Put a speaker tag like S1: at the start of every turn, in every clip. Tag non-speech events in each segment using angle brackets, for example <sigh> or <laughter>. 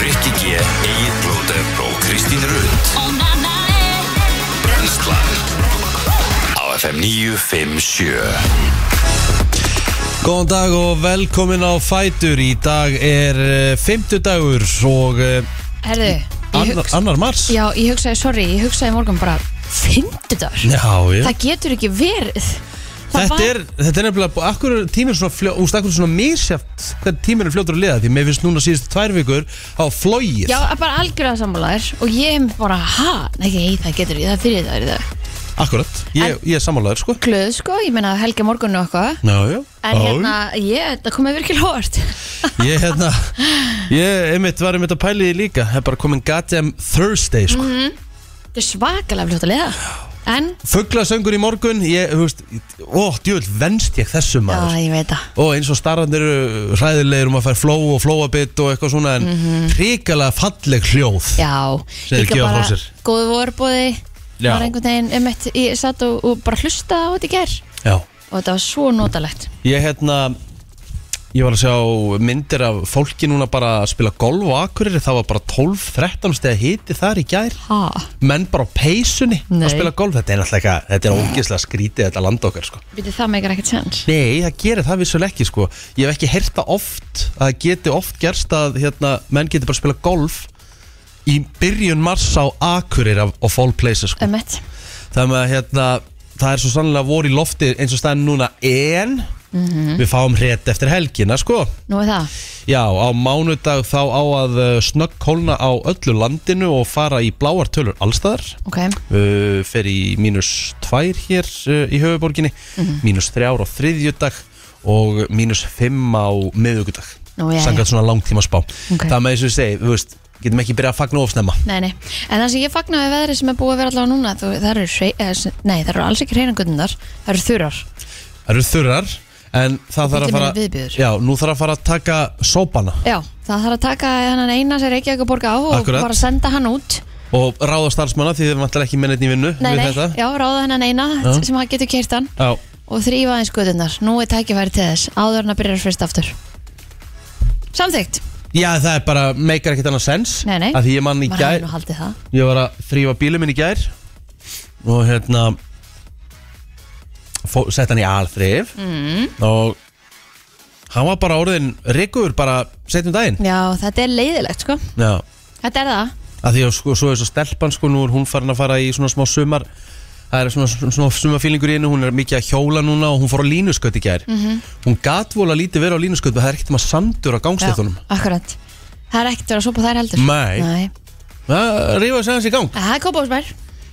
S1: Rikki G, Egil Blóter og Kristín Rund Brenslan Á FM 957
S2: Góðan dag og velkomin á Fætur Í dag er uh, fimmtudagur og uh,
S3: Herðu, ég
S2: annar,
S3: hugsa
S2: annar mars
S3: Já, ég hugsaði, sorry, ég hugsaði í morgun bara Fymtudagur,
S2: Já, já
S3: það getur ekki verið Það
S2: Þetta er, þetta er nefnilega, bú- akkur er tíminn svona, fljó, úst, akkur er svona misjæft hvernig tíminn er fljótur að liða því mér finnst núna síðustu tvær vikur á flóið
S3: Já, bara algjörða sammálaðir Og ég er bara, ha, nei, það getur ekki, það er fyrir það er það
S2: Akkurat, ég, ég er sammálaður sko
S3: Glöð, sko, ég meina helga morgun og eitthvað
S2: Já, já
S3: En
S2: Já,
S3: hérna, ég, það komið virkilega hort
S2: Ég, hérna, ég einmitt var einmitt að pæli því líka Það er bara komin goddamn Thursday
S3: Mm.
S2: sko
S3: Mhm. Þetta er svakalega fljótt að liða En,
S2: Fuglasöngur í morgun, ég, þú veist Ó, djúvel, venst ég þessu
S3: já,
S2: maður
S3: ég veit það
S2: og eins og starrandir eru hræðilegir um að fær fló og flóabit og eitthvað svona en mm falleg hljóð
S3: Mhm. Já,
S2: Segir
S3: líka
S2: Georg
S3: bara
S2: frá sér.
S3: góðu vorbóði
S2: Já.
S3: Var einhvern veginn, um ég satt og, og bara hlustaði á þetta í ger
S2: Já.
S3: Og þetta var svo notalegt
S2: Ég hérna ég var að sjá myndir af fólki núna bara að spila golf og akkurir það var bara 12-13 steg hiti þar í gær
S3: Ha,
S2: menn bara á peysunni
S3: Nei.
S2: að spila golf þetta er náttúrulega eitthvað- þetta er ógeðslega skrítið þetta land okkar sko
S3: Býtu, það meikar ekkert sens
S2: Nei, það gerir það vissulega ekki sko Ég hef ekki heyrt það oft að það geti oft gerst að hérna, menn geti bara spila golf í byrjun mars á Akurir af, of all places sko.
S3: Ömmett
S2: Þannig að hérna, það er svo sannlega vor í lofti eins og staðan núna en
S3: Mm. Mhm.
S2: við fáum hrétt eftir helgina sko
S3: Nú er það
S2: Já, á mánudag þá á að snögg kólna á öllu landinu og fara í bláar tölur allstaðar
S3: Ok
S2: uh, fer í mínus 2 hér uh, í höfuborginni
S3: Mhm.
S2: mínus 3 á þriðjudag og mínus 5 á miðugudag
S3: Nú, jæja.
S2: sangat svona langtíma spá
S3: Ok.
S2: það með eins og ég segi, þú veist, getum ekki byrjað að fagna ofsnemma
S3: Nei, nei En það sem ég fagnaði veðri sem er búið að vera allavega núna þú, Það eru hrei, eh, s- Nei, það eru alls ekki reyningundar Það eru þurrar
S2: það eru þurrar en það þarf að
S3: bíllinn
S2: fara
S3: er viðbjóður.
S2: já, nú þarf að fara að taka sópana
S3: Já, það þarf að taka hennan eina sem Reykjavík að borga á Og
S2: Akkurat.
S3: bara senda hann út
S2: og ráða starfsmanna því þið vantar ekki mennetni í vinnu
S3: Nei,
S2: við
S3: nei,
S2: þetta.
S3: já, ráða hennan eina
S2: Já.
S3: sem hann getur kert hann
S2: Já.
S3: Og þrýfa eins guðunar Nú er tækifæri til þess Áður en að byrja fyrst aftur Samþygt
S2: já, það er bara meikar ekkert annað sens
S3: Nei, nei
S2: að því ég mann í
S3: Maður
S2: gær
S3: hefði nú haldið það
S2: Ég var að þrýfa bílum minn í gær Og hérna fó, Sett hann í alþrif mm. Og Hann var bara orðin rikuður Bara setjum daginn
S3: Já, þetta er leiðilegt, sko
S2: Já
S3: Þetta er það
S2: að Því að sko, svo er svo stelpan sko Nú er hún farin að fara í svona smá sumar Það er svona, svona sumarfílingur í henni Hún er mikið að hjóla núna og hún fór á línuskaut í gær
S3: Mm. Mhm.
S2: -hmm. Hún gat vola lítið verið á línuskaut Það er ekkert maður sandur á gangstéttunum
S3: Já, akkurat Það er ekkert verið að sopa þær heldur
S2: Nei.
S3: Nei.
S2: Það rífa sér hans í gang
S3: En Það er kópásbær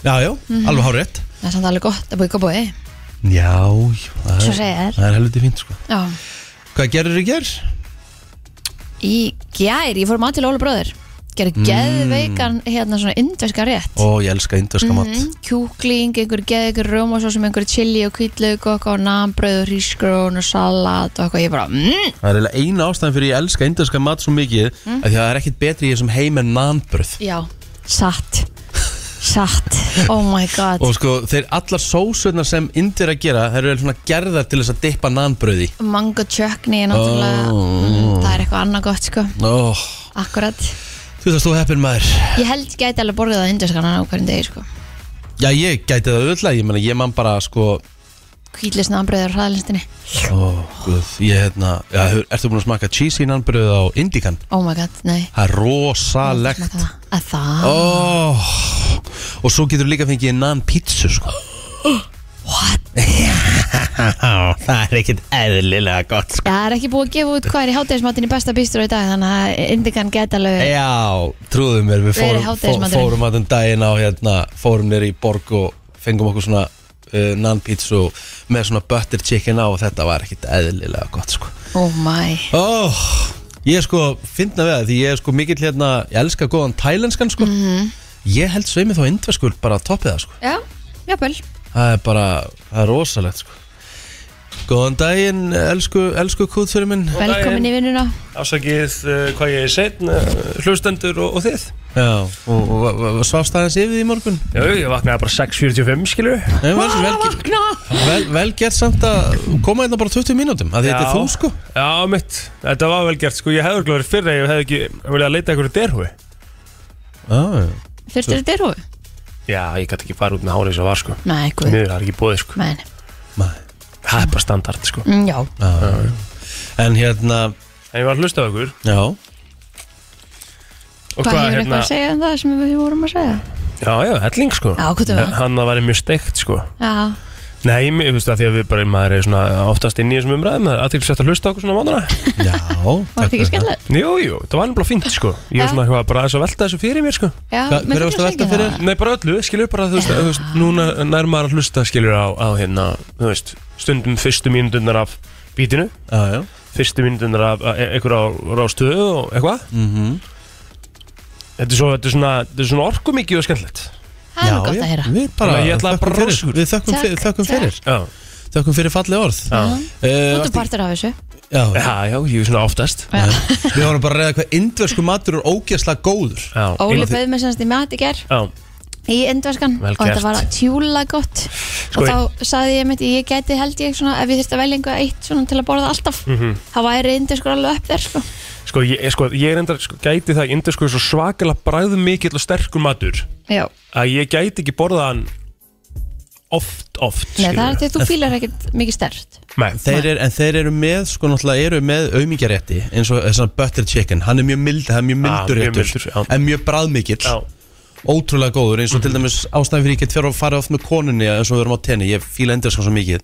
S2: Já, já,
S3: Mhm.
S2: alveg hárétt
S3: Það er samt alveg gott að búið kópói
S2: Já, jú, það
S3: Svo
S2: er,
S3: segja þér
S2: það er helviti fínt sko
S3: Já
S2: Hvað gerir þú gerð?
S3: Í gær, ég fór mat til Óla bróðir Gerði
S2: Mm.
S3: geðveikan hérna svona indverska rétt
S2: Ó, ég elska
S3: Mhm.
S2: indverska mat
S3: Kjúkling, einhver geðveikur rjóma Svo sem einhver chili og kvítlaug og eitthvað Og nambröð og hrísgrón og salat og eitthvað Ég bara, mmm,
S2: Það er eiginlega eina ástæðan fyrir ég elska indverska mat svo mikið mm. Því að það er ekkit betri í þessum heim en nanbröð
S3: já, satt Satt, oh my god
S2: Og sko, þeir allar sósurnar sem indverja gera Þeir eru svona gerðar til þess að dippa nanbröði
S3: Mango chutney er náttúrulega
S2: Ó.
S3: mm, Það er eitthvað annað gott sko
S2: Ó,
S3: Akkurat
S2: þú veist að þú heppin maður
S3: Ég held gæti alveg borðið að indurskana á hverjum degi sko.
S2: Já, ég gæti það auðvitað Ég meina, ég man bara sko
S3: Kvíðlisna ambröður á hraðalistinni
S2: Ó, guð, ég hérna já, hefur- Ertu búin að smaka cheesy nanbröð á indikan?
S3: Oh my god, nei
S2: Það er rosalegt
S3: Það, að það,
S4: Oh.
S2: Ó, og svo getur líka fengið nan pítsu sko What? <laughs> það er ekkert eðlilega gott sko.
S3: það er ekki búið að gefa út hvað er í hátæðismatin í besta bístur í dag Þannig að indikan gæti alveg
S2: Já, trúðu mér, við
S3: Hver er
S2: fórum, fó-
S3: hádegismaturinn?
S2: fórum að daginn á hérna, fórum nýr í borg og fengum okkur svona uh, nan pítsu með svona butter chicken á og þetta var ekkert eðlilega gott sko
S3: Oh my
S2: Ó, ég er sko fyndna við það því ég er sko mikill hérna, ég elska góðan tælenskan sko Ég held sveimi þá indverskur bara toppið það sko
S3: Já, jápöl
S2: Það er bara, það er rosalegt sko Góðan daginn, elsku, elsku kúðfyrir minn
S3: Velkomin í vinnuna
S4: Ásakið uh, hvað ég er setn, uh, hlustendur og, og þið.
S2: Já, og, og, og svafst aðeins yfir því í morgun
S4: Jú, ég vaknaði bara 6.45 skilur.
S2: Nei, vel,
S3: Bara
S2: vel,
S3: vakna
S2: vel, vel gert samt að koma hérna bara 20 mínútum að þetta er
S4: Já.
S2: þú sko
S4: Já, mitt. Þetta var vel gert, sko. Ég hefði glóður fyrr að ég hefði ekki viljað að leita einhverju derhúi.
S2: Já, já.
S3: Þurftir þetta eru?
S4: Já, ég gæti ekki fara út með hárið sem var, sko.
S3: Nei, guð
S4: Nýður, það er ekki bóðið, sko.
S3: Men,
S4: Það er bara standard, sko.
S3: mm, já,
S2: En hérna,
S4: En ég var að hlusta á ykkur.
S2: já
S4: Og
S3: hvað
S4: hvað,
S3: hefur eitthvað
S4: hérna?
S3: að segja um það sem við vorum að segja?
S4: Já, já, helling, sko.
S3: Já, hvað það var?
S4: Hann að væri mjög steikt, sko.
S3: Já,
S4: Nei, mér, þú veist að því að við bara, maður er svona oftast inn í þessum umræðum, það er aðtilsvægt að hlusta okkur svona mánuna.
S2: Já,
S3: var þetta ekki skemmtilegt?
S4: Jú, jú, það var nefnilega fínt, sko. Ég
S3: Já.
S4: var svona eitthvað bara aðeins að velta þessu fyrir mér, sko.
S3: Já,
S2: Hva-
S3: mér
S2: hver
S3: finnst
S2: varstu að velta
S3: ekki
S2: fyrir?
S3: það.
S4: Nei, bara öllu, skilur, bara þú veist, þú veist núna nær maður að hlusta, skilur, á, á hérna, þú veist, stundum fyrstu mínundunar af bítinu,
S2: já, já
S4: fyrstu mínundunar af e- einhver á rástöðu og eitthvað.
S2: Mhm.
S4: Þetta er, svo, þetta er svona, þetta er svona orku mikið og skemmtilegt.
S3: Það er
S2: Já,
S3: nú gott
S2: já,
S3: að heyra
S2: Við bara
S4: Þannig að ég ætla að
S2: þökkum
S4: bara
S2: fyrir.
S4: rósa ykkur.
S2: Við þökkum,
S3: Takk,
S2: fyrir, þökkum
S3: takk.
S2: fyrir
S4: Já,
S2: Þökkum fyrir falleg orð
S4: já.
S2: Eh,
S3: Þú
S2: varstu-
S3: ert partur af þessu
S2: Já,
S4: Já, já, ég er svona oftast.
S3: Já.
S2: Við vorum bara að reyða hvað indversku matur er ógeðslega góður
S4: Já,
S3: Óli
S4: inn-
S3: bauð mér semst í mat í ger
S4: Já,
S3: í indverskan
S4: Vel
S3: og þetta
S4: gert.
S3: var tjúla gott
S4: Sko,
S3: og þá saði ég mitt ég geti held ég svona ef ég þurfti að velja einhver eitt svona til að borða alltaf
S4: Mhm.
S3: þá væri indverskur alveg upp þér sko
S4: sko, ég, sko, ég er endar, sko, gæti það, indur, sko, er svo svakalega bræðu mikill og sterkur matur,
S3: Já,
S4: að ég gæti ekki borða hann oft, oft,
S3: Nei, það er
S4: skilurðu.
S3: því að þú fílar ekkert mikið stert
S4: Nei,
S2: Þeir er, en þeir eru með, sko náttúrulega eru með auðmingjarétti eins og þessan butter chicken hann er mjög mild, það er mjög mildur
S4: mjög
S2: réttur
S4: mildur, já.
S2: en mjög bræðmikill,
S4: Já, Mhm.
S2: ótrúlega góður eins og til dæmis ástæðan fyrir ég get fyrir að fara oft með konunni eins og við erum á tenni, ég fíla endur svo mikið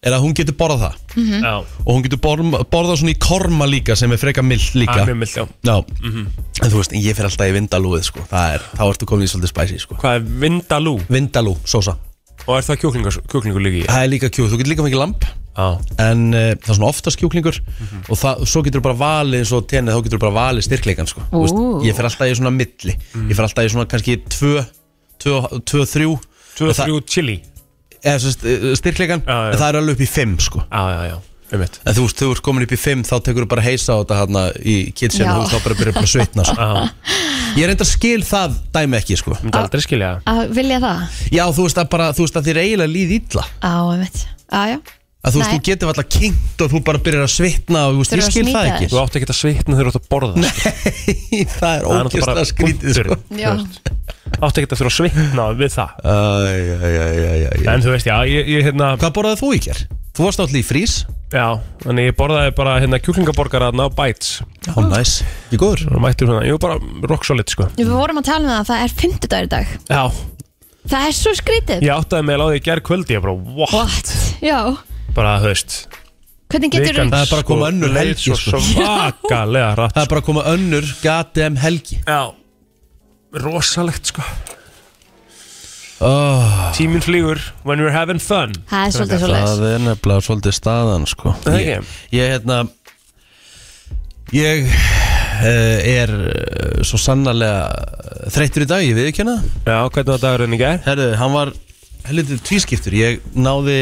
S2: er að hún getur borðað það
S4: já.
S2: og hún getur borma, borðað svona í korma líka sem er freka mild líka
S4: Ah, mjög mild, já.
S2: Já,
S4: Mhm.
S2: en þú veist, en ég fyrir alltaf í vindalúið sko. það er, þá ertu komin í svolítið spæsi sko.
S4: Hvað er vindalú?
S2: Vindalú, sósa,
S4: Og er það kjúklingur, kjúklingur líka í?
S2: það er líka kjúð þú getur líka fengið lamp
S4: Já. Mhm.
S2: en uh, það er svona oftast kjúklingur og það, svo getur þú bara valið eins og tenið, þá getur þú bara valið styrkleikan sko. Þú
S3: Ú.
S2: veist, ég fer alltaf í svona milli ég fer alltaf í svona kannski 2 2, 3
S4: Tvö, þrjú, chili.
S2: Eh, styrkleikan,
S4: Já, já.
S2: en það er alveg upp í 5 sko.
S4: Já, já, já. Um mitt.
S2: en þú veist, þegar þú ert komin upp í 5 þá tekur þú bara heisa á þetta hana, í kitchen
S3: Já.
S2: og þú veist, þá bara
S3: <laughs>
S2: byrjar bara að svitna sko.
S4: Já.
S2: ég er enda að skil það dæmi ekki sko.
S4: Myndi aldrei skilja það.
S3: að vilja það
S2: já, þú veist að, bara, þú veist að þér eiginlega líð illa
S3: á einmitt á, já.
S2: að þú veist,
S3: Nei.
S2: þú getur alltaf kynnt og þú bara byrjar að svitna og þú veist,
S3: Þú
S2: ég
S3: eru að
S2: skil
S3: snýta
S2: það ekki
S3: þér.
S4: Þú átt ekki að svitna þegar þú átt að borða það. sko.
S2: Nei, <laughs> það er
S4: Það er náttúrulega
S2: ógeðslega
S4: bara
S2: skrítið sko.
S4: punkturinn.
S3: Já.
S4: Átt ekki að þurfa að svitna við það.
S2: Æ, æ, æ, æ, æ, æ.
S4: En þú veist, já, ég, ég hérna,
S2: Hvað borðaði þú í kjær? Þú varst náttúrulega í frís
S4: já, en ég borðaði bara hérna kjúklingaborgaraðna á bites.
S2: Já, næs Ég góður
S4: Og mættur svona, ég var bara rock solid, sko.
S3: Við vorum að tala um það að það er 50 dagur í dag
S4: Já.
S3: Það er svo skrítið
S4: Ég áttaði mig alveg á því í gerð kvöldi, ég bara, what?
S3: What? Já
S4: Bara, þú veist,
S3: Hvernig getur
S4: vikan
S2: Það er bara að koma
S4: sko
S2: önnur
S4: leið
S2: helgi,
S4: svo
S2: sko.
S4: svakalega rætt.
S2: Það er bara að koma önnur GDM helgi
S4: Já. Rosalegt, sko.
S2: oh,
S4: Tíminn flýgur when we're having fun.
S3: Það er svolítið svolítið
S2: er nefnilega svolítið staðan sko
S4: Það er
S2: Ég,
S4: ekki.
S2: ég hérna Ég uh, er uh, svo sannarlega þreyttur í dag, ég við ekki hana
S4: Já, hvernig var dagurinn í gerð?
S2: Herðu, hann var helvitið tvískiptur Ég náði,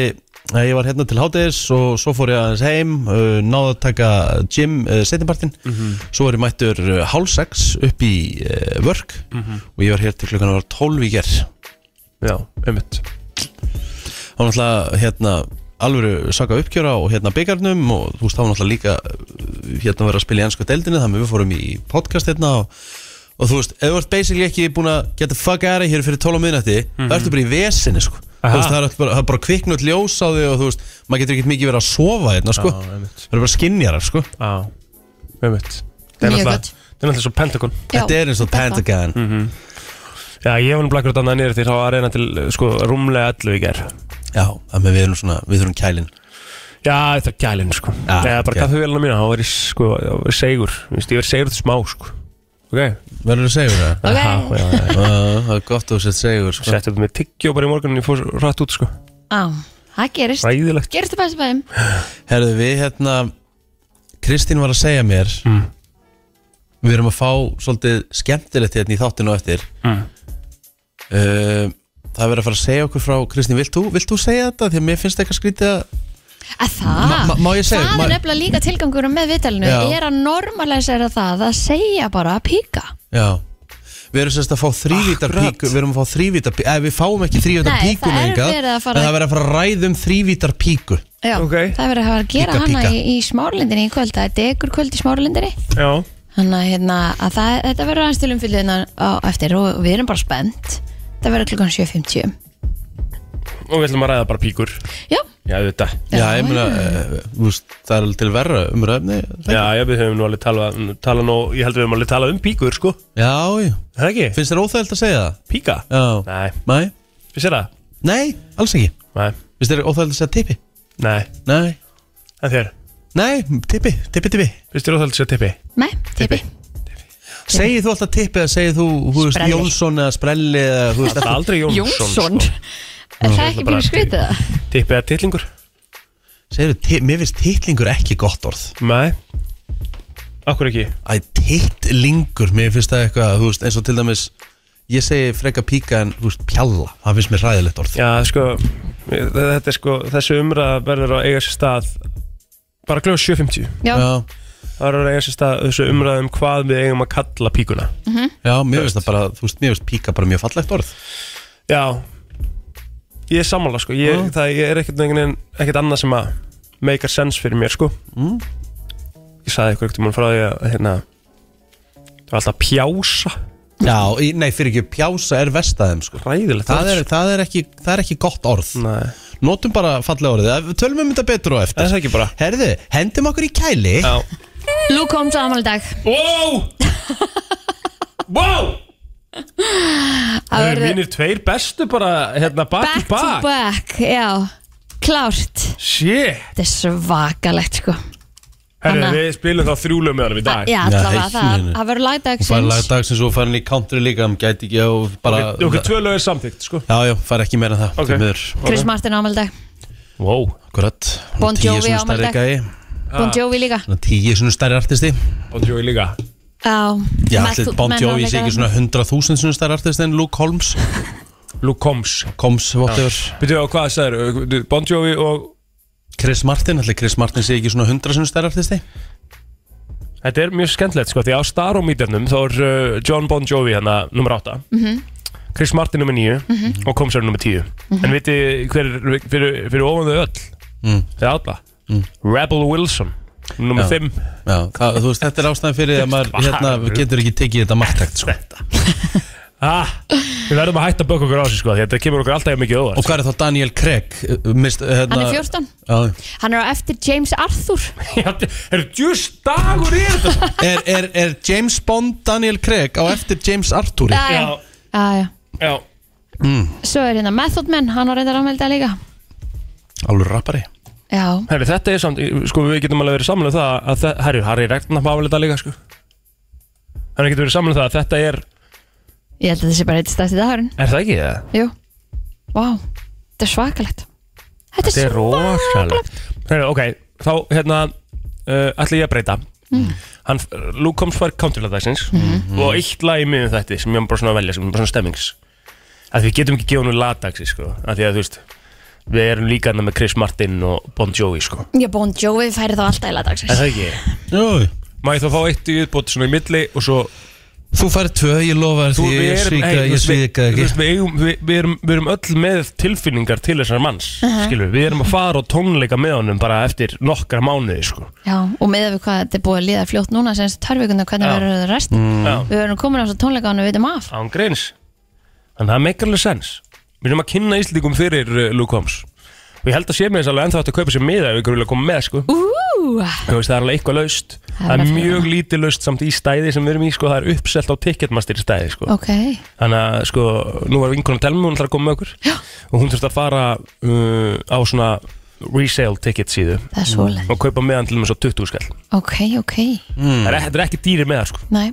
S2: eh, ég var hérna til hátæðis og svo fór ég aðeins heim uh, náði að taka gym uh, setjumpartin,
S4: Mhm.
S2: svo er ég mættur uh, hálf sex upp í uh, vörk og ég var hér til klukkan var 12 í gerð
S4: Já, einmitt.
S2: þá var náttúrulega hérna alvöru saka uppgjöra og hérna byggarnum og þú veist þá var náttúrulega líka uh, hérna verið að spila í ennsku deildinu þannig að við fórum í podcast hérna og, og þú veist, ef þú ert basically ekki búin að get the fuck out of here fyrir 12 á miðnætti þá ertu bara í vesinni sko
S4: Mhm. Aha.
S2: þú veist, það er bara, það er bara kviknut ljós á þig og þú veist, maður getur ekkert mikið verið að sofa hérna sko,
S4: Já, einmitt.
S2: það eru bara skinjarar sko
S4: Já, einmitt.
S3: Mjög
S4: náttúrulega-
S3: gott.
S4: Það er náttúrulega svo Pentagon. Mhm.
S2: þetta er eins og Pentagon
S4: Já, ég var nú blakur þarna niður til þá að reyna til sko rúmlega 11 í gerð.
S2: já, þannig að við erum svona, við erum kælin
S4: Já, þetta er gælinn sko.
S2: Já,
S4: Já, bara
S2: ok.
S4: kaffi vélina mína, þá var ég sko, þá var ég segur. Þú veist, ég verið segur til smá sko. Ok?
S2: verður þú segur það?
S3: Ok.
S4: Aha, já, já, já.
S2: Uh, það er gott að þú sett segur sko.
S4: Setti upp með tyggjó bara í morgunin, ég fór svo hratt út sko.
S3: Á, það gerist
S4: Ræðilegt.
S3: Gerist það bæst bæðum
S2: Herðu við hérna Kristín var að segja mér Við erum að fá svolítið skemmtilegt hérna í þáttinu og eftir Eh,
S4: Mm.
S2: uh, Það er verið að fara að segja okkur frá Kristín, vilt þú, vilt þú segja þetta? Því að mér finnst eitthvað skrítið að
S3: Að það,
S2: Ma- ma- má ég segja,
S3: Ah, það
S2: má-
S3: er nefnilega líka tilgangur með vitalinu,
S2: Já.
S3: er að normalisera það að segja bara að píka
S2: Já Við erum semst að fá þrývítar
S4: Akkurat.
S2: píkur Við erum að fá þrývítar píkur Við fáum ekki þrývítar
S3: Nei,
S2: píkur
S3: það er verið að fara-
S2: En það verður að fara að ræða um þrývítar píkur
S3: Já,
S4: Ok.
S3: það verður að hafa að gera
S2: Píka,
S3: hana
S2: píka.
S3: í, í smárlindinni í kvöld, það er degur kvöld í smárlindinni
S4: Já,
S3: Þannig að, hérna, að það, þetta verður aðeins til umfylgðina á eftir og við erum bara spennt Það verður klukkan 7.50
S4: og við ætlum að ræða bara píkur
S3: Já,
S4: Já, þetta
S2: Já, ég meina eh, þú veist, Það er alveg til verra umræfni Já,
S4: Já, já, við höfum nú alveg talað, talað nú, ég held við höfum alveg talað um píkur, sko
S2: já
S4: Er Það ekki?
S2: Finnst þér óþægild að segja það?
S4: Píka?
S2: Já
S4: Nei,
S2: Nei,
S4: finnst þér það?
S2: nei, alls ekki
S4: Nei,
S2: Finnst þér óþægild að segja tippi?
S4: nei,
S2: Nei
S4: en þér?
S2: Nei, tippi, tippi, tippi
S4: Finnst þér óþælt að segja tippi?
S3: með, tippi
S2: Segir þú alltaf tippi eða segir þú, þú veist,
S3: Sprelli.
S2: Jónsson eða Sprelli eða, þú veist,
S4: Það er
S2: alltaf
S4: aldrei Jónsson
S3: Jónsson
S4: sko.
S3: Er það
S4: Ég ætla
S3: ekki
S4: bara
S3: bara
S4: að-
S3: skrítið það?
S4: Tippi eða titlingur?
S2: Segir þú, mér finnst titlingur ekki gott orð
S4: Nei Akkur ekki?
S2: Æ, tittlingur, mér finnst það eitthvað, þú veist, eins og til dæmis Ég segi freka píka en, þú veist, pjalla Það finnst mér ræðilegt orð
S4: Já, sko, ég- þetta er sko, þessu umræða verður að eiga sér stað bara gljóð 7.50
S3: Já,
S4: Það verður að eiga sér stað þessu umræða um hvað við eigum að kalla píkuna
S2: já, mér finnst það bara, þú veist, mér finnst píka bara mjög fallegt orð
S4: Já Ég er sammála sko Ég,
S2: Já.
S4: það, ég er ekkert, einhvern veginn- ekkert annað sem að Make a sense fyrir mér sko
S2: Mm.
S4: Ég saði ykkur ekkert um frá því að hérna, Það var alltaf pjása
S2: Já, í- nei, fyrir ekki, pjása er vestaðum, sko
S4: Ræðilegt
S2: það er, það, er ekki, það er ekki gott orð
S4: Nei
S2: Notum bara fallega orðið, Það- tölum um þetta betur
S4: Það
S2: á
S4: er
S2: eftir
S4: það ekki bara
S2: Herðu, hendum okkur í kæli
S4: Já
S3: Lú kom svo amal dag
S4: Wow Wow Það eru mínir tveir bestu bara hérna bak
S3: Back
S4: í
S3: to
S4: bak
S3: back, já Klárt,
S4: Shit
S3: þetta er svakalegt sko
S4: Herru,
S3: Anna.
S4: við spilum þá þrjúlum með hann í dag
S3: Já,
S2: Nei,
S3: allavega það,
S2: nei, nei.
S3: það verður
S2: Hún fær
S3: lagdagsins
S2: lagdagsins og fær hann í country líka Hann gæti ekki og bara
S4: Okkur- Okkur tvö lög er samþykkt sko
S2: Já, já, fær ekki meira en það
S4: Ok.
S2: því miður.
S3: Chris Martin á amal dag
S4: Wow
S2: Akkurat
S3: Bon
S2: Tíu
S3: Jovi
S2: sinnum
S3: á afmæli í
S2: stærri
S3: dag.
S2: gæi. Ah.
S3: Bon Jovi líka
S2: Svona tíu svona stærri artisti
S4: Og tjói líka
S3: Já,
S2: Já,
S3: Matt-
S2: allir Bon
S3: menn
S2: Jovi
S3: hann
S2: sé
S3: líka.
S2: ekki svona 100.000 svona stærri artisti en Luke Holmes
S4: <laughs> Luke Combs
S2: Combs, whatever
S4: Býtu á hvað það er, Bon Jovi og
S2: Chris Martin, allir Chris Martin sé ekki svona 100 svona stærri artisti
S4: Þetta er mjög skemmtilegt sko, því á Starometerunum þá er uh, John Bon Jovi hérna nummer 8
S3: Mm-hmm.
S4: Chris Martin nummer 9 og Combs er nummer 10 En viti hver er fyrir, fyrir ofan þau öll
S2: Mm.
S4: eða alla Rebel Wilson nummer
S2: Já.
S4: 5
S2: Já, það, þú veist, þetta er ástæðan fyrir að maður hérna getur ekki tekið þetta margtækt sko.
S4: ah, Við verðum að hætta að bökka okkur á þessu sko, því þetta kemur okkur alltaf jafn mikið óvart
S2: Og hvað er þá Daniel Craig? uh, Mist, uh, hérna,
S3: Hann er 14,
S2: Já.
S3: hann er á eftir James Arthur
S4: Já, Er djúst dagur í þetta?
S2: <laughs> er, er, er James Bond Daniel Craig á eftir James Arthur?
S3: Já, já, já, já
S4: já
S3: Svo er hérna Method Man, hann á reyndar amal dag líka
S2: Alveg rappari
S3: Já,
S4: Herri, þetta er samt, sko við getum alveg verið samlega það að það, herri, Harry Ragnar má alveg þetta líka sko Þannig getum verið samlega það að þetta er,
S3: ég held að þetta sé bara eitt stætti dagurinn
S4: er það ekki það?
S3: Jú, vá, þetta er svakalegt Þetta
S4: Þetta
S3: er
S4: er rosalegt Herri, ok, þá hérna uh, ætla ég að breyta Hann, Luke Combs var countryladdagsins mm. og eitt lag í miðum þetta sem ég var bara svona að velja, sem er bara svona stemmings að við getum ekki gefa nú laddags sko, að því að þú veist við erum líka hann með Chris Martin og Bon Jovi sko.
S3: Já, Bon Jovi færi þá alltaf í
S4: Er
S3: lagdagsins
S4: það ekki?
S2: Jú
S4: Má ég þá fá eitt í uppbót svona í milli og svo
S2: Þú færð tvö, ég lofa þér
S4: Þú,
S2: því
S4: við
S2: ég
S4: erum-
S2: svíka,
S4: hey, þú
S2: ég
S4: veist, við-
S2: svíka
S4: þú
S2: ekki
S4: veist, við, eigum- við, við, erum- við erum öll með tilfinningar til þessar manns uh við, erum að fara og tónleika með honum bara eftir nokkra mánuði sko.
S3: Já, og með við hvað þetta er búið að líða fljótt núna sem þessi törvíkundu, hvernig
S4: Já. Mm.
S3: verður það rest
S4: Já.
S3: Við verðum komin á þessu tónleika og við veitum af
S4: án greins þannig að það meikar alveg sens við erum að kynna Íslendingum fyrir uh, Luke Holmes og ég held að sé mér þess alveg ennþá hægt að kaupa sér miða ef ykkur vilja koma með sko.
S3: Ú,
S4: Þú veist, það er alveg eitthvað laust
S3: Það er
S4: það er
S3: alveg
S4: mjög
S3: fyrir.
S4: lítið laust samt í stæði sem við erum í sko, það er uppselt á Ticketmaster stæði sko.
S3: ok
S4: Þannig að sko, nú var vinkona að telma hún ætlar að koma með okkur Já. og hún þurfti að fara uh, á svona resale ticket síðu
S3: Það er svoleið,
S4: og kaupa meðan til með svo 20 skall
S3: ok, ok
S2: Hmm.
S4: Það er, þetta er ekki dýri meðar sko
S3: Nei,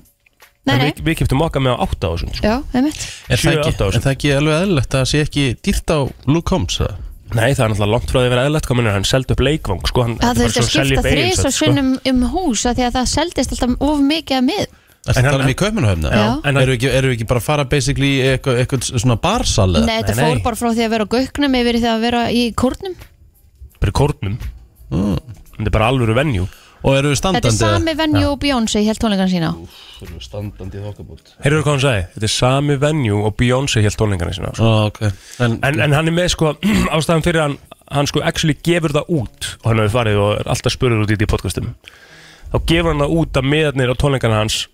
S3: nei,
S4: En
S3: nei,
S4: við, við kiptum okkar með á 8 á þessum sko.
S3: já, einmitt
S2: Er það
S4: sjö, átta
S2: ekki,
S4: ár
S2: er það ekki alveg eðlilegt að það sé ekki dýrt á Luke Holmes? eða?
S4: Nei, það er náttúrulega langt frá því að vera eðlætt hvað minnur hann seldi upp leikvang sko hann,
S3: Það
S4: þetta er
S3: þurfti
S4: bara
S3: að
S4: svona selja sko.
S3: skipta
S4: upp
S3: þrís
S4: Egilshöll,
S3: og sinnum um hús af því að það seldist alltaf of mikið að mið
S2: Ertu
S4: En
S2: að
S4: hann-
S2: tala um í Kaupmannahöfna?
S3: Já.
S4: En hann-
S2: Erum við ekki, erum við ekki bara að fara basically í eitthvað, eitthvað svona barsal? eða?
S3: Nei, þetta
S4: Nei, nei.
S3: fór bara frá því að vera á göknum yfir í því að vera í kórnum
S4: Bara í kórnum Þetta er bara alvöru venjú
S2: Mm. Og eru
S3: Þetta
S2: standandi?
S3: er sami venju og Beyoncé held tónleikann sína á.
S2: Eru standandi þokkabútt
S4: Heyrðu hvað hann sagði? Þetta er sami venjú og Beyoncé held tónleikana sína sko.
S2: ah, okay. En,
S4: en, en hann er með sko <clears throat> ástæðan fyrir hann hann sko actually gefur það út og hann hefur farið og er alltaf spurður út í því podcastum þá gefur hann það út að meðarnir á tónleikana hans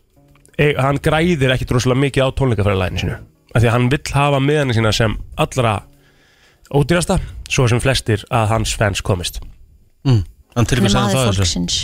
S4: e, hann græðir ekkit rosalega mikið á tónleikafræðilæðinu sinu af því að hann vill hafa meðarnir sína sem allra ódýrasta svo sem flestir að hans fans komist
S2: mm, Hann til og
S3: Hann er
S2: með sagði
S3: maður
S2: það þessu
S3: fólksins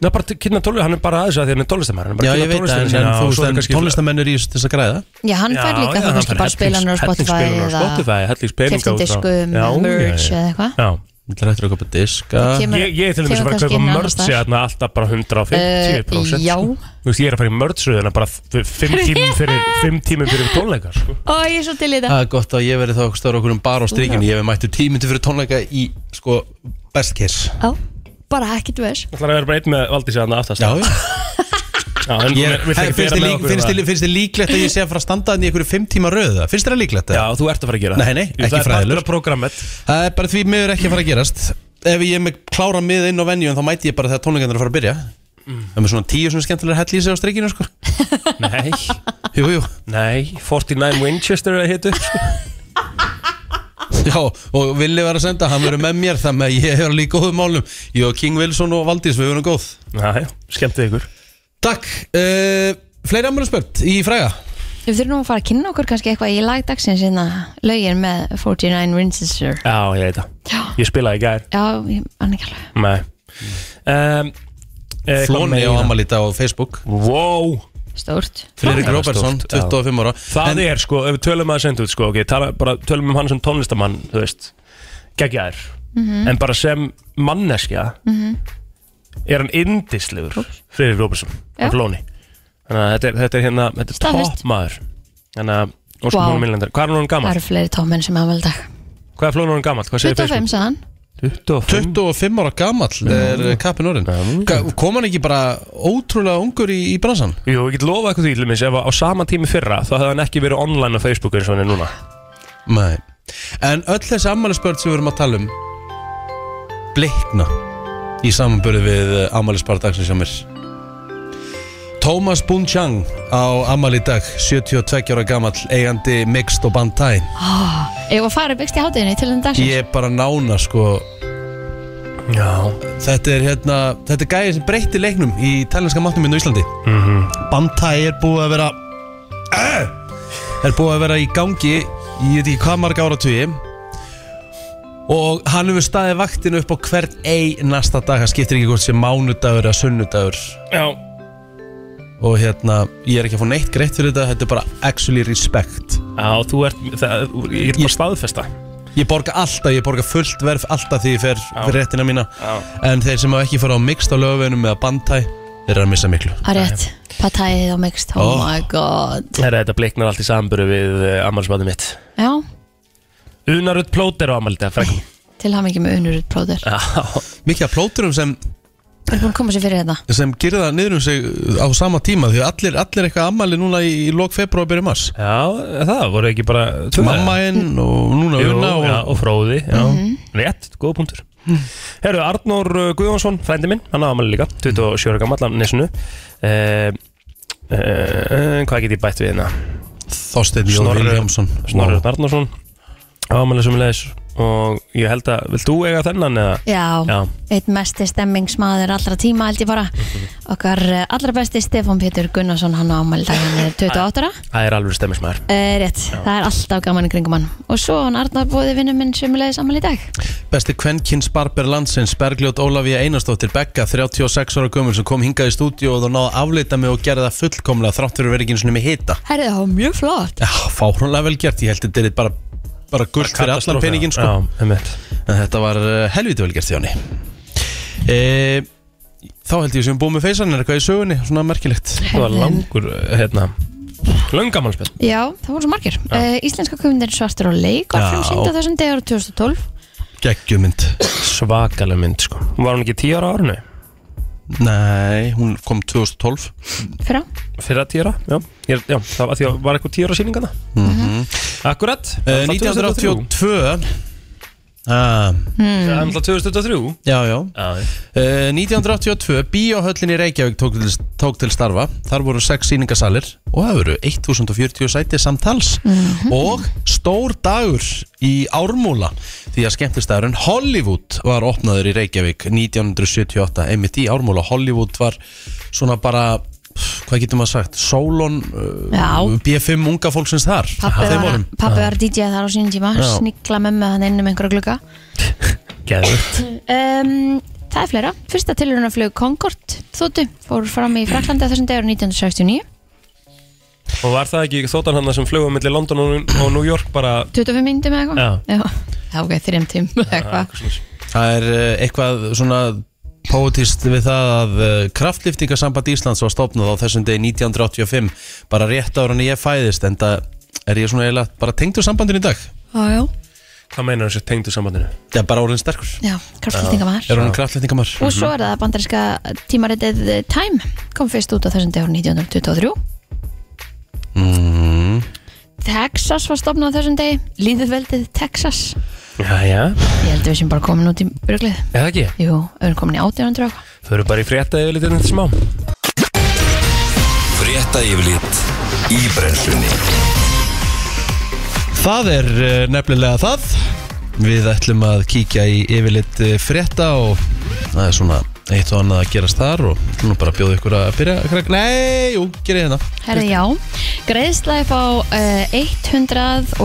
S4: Ná, bara til- kynna tónleika, hann er bara aðeins að því hann er tónlistamæður
S2: Já, ég veit það, en, en, þú veist, en tónlistamenn eru í þessu til þess að græða
S3: Já, hann fær líka þá kannski bara spilanur á Spotify eða
S4: Spotify, hellings peninga
S3: keftin
S4: út frá-
S3: diskum,
S4: Já, já,
S3: merch
S4: já.
S3: eða eitthvað
S4: Já,
S2: Þú ættir að köpa diska
S3: Það kemur-
S4: Ég, ég er til dæmis að
S3: kemur
S4: fara að
S3: kannski
S4: kaupa
S3: inn
S4: mörtsi
S3: annars staðar.
S4: þarna alltaf bara 150%
S3: Eh, já.
S4: sko. Þú veist, ég er að fara í mörtsiðuna bara
S3: <laughs>
S4: 5 tímum fyrir, fimm tímum fyrir tónleikar sko.
S3: Ó, ég er svo til í þetta
S2: Það er gott að ég verði þá stóra okkur um bar á strikinu Ég hef mættu tímyndu fyrir tónleika í sko best kiss
S3: Já, bara ekkert veis
S4: Það ætlar að vera bara einn með Valdísi þarna aftast
S2: Já, já
S4: já en
S2: Ég,
S4: hún vill
S2: Hei,
S4: ekki
S2: finnst,
S4: bera
S2: þér
S4: með
S2: lík,
S4: okkur hérna.
S2: finnst,
S4: það.
S2: þér, finnst þér líklegt að ég sé að fara að standa þannig í einhverju fimm tíma röðu Finnst þér það líklegt
S4: Já,
S2: það?
S4: þú ert að fara að gera það
S2: Nei, nei,
S4: Jú,
S2: ekki
S4: Það er
S2: fræðilegur.
S4: partur af programmet
S2: Það er bara því miður ekki að fara að gerast Ef ég er með klára mið inn á venju þá mæti ég bara þegar tónleikarnir er að fara að byrja
S4: Mm.
S2: Það er með svona tíu svona skemmtilega hell í sig á strikinu sko
S4: Nei,
S2: Jú, <laughs> jú,
S4: nei, 49 Winchester er að sko. hitu
S2: já, og Willi var að senda, hann verður með mér þannig að ég hefur líka góðum málum Ég og King Wilson og Valdís, við verðum góð
S4: Næ, skemmtið ykkur
S2: Takk, uh, fleiri ammælisbörn í fræga
S3: Við þurfum nú að fara að kynna okkur kannski eitthvað í lagdagsins inna lögin með 49 Winchester
S4: Já, ég veit það Ég spilaði í gær
S3: Já, ég hann ekki alveg
S4: Nei um, eh, eitthvað
S2: Flóni á
S4: meira.
S2: ammælita á Facebook
S4: Wow
S3: Stórt
S2: Friðrik
S4: Það er
S2: Róbertsson,
S4: stórt, já.
S2: 25 ára
S4: Það er sko, ef við tölum að það sendu út sko, okay, tala, bara tölum um hann sem tónlistamann, þú veist, geggjaðir,
S3: Mm-hmm. Mm.
S4: en bara sem manneskja er hann indislegur, Friðrik Róbersson, hann
S3: Já.
S4: flóni. Þannig að þetta er, þetta er hérna, þetta er
S3: Staðfest.
S4: topp maður. Þannig að, óskum
S3: Vá.
S4: wow. hún millendar, hvað er hann
S3: Það
S4: gammal?
S3: eru fleiri tómmenn sem hafa vel dag
S4: Hvað er flóni hann gammal? Hvað segir
S3: 25 sagði hann
S4: 25.
S2: 25 ára gamall er kappin orðin Ga- Kom hann ekki bara ótrúlega ungur í, í bransan?
S4: Jú, ég get lofað eitthvað því, til dæmis, ef að á sama tími fyrra, þá hefði hann ekki verið online á Facebooku eins og hann er núna.
S2: Nei En öll þessi ammælisbörn sem við erum að tala um Blikna Í samanbörðu við ammælisbörn dagsins hjá mér Tómas Bunchang á ammæli í dag 72 ára gamall eigandi Mixed og Bandai
S3: Ég var farið byggst í hátíðinni til enn dagsins
S2: Ég er bara nána sko
S4: Já.
S2: Þetta er hérna Þetta er gæði sem breytti leiknum í talinska matnum minn á Íslandi Bandai er búið að vera Er búið að vera í gangi Ég veit ekki hvað marga áratugi Og hann hefur staðið vaktinu upp á hvern einasta dag Hann skiptir ekki hvort sem mánudagur eða sunnudagur
S4: Já.
S2: Og hérna, ég er ekki að fá neitt greitt fyrir þetta Þetta er bara actually respect
S4: Já, þú ert, það, ég get bara staðfesta.
S2: Ég borga alltaf, ég borga fullt verf alltaf því ég fer fyrir réttina mína
S4: Já.
S2: En þeir sem hafa ekki fara á mixt á lögveginum eða bandtæ Þeir eru að missa miklu
S3: Það er rétt Patæðið og mixed Oh
S2: Ó.
S3: my god
S4: Herra, þetta bliknar allt í samburu við uh, ammálsmaðið mitt.
S3: Já,
S4: Unarut plóter á ammálið, það frekkum.
S3: til hafa mikið með unnurut próður
S2: Mikið af plóturum sem,
S3: Við erum búin að koma sér fyrir þetta
S2: sem gerða niður um sig á sama tíma Því að allir, allir eitthvað ammali núna í, í lok februar og byrju mars
S4: Já, það voru ekki bara... tvö
S2: Mamma henn og núna
S4: Jú,
S2: Una
S4: og, já,
S2: og,
S4: og fróði, já. Rétt, góða punktur. Herru, Arnór uh, Guðjónsson, frændi minn, hann á ammálið líka, 27 ára gammal, nesinu. Uh, uh, hvað get ég bætt við hérna?
S2: Þorsteinn Jón
S4: Snorri-
S2: Viljámsson
S4: Snorri wow. Arnórsson, ammálið sem leðis og ég held að, vilt þú eiga þennan eða?
S3: Já,
S4: Já.
S3: eitt mesti stemmingsmaður allra tíma held ég bara Okkar eh, allra besti Stefán Pétur Gunnarsson hann á ámæli dag hann er 28 ára
S4: Það er alveg stemmismæður.
S3: Eh, Rétt, það er alltaf gaman í kringum hann Og svo hann Arnar bóði vinnum minn sömulegis ámæli í dag
S2: Besti kvenkins barber landsins Bergljót Ólafía Einarsdóttir Begga 36 ára gömur sem kom hingað í stúdíu og þá náði að afleita mig og gerði það fullkomlega þrátt fyrir að vera ekki eins og nemi hita
S3: Herði það var mjög flott
S2: Já, fáránlega vel gert, ég held að þetta er bara bara gullt fyrir allan peningin sko.
S4: Já, einmitt.
S2: en þetta var uh, helviti vel gert Jóni e, Þá held ég sem búið með feysan er eitthvað í sögunni, svona merkilegt
S4: Það var langur, uh, hérna Langamálspjall
S3: Já, það voru svo margir uh, Íslenska kveimundin svartur á leik var
S2: Já.
S3: frumsýnd á þessum degur 2012
S2: Gekkjumynd
S4: Svakaleg mynd sko Var hún ekki 10 ára á árinu?
S2: Nei, hún kom 2012
S3: Fyrra
S4: Fyrra 10 ára, já, Ég, já Það var, því að Mm-hmm.
S2: Mhm. Eh,
S4: var eitthvað 10 ára síninga það mm -hmm. Akkurat
S2: uh, 1983 Það Ah,
S3: Hmm.
S4: Það er alltaf 2023
S2: já, já.
S4: Já,
S2: Uh, 1982, Bíóhöllin í Reykjavík tók til, tók til starfa. Þar voru sex síningasalir og það voru 1040 sæti samtals.
S3: Mhm.
S2: Og stór dagur í Ármúla því að skemmtistæðurinn Hollywood var opnaður í Reykjavík 1978. Einmitt í Ármúla, Hollywood var svona bara, pff, hvað getur maður sagt, Solon,
S3: Já.
S2: uh, B5 unga fólksins þar.
S3: Pappi
S2: Þeim Ah.
S3: var,
S2: árum.
S3: pappi var DJ þar á sínum tíma
S2: Já.
S3: Snikla með með hann inn um einhverja glugga
S4: geðvitt
S3: um, Það er fleira Fyrsta tilhörunarflug Concorde þóttu Fór fram í Fraklandi þessum dagur 1969
S4: Og var það ekki þóttan hann sem flugum millir London og, og New York bara
S3: 25 myndum eða eitthvað Já. Já, <laughs> ok, þrjum tím eitthvað
S2: Það er eh, eitthvað svona pótist við það að eh, kraftliftingasamband Íslands var stofnað á þessum degi 1985 bara rétt ára en ég fæðist en það er ég svona eiginlega bara tengdur sambandin í dag
S3: Já, já
S4: Hvað meinar þessu tengdu sambandinu?
S2: Já, bara orðin sterkur
S3: Já, kraftflutningamæður
S2: Er orðin kraftliftingamar
S3: Og svo er það bandarinska tímaritið Time kom fyrst út á þessum dagur 1923
S2: mm.
S3: Texas var stofnað á þessum degi Líðveldið Texas
S4: Já, já
S3: Ég held að við sem bara komin út í bruglið
S4: Eða ekki?
S3: Jú, við erum komin í 1800 og eitthvað.
S4: Föru bara í frétta yfir litið smá
S1: Frétta yfirlit í brennslunni
S2: Það er eh, nefnilega það Við ætlum að kíkja í yfirleitt frétta og það er svona eitt og annað að gerast þar og ætlum nú bara að bjóða ykkur að byrja krak- Nei, jú, gerir hérna
S3: Herði já, greiðsla upp á uh,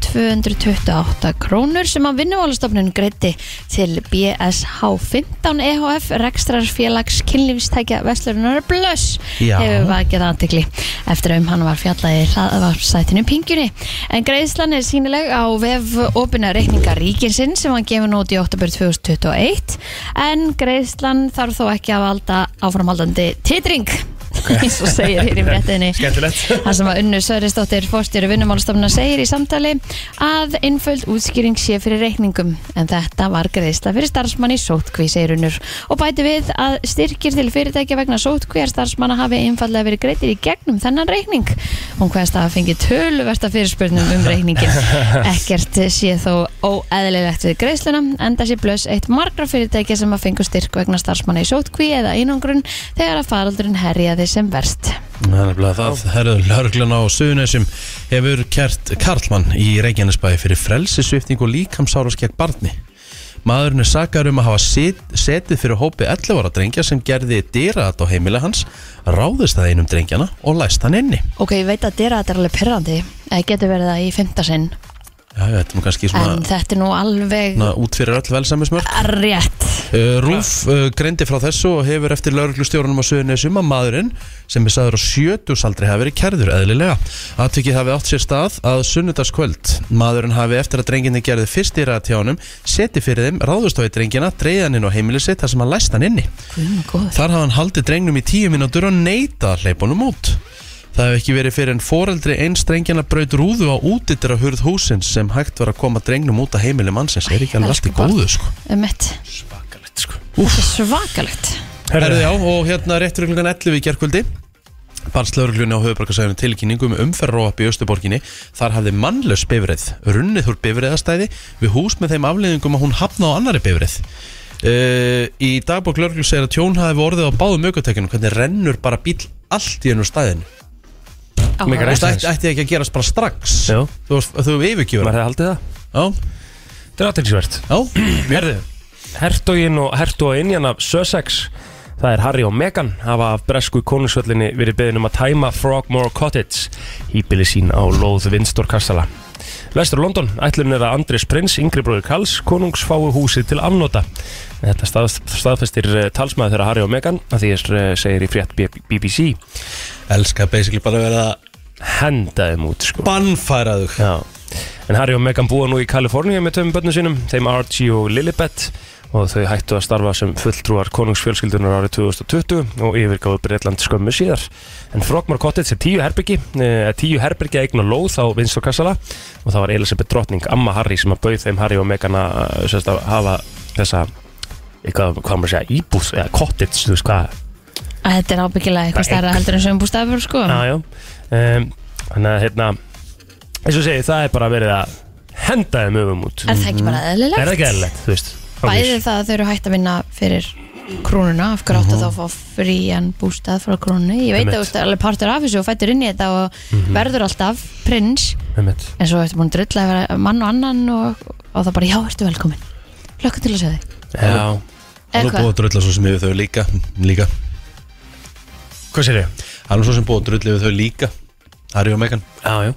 S3: 117.228 krónur sem að vinnumálastofnun greiði til BSH 15 EHF E Rekstrarfélags kynlífstækja Vestlurunar Blöss
S2: Já.
S3: hefur vakið aðtegli eftir að um hann var fjallaði hlaðvarsætinu Pingjunni. En greiðslan er sínileg á vef opina reikninga ríkinsinn sem hann gefur nút í oktober 2021 en greiðslan þarf þó ekki að valda áframhaldandi titring eins og segir hér í fréttinni <laughs>
S4: Skemmtilegt.
S3: Það sem að Unnu Sörisdóttir fórstjóri vinnumálstofna segir í samtali að innföld útskýring sé fyrir reikningum en þetta var greiðsla fyrir starfsmann í sótkví segir Unnur og bæti við að styrkir til fyrirtækja vegna sótkvíjar starfsmanna hafi einfallega verið greitir í gegnum þennan reikning hún hverst að hafa fengið töluversta fyrirspurnum um reikningin ekkert sé þó óeðlilegt við greiðsluna en þessi blöss eitt margra fyrirtækja sem að fengu styrk vegna starfsmanna í sótkví eða einangrun þegar að faraldurinn herjaði sem verst
S2: Það er nefnilega það, herðu, lörglan á Suðunessum hefur kert Karlmann í Reykjanesbæði fyrir frelsisvipting og líkamsáras gegn barni. Maðurinn er sakar um að hafa set, setið fyrir hópi 11 ára drengja sem gerði dýraðat á heimili hans, ráðist að einum drengjana og læst hann inni.
S3: Ok, ég veit að dyrra þetta er alveg pyrrandi eða getur verið það í fymtasinn
S2: Já, já, þetta er nú kannski
S3: en
S2: svona
S3: þetta er nú alveg
S2: na, út fyrir öll velsamismörk.
S3: rétt
S2: Uh, Rúf uh, greindi frá þessu og hefur eftir lauruglustjórunum á Suðunessum að maðurinn sem er sagður á sjötusaldri hafi verið kærður eðlilega. Atvikið hafi átt sér stað að sunnudagskvöld. Maðurinn hafi eftir að drenginni gerði fyrst í ræðatjánum, seti fyrir þeim, ráðust á í drengina, dreigði hann inn á heimilið sitt þar sem hann læst hann inni.
S3: Guðum og góður
S2: Þar hafa hann haldið drengnum í tíu mínútur og neita að hleypa honum út. Það hef ekki verið fyrir en foreldri eins drengjana braut rúðu á útittir hurð húsins sem hægt var að koma drengnum út að heimili mannsins. Er ekki alveg allt í
S3: Elsku barn.
S2: góðu, sko.
S3: um mitt
S4: Svakalegt sko
S3: Þetta er svakalegt
S2: Herðu já, og hérna réttur klukkan 11 í gerkvöldi Barst lauruglunni á höfubarkasæðinu tilkynningu um umferðróap í Östuborginni Þar hafði mannlaus bifrið, runnið úr bifriðastæði við hús með þeim afleiðingum að hún hafna á annari bifrið uh, Í dagbók lauruglu segir að tjón hafi orðið á báðum aukertækjunum hvernig rennur bara bíl allt í ennur stæðinu
S4: Mikið
S3: Áhugavert.
S4: Strax.
S2: Þetta ætti, ætti ekki að gerast bara strax
S4: Já.
S2: Þú, varst- þú yfirgjöfur
S4: Var það haldið það?
S2: Já,
S4: Þetta er aðtilsvert
S2: já,
S4: Herðu Hertogin og hertoginjan af Sussex Það er Harry og Meghan hafa af bresku konungsvöllinni verið beðin um að tæma Frogmore Cottage íbili sín á lóð Vinstor Kastala Vestur London ætlun er að Andrés Prins, yngri bróður Karls, konungs fái húsið til afnota Þetta stað, staðfestir eh, talsmaður þeirra Harry og Meghan að því er eh, segir í frétt B- BBC
S2: elska basically bara að vera
S4: Hendaðum út sko
S2: bannfæraðug
S4: Já. En Harry og Meghan búa nú í Kaliforníu með tveim börnum sínum, þeim Archie og Lilibet og þau hættu að starfa sem fulltrúar konungsfjölskyldunar árið 2020 og yfirgáðu Breitland skömmu síðar. En Frogmore Cottage er tíu herbyggi, eh, tíu herbyggi að eign og lóð á Vinstor Kassala og það var Elisabeth Drottning, amma Harry sem að bauð þeim Harry og Meghan að eh, sem sagt, að hafa þessa eitthvað, hvað maður segja, íbúð eða cottage, þú veist hvað
S3: Að Þetta er ábyggilega eitthvað
S4: Bara
S3: stærra heldur en sömbústafur sko
S4: Já, já um, Þannig að hérna eins og segi það er bara verið að henda þeim öfum út Mhm.
S3: Er það ekki bara eðlilegt?
S4: Er það ekki eðlilegt, þú veist
S3: Bæði það að þau eru hægt að vinna fyrir krónuna, af hverju áttu þá að fá frían bústað frá krónu ég veit að þú
S4: Mhm. Einmitt. Mhm.
S3: ert alveg partur af þessu og fættur inn í þetta og verður alltaf prins
S4: Einmitt.
S3: en svo ertu búin að drulla að vera mann og annan og, og það bara, já, ertu velkomin hlökkum til að segja þig
S4: Já,
S2: Hann
S3: Eða
S2: er búið
S3: hvað?
S2: að drulla svo sem yfir þau líka, líka.
S4: hvað sér ég?
S2: Hann er svo sem búið að drulla yfir þau líka Harry og Meghan
S4: Já, já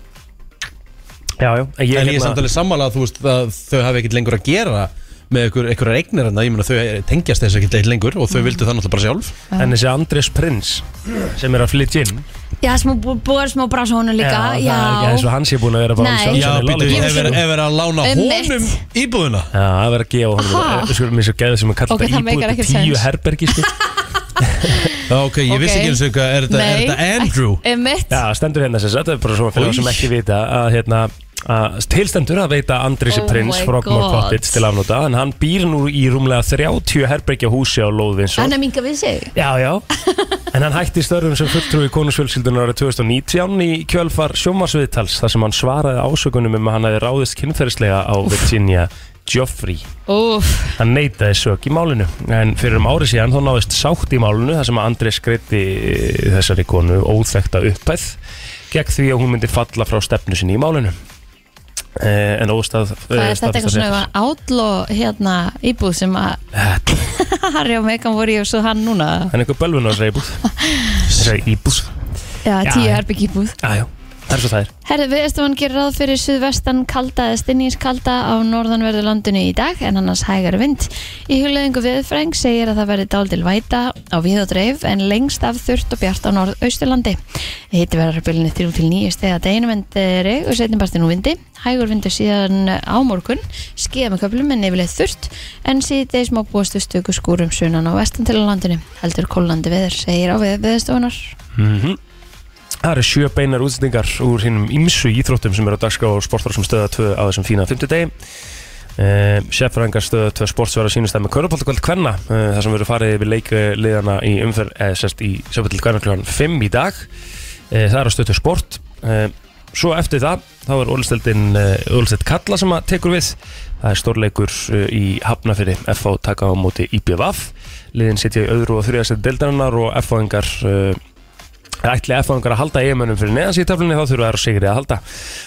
S4: Já, já, en ég,
S2: En ég er
S4: hérna-
S2: samtalið sammála að þú veist að þau hafi ekkert lengur að gera með ykkur, ykkur eignir en ég meina þau tengjast þess ekkert lengur og þau vildu það náttúrulega bara sjálf
S4: En þessi Andrés Prins sem er að flytja inn
S3: Já, smá, bú- búið smá brás á honum líka
S4: Já, það er ekki eins og hann sé búin að vera bara
S3: Ah, Nei.
S4: sjálfsagt
S2: Já,
S4: í
S2: býtu,
S4: lollipop. sko.
S2: ef er ef er að lána
S3: Einmitt.
S2: honum íbúðuna
S4: Já, það verður að gefa
S3: Aha.
S4: honum Þú skulum eins og geða sem að kalla
S3: Ok, það
S4: þetta
S3: meikar
S4: íbúið
S3: ekkert
S4: til tíu
S3: sens.
S4: herbergi sko.
S2: <laughs> Já, ok, ég
S3: Ok.
S2: vissi ekki eins og eitthvað, er þetta- er þetta
S3: <laughs>
S2: Andrew?
S3: Emitt
S4: Já, stendur hérna sem sagt, það er bara svona fyrir
S2: Új.
S4: það sem ekki vita að hérna að tilstendur að veita Andrisi
S3: Oh
S4: Prins
S3: my
S4: Frogmore
S3: God.
S4: Cottage til afnóta en hann býr nú í rúmlega 30 herbergja húsi á Lóðins
S3: Hann er minga við sig
S4: Já, já En hann hætti störfum sem fulltrúi konusfjölskyldunar árið 2019 í kjölfar sjómasviðtals þar sem hann svaraði ásökunum um að hann hefði ráðist kynferðislega á Virginia Joffrey
S3: Úf,
S4: Hann neitaði sök í málinu en fyrir um ári síðan þá náðist sátt í málinu þar sem að Andrés greiddi eh, þessari konu óþekta upphæð gegn því að hún myndi falla frá stefnu sinni í málinu eh, En óstað
S3: það er þetta eitthvað svona átló hérna íbúð sem að <laughs> Harry og Megan voru í og svo hann núna
S4: En eitthvað bölvun á
S3: <laughs>
S4: þessari íbúð Þessari íbúð
S3: Já,
S4: Já,
S3: tíu
S4: já.
S3: herbygg íbúð
S4: Já, já, það er svo það er
S3: Herði, viðstofan gerir ráð fyrir suðvestan kalda eða stinningskalda á norðanverðu landinu í dag en annars hægari vind. Í hugleðingu viðfræng segir að það verði dáldil væta á við og dreif en lengst af þurft og bjart á norðausturlandi. Hitti verður bylunni 3 til 9 steg að deginum en reg og setjum bastin og vindi. Hægur vindu síðan á morgun, skíða með köflum en yfirleitt þurft en síðdegis má búast við stöku skúrum sunan á vestan til á landinu. Heldur kólandi veður segir á við viðstofunar.
S4: Mhm. Það eru sjö beinar útsendingar úr hinnum ímsu íþróttum sem eru á dagskrá og sportar sem stöða 2 á þessum fína 50 degi. Uh, Sérfræðingar stöða 2 sports verða sínust það með Körbóltakvöld Kvenna uh, þar sem verður farið yfir leikliðana í umferð eða sérst í sérfæll Kvenna kljóðan 5 í dag. Uh, það eru stöðu sport. Uh, svo eftir það, þá er ólisteldin uh, Ólisteld Kalla sem að tekur við. Það er stórleikur uh, í Hafnafyrri FH taka á móti IBVF. Liðin sitja í öðru og þriðasett deildarinnar og FH-ingar uh, ætli F-fangar að halda eigamönnum fyrir neðans í taflunni þá þurfa þær á sigri að halda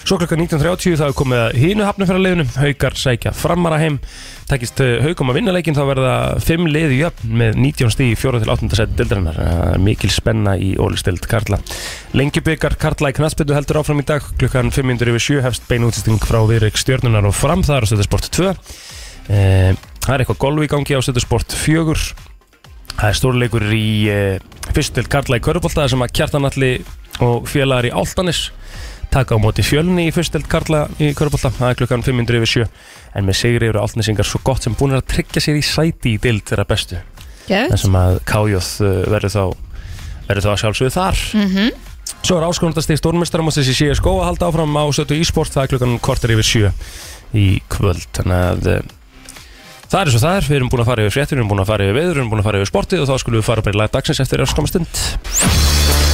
S4: svo klukkan 19.30 þá er komið að hínu hafnafjara liðunum haukar sækja framara heim takist eh, haukum að vinna leikinn þá verða 5 liði jöfn með 19 stíð í 4 til 8. seti dildarinnar Það er Eh, mikil spenna í ólistild Karla lengjubikar Karla í knastbyrdu heldur áfram í dag klukkan 5.07 hefst bein útsýsting frá viðreik stjörnunar og fram það er á stöðusport 2 Eh, það er eitthvað golf í gangi á stöðusport 4 Það er stórleikur í eh, fyrst til Karla í Körbólta sem að Kjartanalli og félagar í Áltanis taka á móti fjölni í fyrst til Karla í Körbólta, það er klukkan 500 yfir 7 en með sigri eru Áltanisingar svo gott sem búin að tryggja sér í sæti í dild þeirra bestu,
S3: Gjöð.
S4: þar sem að Kájóð verður þá verður þá að sjálfsögðu þar Svo er áskonundastig stórmestaramótsins í CSGO að halda áfram á stötu e-sport það er klukkan kortir yfir 7 í kvöld þannig að eh, það er svo það er, við erum búin að fara yfir fréttir við erum búin að fara yfir veður, við erum búin að fara yfir sportið og þá skulum við fara bara í lag dagsins eftir örskamma stund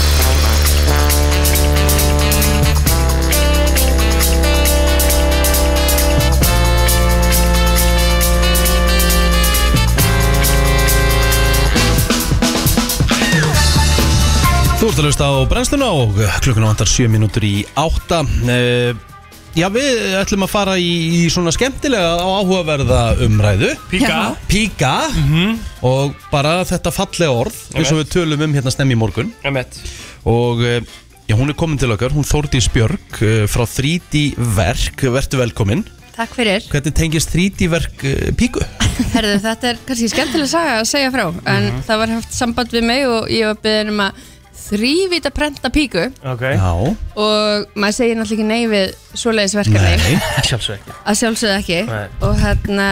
S2: Þú ert að hlusta á brennsluna og klukkuna vantar 7 mínútur í 8 uh, Já, við ætlum að fara í, í svona skemmtilega og áhugaverða umræðu
S3: Píka.
S2: Píka og bara þetta fallega orð eins og við tölum um hérna snemmi í morgun og eh, já, hún er komin til okkar, hún Þórdís Björk eh, frá 3D Verk, vertu velkomin
S5: Takk fyrir.
S2: Hvernig tengist 3D Verk eh, Píku?
S5: Herðu, þetta er kannski skemmtileg saga að segja frá, en
S4: Mhm.
S5: það var haft samband við mig og ég var beðin um að þrývita prenta píku
S4: okay.
S2: Já,
S5: og maður segir náttúrulega ekki nei við svoleiðis verkefni,
S2: nei
S4: <laughs> sjálfsveg
S5: að sjálfsögðu ekki
S4: Nei.
S5: og hérna,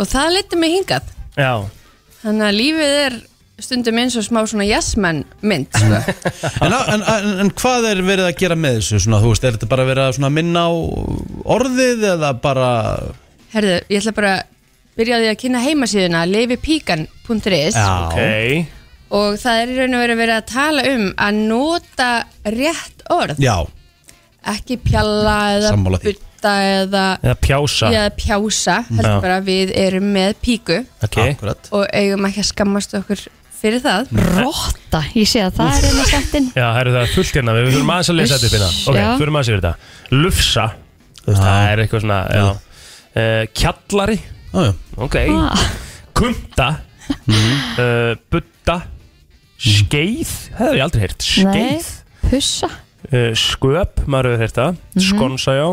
S5: og það liti mig hingað
S4: Já,
S5: þannig að lífið er stundum eins og smá svona jazzmenn mynd,
S4: <laughs>
S5: sko.
S2: En, en, en, en hvað er verið að gera með þessu? Svona, þú veist, er þetta bara verið að svona minna á orðið eða bara
S5: Herðu, ég ætla bara að byrja á því að kynna heimasíðuna leifipíkan.is
S4: ok
S5: og það er í raun og veru verið að tala um að nota rétt orð
S2: Já,
S5: ekki pjalla eða
S2: Sammála því.
S5: budda
S6: prenta eða
S4: Eða pjása
S6: Já, pjása, heldur
S4: Já.
S6: bara að við erum með píku
S4: Ok
S2: Akkurat
S6: og eigum ekki að skammast okkur fyrir það
S3: Rotta, ég sé að það er einn að settin
S4: Já, það eru það er fullt hérna Við þurfum aðeins að lesa þetta upp hérna Ok,
S3: Já.
S4: þurfum aðeins yfir þetta Lufsa Þú veist,
S2: Já.
S4: það er eitthvað svona já. Uh, Kjallari
S2: Á, já. Ah. Mhm.
S4: Ok Kumta uh, Butta Skeið Það hef ég aldrei heyrt Skeið
S3: Pussa,
S4: uh, Sköp, maður hefur heyrt það
S2: Mhm.
S4: Skonsa, já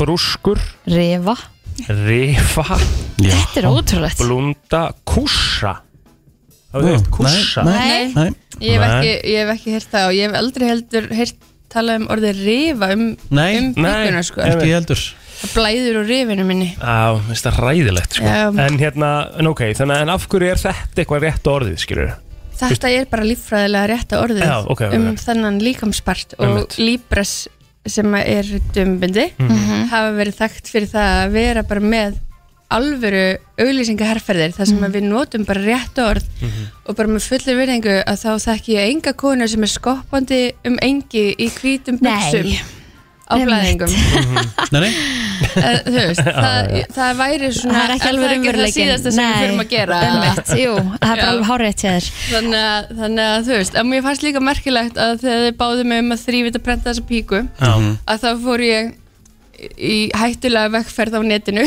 S4: Brúskur
S3: rifa
S4: Rifa
S3: Þetta er ótrúlegt
S4: Blunda Kússa Það
S2: Já.
S4: hefur heyrt kússa
S2: Nei,
S6: Nei,
S2: Nei,
S6: ég hef
S4: Nei.
S6: ekki, ég hef ekki heyrt það og ég hef aldrei heldur heyrt talað um orðið rifa um,
S2: Nei.
S6: um
S4: Nei.
S6: píkuna sko
S4: Nei.
S2: ekki heldur
S6: það blæður úr rifinu minni
S4: Já, mér finnst það ræðilegt sko.
S6: Já.
S4: En hérna, en ok, þannig að en af hverju er þetta eitthvað rétt orðið, skilur
S6: Þetta er bara líffræðilega rétta orðið
S4: Já, ok, ok.
S6: um þennan líkamspart og
S4: Einmitt. Mhm.
S6: líbres sem að er dömbindi
S3: Mhm.
S6: hafa verið þekkt fyrir það að vera bara með alvöru auglýsingaherferðir þar sem
S3: Mhm.
S6: að við notum bara rétt orð
S4: Mhm.
S6: og bara með fullir virðingu að þá þekki ég enga konu sem er skoppandi um engi í hvítum buksum
S3: Nei,
S6: á
S3: einmitt.
S6: blæðingum
S4: <laughs> Mhm.
S2: Nei, nei,
S6: Eh, þú veist, það, það væri svona
S3: það er ekki alveg
S6: það það
S3: umveruleikin
S6: síðasta sem við þurfum að
S3: <laughs>
S6: gera <laughs>
S3: Einmitt, Jú, það er bara
S6: Já.
S3: alveg hárétt hjá þér
S6: þannig að, þannig að þú veist en mér fannst líka merkilegt að þegar þið báðu mig um að þrývita að prenta þessa píku
S3: Mhm.
S4: Já.
S6: að þá fór ég í hættulega vegferð á
S3: <laughs>
S6: netinu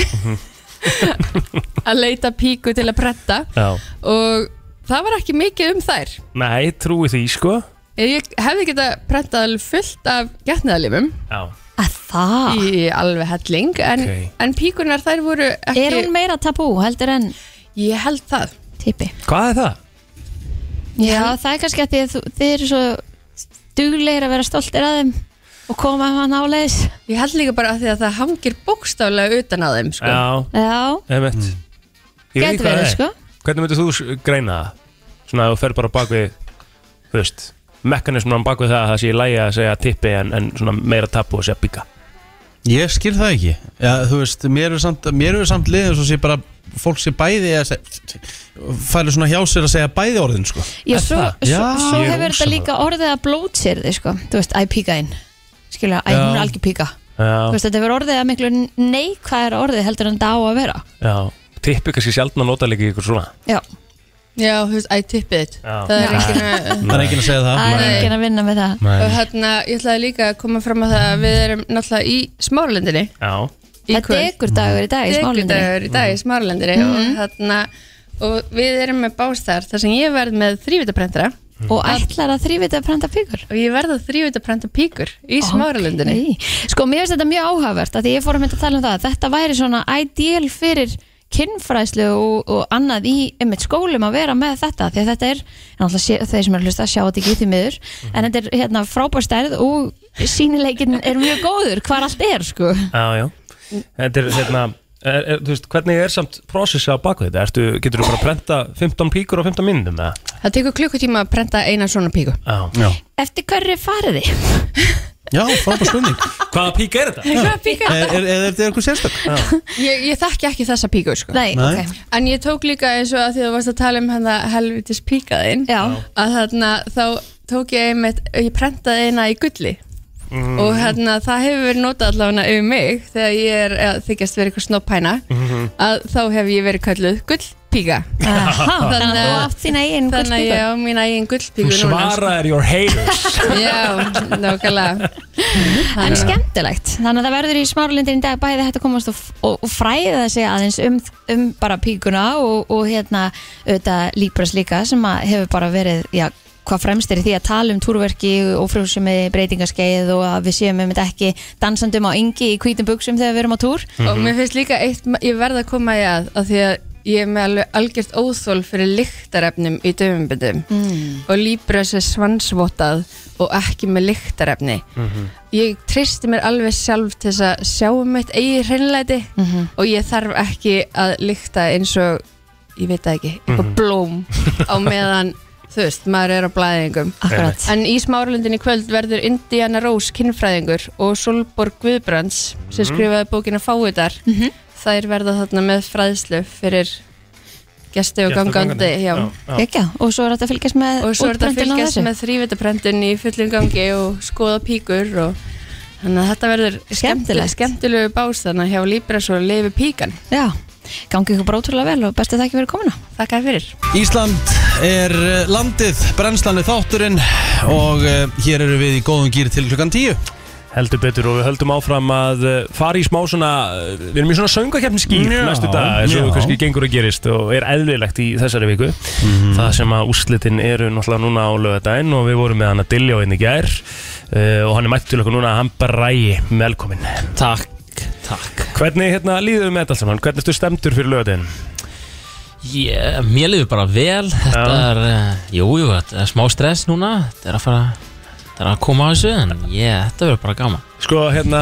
S6: að leita píku til að prenta
S4: Já.
S6: og það var ekki mikið um þær
S4: Nei, trúi því, sko
S6: ég hefði getað prentað alveg fullt af getnaðalifum
S4: Já,
S3: Að það
S6: í alveg helling en,
S4: Ok.
S6: en píkunar þær voru ekki
S3: Er hún meira tabú heldur en
S6: ég held það
S3: típi?
S4: hvað er það?
S3: Já, það er kannski að þið, þið eru svo duglegir að vera stoltir að þeim og koma að hann áleiðis
S6: ég held líka bara að því að það hangir bókstaflega utan að þeim sko.
S4: Já,
S3: Já,
S4: emmett Ég
S2: Mm.
S4: veit
S3: getur
S4: ekki hvað
S3: verið
S4: það er.
S3: sko
S4: Hvernig myndir þú s- greina það? Svona að þú fer bara á bak við, þú veist Mekanisman bak við það að það sé í lægi að segja tippi en, en svona meira tapu að segja bygga
S2: ég skil það ekki Já, þú veist, mér er samt, mér er samt liðið svo sé bara fólk sé bæði að segja, færi svona hjá sér að segja bæði orðin, sko
S3: Já,
S4: Er
S3: svo,
S4: það?
S2: Já.
S3: svo, svo
S4: Ég er
S3: hefur þetta
S4: ósammála.
S3: líka orðið að blótsir þið sko Þú veist, æ píka inn Skilja, æ hún er algjör píka Þú
S4: Já,
S3: veist, þetta hefur orðið að miklu neikvæðar orðið heldur en þetta á að vera
S4: já Tippi kannski sjaldna nota líka ykkur svona
S3: Já,
S6: já, þú veist, æ tippið þitt
S4: Já.
S6: það er ekki
S2: Það er enginn að segja það
S3: það er enginn að vinna með það
S4: Nei.
S6: Og hérna, ég ætlaði líka að koma fram að það að við erum náttúrulega í smáralendinni
S4: Já,
S6: í
S3: Það er degur dagur í Mm. dag í smálindinni
S6: Degudagur í dag í
S2: Mm.
S6: smáralendinni og hérna, og við erum með bástar þar sem ég verð með þrývitaprentara
S3: Mm. Og ætlar að þrývita að prenta píkur
S6: og ég verð að þrývitaprenta píkur í smáralendinni
S3: Nei. Sko, mér finnst þetta mjög áhugavert að því ég fór að mynda að tala um það að þetta væri svona ideal fyrir kynfræðslu og, og annað í einmitt skólum að vera með þetta því að þetta er, en alltaf sé, þeir sem eru að hlusta sjá þetta ekki í því miður, en þetta er hérna frábær stærð og sínileikin er mjög góður hvar allt er sko
S4: Já, já Þetta er hérna er, er, þú veist, Hvernig er samt prósessa á baku þetta? Ertu, getur þú bara að prenta 15 píkur á 15 minnum? Já,
S6: Það tekur klukkutíma að prenta eina svona píku
S2: Já,
S3: Eftir hverju farið þið?
S2: já <laughs> frábær spurning
S4: Hvaða pík er þetta?
S6: Hvaða píka?
S2: Er, er, er þetta eitthvað sérstök?
S6: Ég, ég þekki ekki þessa píku sko.
S3: Nei,
S2: Nei.
S3: ok
S6: En ég tók líka eins og að því þú varst að tala um hann að helvitis píkaðinn
S3: Já,
S6: að þarna þá tók ég einmitt ég prentaði eina í gulli
S3: Mm.
S6: og hérna það hefur verið notað allavega um mig þegar ég er að þykjast verið eitthvað snoppæna
S3: Mhm.
S6: að þá hef ég verið kölluð gullpíka
S3: Aha, þannig að
S6: <laughs> Þannig
S3: þú
S6: að-
S3: átt þína eigin
S6: þannig að ég
S3: gullpíkur
S6: á mína eigin gullpíku
S4: Þú
S6: núna sko.
S4: svaraðir your haters
S6: Já, nákvæmlega
S3: En skemmtilegt, þannig að það verður í smárlindin í dag bæði hægt að komast og, og, og fræða sig aðeins um, um bara píkuna og, og hérna auðvitað líbras líka sem að hefur bara verið, já, hvað fremst er í því að tala um túrverki og frjósumi breytingaskeið og að við séum einmitt ekki dansandum á yngi í hvítum buksum þegar við erum á túr.
S6: og mér finnst líka eitt ég verð að koma í að, að því að ég er með alveg algjört óþól fyrir lyktarefnum í döfumbindum
S3: Mm.
S6: og Libras er svansvotað og ekki með lyktarefni ég treysti mér alveg sjálf til þess að sjá um mitt eigi hreinlæti og ég þarf ekki að lykta eins og ég veit það ekki, eitthvað blóm <laughs> á meðan, þú veist, maður er á blæðingum
S3: Akkurat.
S6: En í Smáralundin í kvöld verður Indiana Rose kinnfræðingur og Solborg Guðbrands sem skrifaði bókina Fáiðar þær verða þarna með fræðslu fyrir gesti og gangandi já.
S3: Gekja, og svo er þetta að fylgjast með
S6: og svo er þetta
S3: útbröndun
S6: að
S3: á
S6: fylgjast
S3: þessu.
S6: með þrývitaprendin í fullum gangi og skoða píkur og
S5: Þannig að þetta verður skemmtilegu,
S3: Skemmtilegt.
S5: skemmtilegu bás þannig hjá Líbres og Leifi Píkan.
S3: Já, gangi ykkur bara ótrúlega vel og bestu þakki fyrir komuna.
S5: Þakka þér fyrir.
S2: Ísland er eh, landið, brennslan er þátturinn og uh, hér eru við í góðum gýr til klukkan 10
S4: Heldur betur og við höldum áfram að eh, fara í smá svona, eh, við erum í svona söngakefnisgýr
S2: Já,
S4: næstu dag eins og
S2: já.
S4: kannski gengur að gerist og er eðlilegt í þessari viku
S2: Mhm.
S4: það sem að úrslitin eru náttúrulega núna á lögadaginn og við vorum með hann að dilja á henni gær uh, og hann er mætt til okkur núna hann bræði, velkomin
S7: Takk, takk
S4: Hvernig hérna líður við með þetta allt saman? Hvernig ertu stemtur fyrir lögadaginn?
S7: ég, Mér lifir bara vel Þetta
S4: Já.
S7: er, eh, jú, jú, þetta er smá stress núna Þetta er að fara Þetta er að koma á þessu En ég, þetta verður bara gaman
S4: Sko hérna,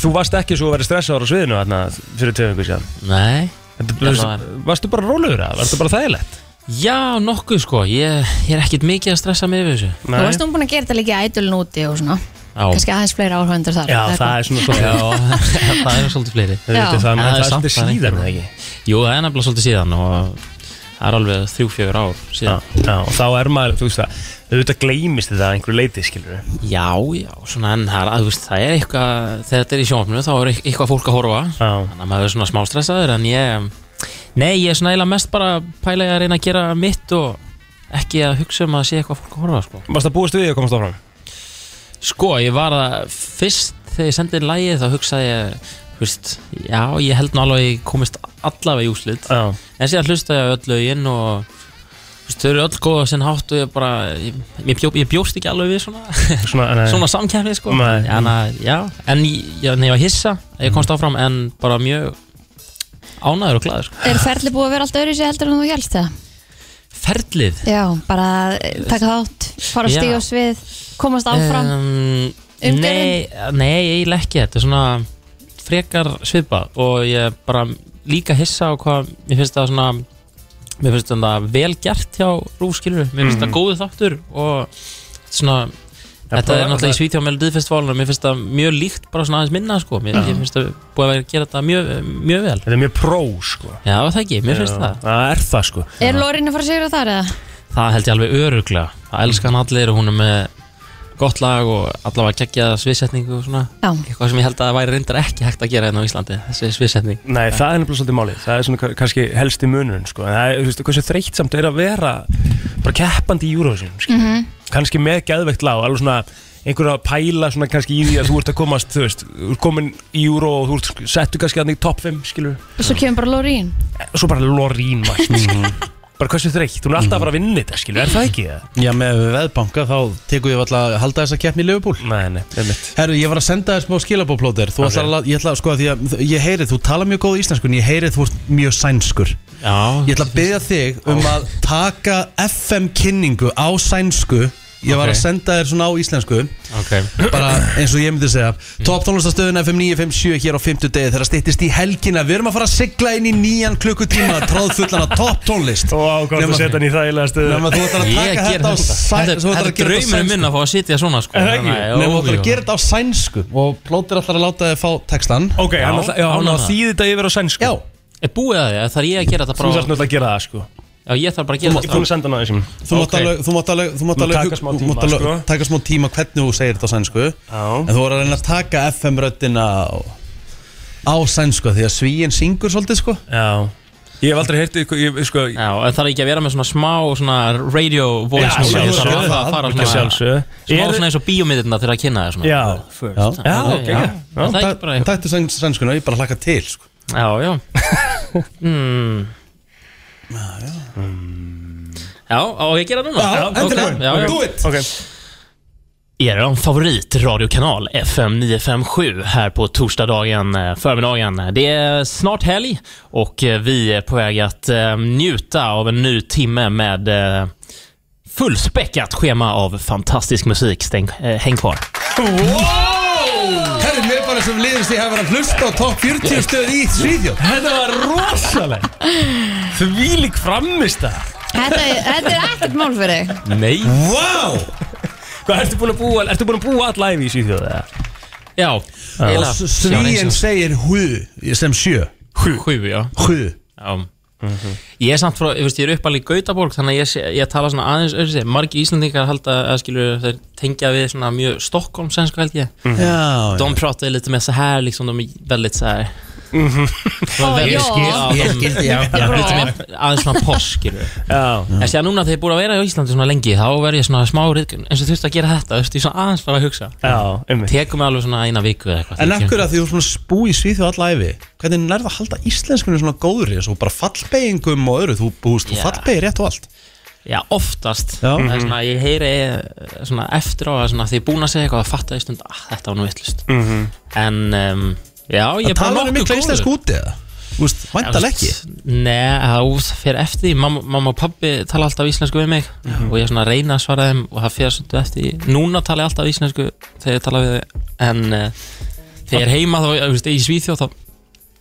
S4: þú varst ekki svo að vera stressaður á sviðinu hérna fyrir tvei viku síðan
S7: Nei
S4: Þetta-
S7: Já,
S4: Varstu bara rólegur að, varstu bara þægilegt?
S7: Já, nokkuð sko Ég, ég er ekkert mikið að stressa mig yfir þessu
S3: Þú varst nú búin að gera þetta líka í ædulun úti og svona.
S7: Já,
S3: Kannski aðeins fleira áhævendur þar.
S4: Já,
S3: eða
S4: það
S3: hvað?
S4: er svona
S7: já <laughs>
S4: svona
S7: það eru svolítið fleiri
S4: Þetta er
S3: Já.
S4: það,
S7: En
S4: en það er
S7: samt bara
S4: svolítið síðan
S7: einhver-
S4: eða ekki
S7: Jú, það er nefnilega svolítið síðan og það er alveg þrjú, fjögur ár
S4: Já,
S7: síðan.
S4: já, og þá er maður, þú veist það auðvitað gleymist þetta að einhverju leiti, skilur við
S7: Já, já, svona en það er, að, þú veist, það er eitthvað, þegar þetta er í sjónvapnum þá er eit- eitthvað fólk að horfa
S4: Já,
S7: þannig að maður er svona smá stressaður en ég, nei, ég er svona eiginlega mest bara að pæla ég að reyna að gera mitt og ekki að hugsa um að sé eitthvað fólk að horfa sko.
S4: varst það búist við því að komast áfram?
S7: Sko, ég var að fyrst þegar ég sendið lagið þá hugsaði ég þú veist, já, ég held nú alveg að ég komist allavega í úslit
S4: Já,
S7: en síðan hlustaði ég á öll lögin og þú veist, þau eru öll góða sinn hátt og ég bara, ég, ég, bjó, ég bjóst ekki alveg við svona,
S4: svona, nei,
S7: <laughs> svona samkjæfni sko
S4: Nei.
S7: en, að, já, en ég, já, nei, ég var hissa að ég komst áfram en bara mjög ánæður og glæður sko.
S3: <laughs> Er ferli búið að vera allt öðru sér heldur en þú helst það?
S7: ferlið
S3: Já, bara eh, taka þátt, fara að
S7: Já.
S3: stíga á svið, komast áfram.
S7: um,
S3: Umgjörðin?
S7: nei, nei, eiginlega ekki þetta er svona frekar svipað og ég bara líka hissa á hvað mér finnst það svona mér finnst það vel gert hjá rúskilur mér finnst
S4: Mhm.
S7: það góðu þáttur og svona Þetta
S4: bara-
S7: er náttúrulega í Svítjá Melodiðfestivalinu mér finnst það mjög líkt bara svona aðeins minna sko. mér, ég finnst það búið að vera að gera þetta mjög, mjög vel
S4: Þetta er mjög pró, sko
S7: Já, það ekki, mér finnst það
S4: Það er það, sko
S3: Er Lórin að fara að sigra þar eða?
S7: Það held ég alveg öruglega Það elskar hann allir og hún er með gott lag og allavega geggjaða sviðsetningu og svona
S3: Já.
S7: Eitthvað sem ég held að það væri reyndar ekki hægt að gera hérna á Íslandi Þessi sviðsetning
S4: Nei, það er nefnilega svolítið málið Það er svona ka- kannski helsti munurinn, sko En það er, þú veist, hversu þreytt samt er að vera bara keppandi í Eurovision, sko mm -hmm. Kannski með geðveikt lág, alveg svona einhverja að pæla svona kannski í því að þú ert að komast, þú veist, þú ert komin í Euro og þú ert settu kannski hann í top 5, skilur
S3: Og svo kemur bara Lórin.
S4: svo bara Lorín mætt bara hversu þreytt, hún er alltaf að fara að vinna þetta skilur, er það ekki það?
S2: Já, með veðbanka þá tekum við alltaf að halda þessa keppni í Liverpool
S4: Nei, nei, einmitt
S2: Herru, ég var að senda þér smá skilabóplóter Þú
S4: Ok.
S2: ætlar að, ég ætla að, sko, því að ég heyri, þú tala mjög góð íslensku En ég heyri, þú ert mjög sænskur
S7: Já,
S2: Ég ætla að byggja þig um að taka FM-kynningu á sænsku Ég var
S7: Ok.
S2: að senda þér svona á íslensku
S7: ok
S2: bara eins og ég myndi segja Top tónlistastöðun FM 957 hér á 50 degi þegar styttist í helgina við erum að fara að sigla inn í nýjan klukkutíma tráðfullan af top tónlist
S4: Ó, hvað
S2: Nema-
S4: þú setja hann í þægilega stuðu
S2: nema þú ætlar að
S7: Ég
S2: taka
S7: ger
S2: þetta á
S7: þetta
S2: sæ-
S7: Þetta
S2: þú ætlar
S7: þetta
S2: að
S7: er
S2: gera þetta á
S7: draumurinn
S2: sænsku
S7: minn að fá að sitja svona sko
S4: Er það ekki?
S7: Þannig að-
S2: nema þú ætlar
S7: jú,
S2: að gera þetta á sænsku og plótir ætlar að láta þið fá textan
S4: Ok, hann
S7: Já,
S4: alltaf, já, hann
S7: ánægður.
S4: að þýði þetta yfir á sænsku
S2: já,
S7: jú. Er búið að því, eða þarf ég að gera þetta
S4: Þú þarf
S7: bara
S4: náttúrulega að gera það sko
S7: Já, ég þarf bara að gera
S4: Ég búin að
S7: þetta
S4: senda hann aðeins í-
S2: þú mátt
S7: Ok.
S2: alveg þú mátt alveg þú mátt
S4: Þú
S2: alveg
S4: taka smá
S2: þú
S4: tíma,
S2: mátt alveg-
S4: sko.
S2: taka smá tíma hvernig þú segir þetta á sænsku en
S4: Já
S2: þú voru að reyna að taka FM-röddina á, á sænsku því að svíinn syngur svolítið sko
S4: Já Ég hef aldrei heyrti, ég, sko
S7: Já, en þarf ekki að vera með svona smá svona radio voice
S4: Já,
S7: núna. Ég þarf
S4: sjálfsögðu.
S7: alveg að fara
S4: Ekki
S7: svona smá
S4: sjálfsög
S7: svona eins og bíómyndirna til að kynna þér svona
S4: Já
S2: já,
S4: Já,
S7: Já.
S4: ok, já
S7: Er Það er ekki bara
S2: Tæ- tættu sæns- sænskuna ég bara hlakka til sko
S7: Já, já mm. Já, á ég að gera núna? ok, já, já.
S2: it
S4: Ok
S7: Er favoritradiokanal FM 957 här på torsdagen, eh, förmiddagen. Det är snart helg och eh, vi är på väg att eh, njuta av en ny timme med eh, fullspäckat schema av fantastisk musik. Stäng, eh, häng kvar.
S2: Herri, mér bara sem liðist ég hefur að hlusta á top 40 stöð í Svíðjóð
S4: Þetta var rosaleg Því lík framist það
S3: Þetta, er- þetta er ekkert mál fyrir þig.
S7: Nej.
S2: Wow!
S4: Hvað, ertu búin að búa, ertu búin að búa all live í Svíþjóða?
S7: Ja.
S2: Svíinn segir hú sem sjö
S7: Sju. Sju, ja.
S2: Hú
S7: ja. Ég er samt frá, ég, veist, ég er uppalinn í Gautaborg þannig að ég, sé- ég tala svona aðeins öðru sér margir Íslandingar halda að skilur þeir tengja við svona mjög Stockholmsensku held ég
S2: Já,
S7: De pratar ju lite mer så här liksom, de är väldigt så här Mhm. De är
S3: Ja,
S7: väldigt-
S3: jag skil-
S7: ja, de-
S2: já, já.
S7: Lite mer, aðeins svona porsk skilur
S4: Já,
S7: En séðan núna þegar ég er búin að vera í Íslandi svona lengi þá verð ég svona smá riðgun eins og þurfti að gera þetta, þú veist, ég svona aðeins bara að hugsa
S4: já, einmitt
S7: Tekum mig alveg svona eina viku eða eitthvað
S2: En akkur að því þú ert svona spú í Svíþjóð alla æfi Hvernig nærðu að halda íslenskunni svona góðri Svo bara fallbeyingum og öðru Þú búist, þú
S7: Já.
S2: fallbeyir rétt og allt
S7: Já, oftast
S2: Já.
S7: Það er svona, Ég heyri eh, svona, eftir á að svona, því ég er búin að segja eitthvað að fatta í stund ah, Þetta var nú vittlust -hmm. En um, já, ég
S2: Það
S7: er bara
S2: talar um mikla íslensku úti eða Þú veist, væntal ekki
S7: Nei, það fer eftir því mamma, mamma og pabbi tala alltaf íslensku við mig Og ég er svona að reyna að svara þeim Og það fer svolítið eftir því Núna tala ég alltaf íslensku þegar ég tala við þau En uh, þegar ég er heima þá, þú veist, í Svíþjóð Þá,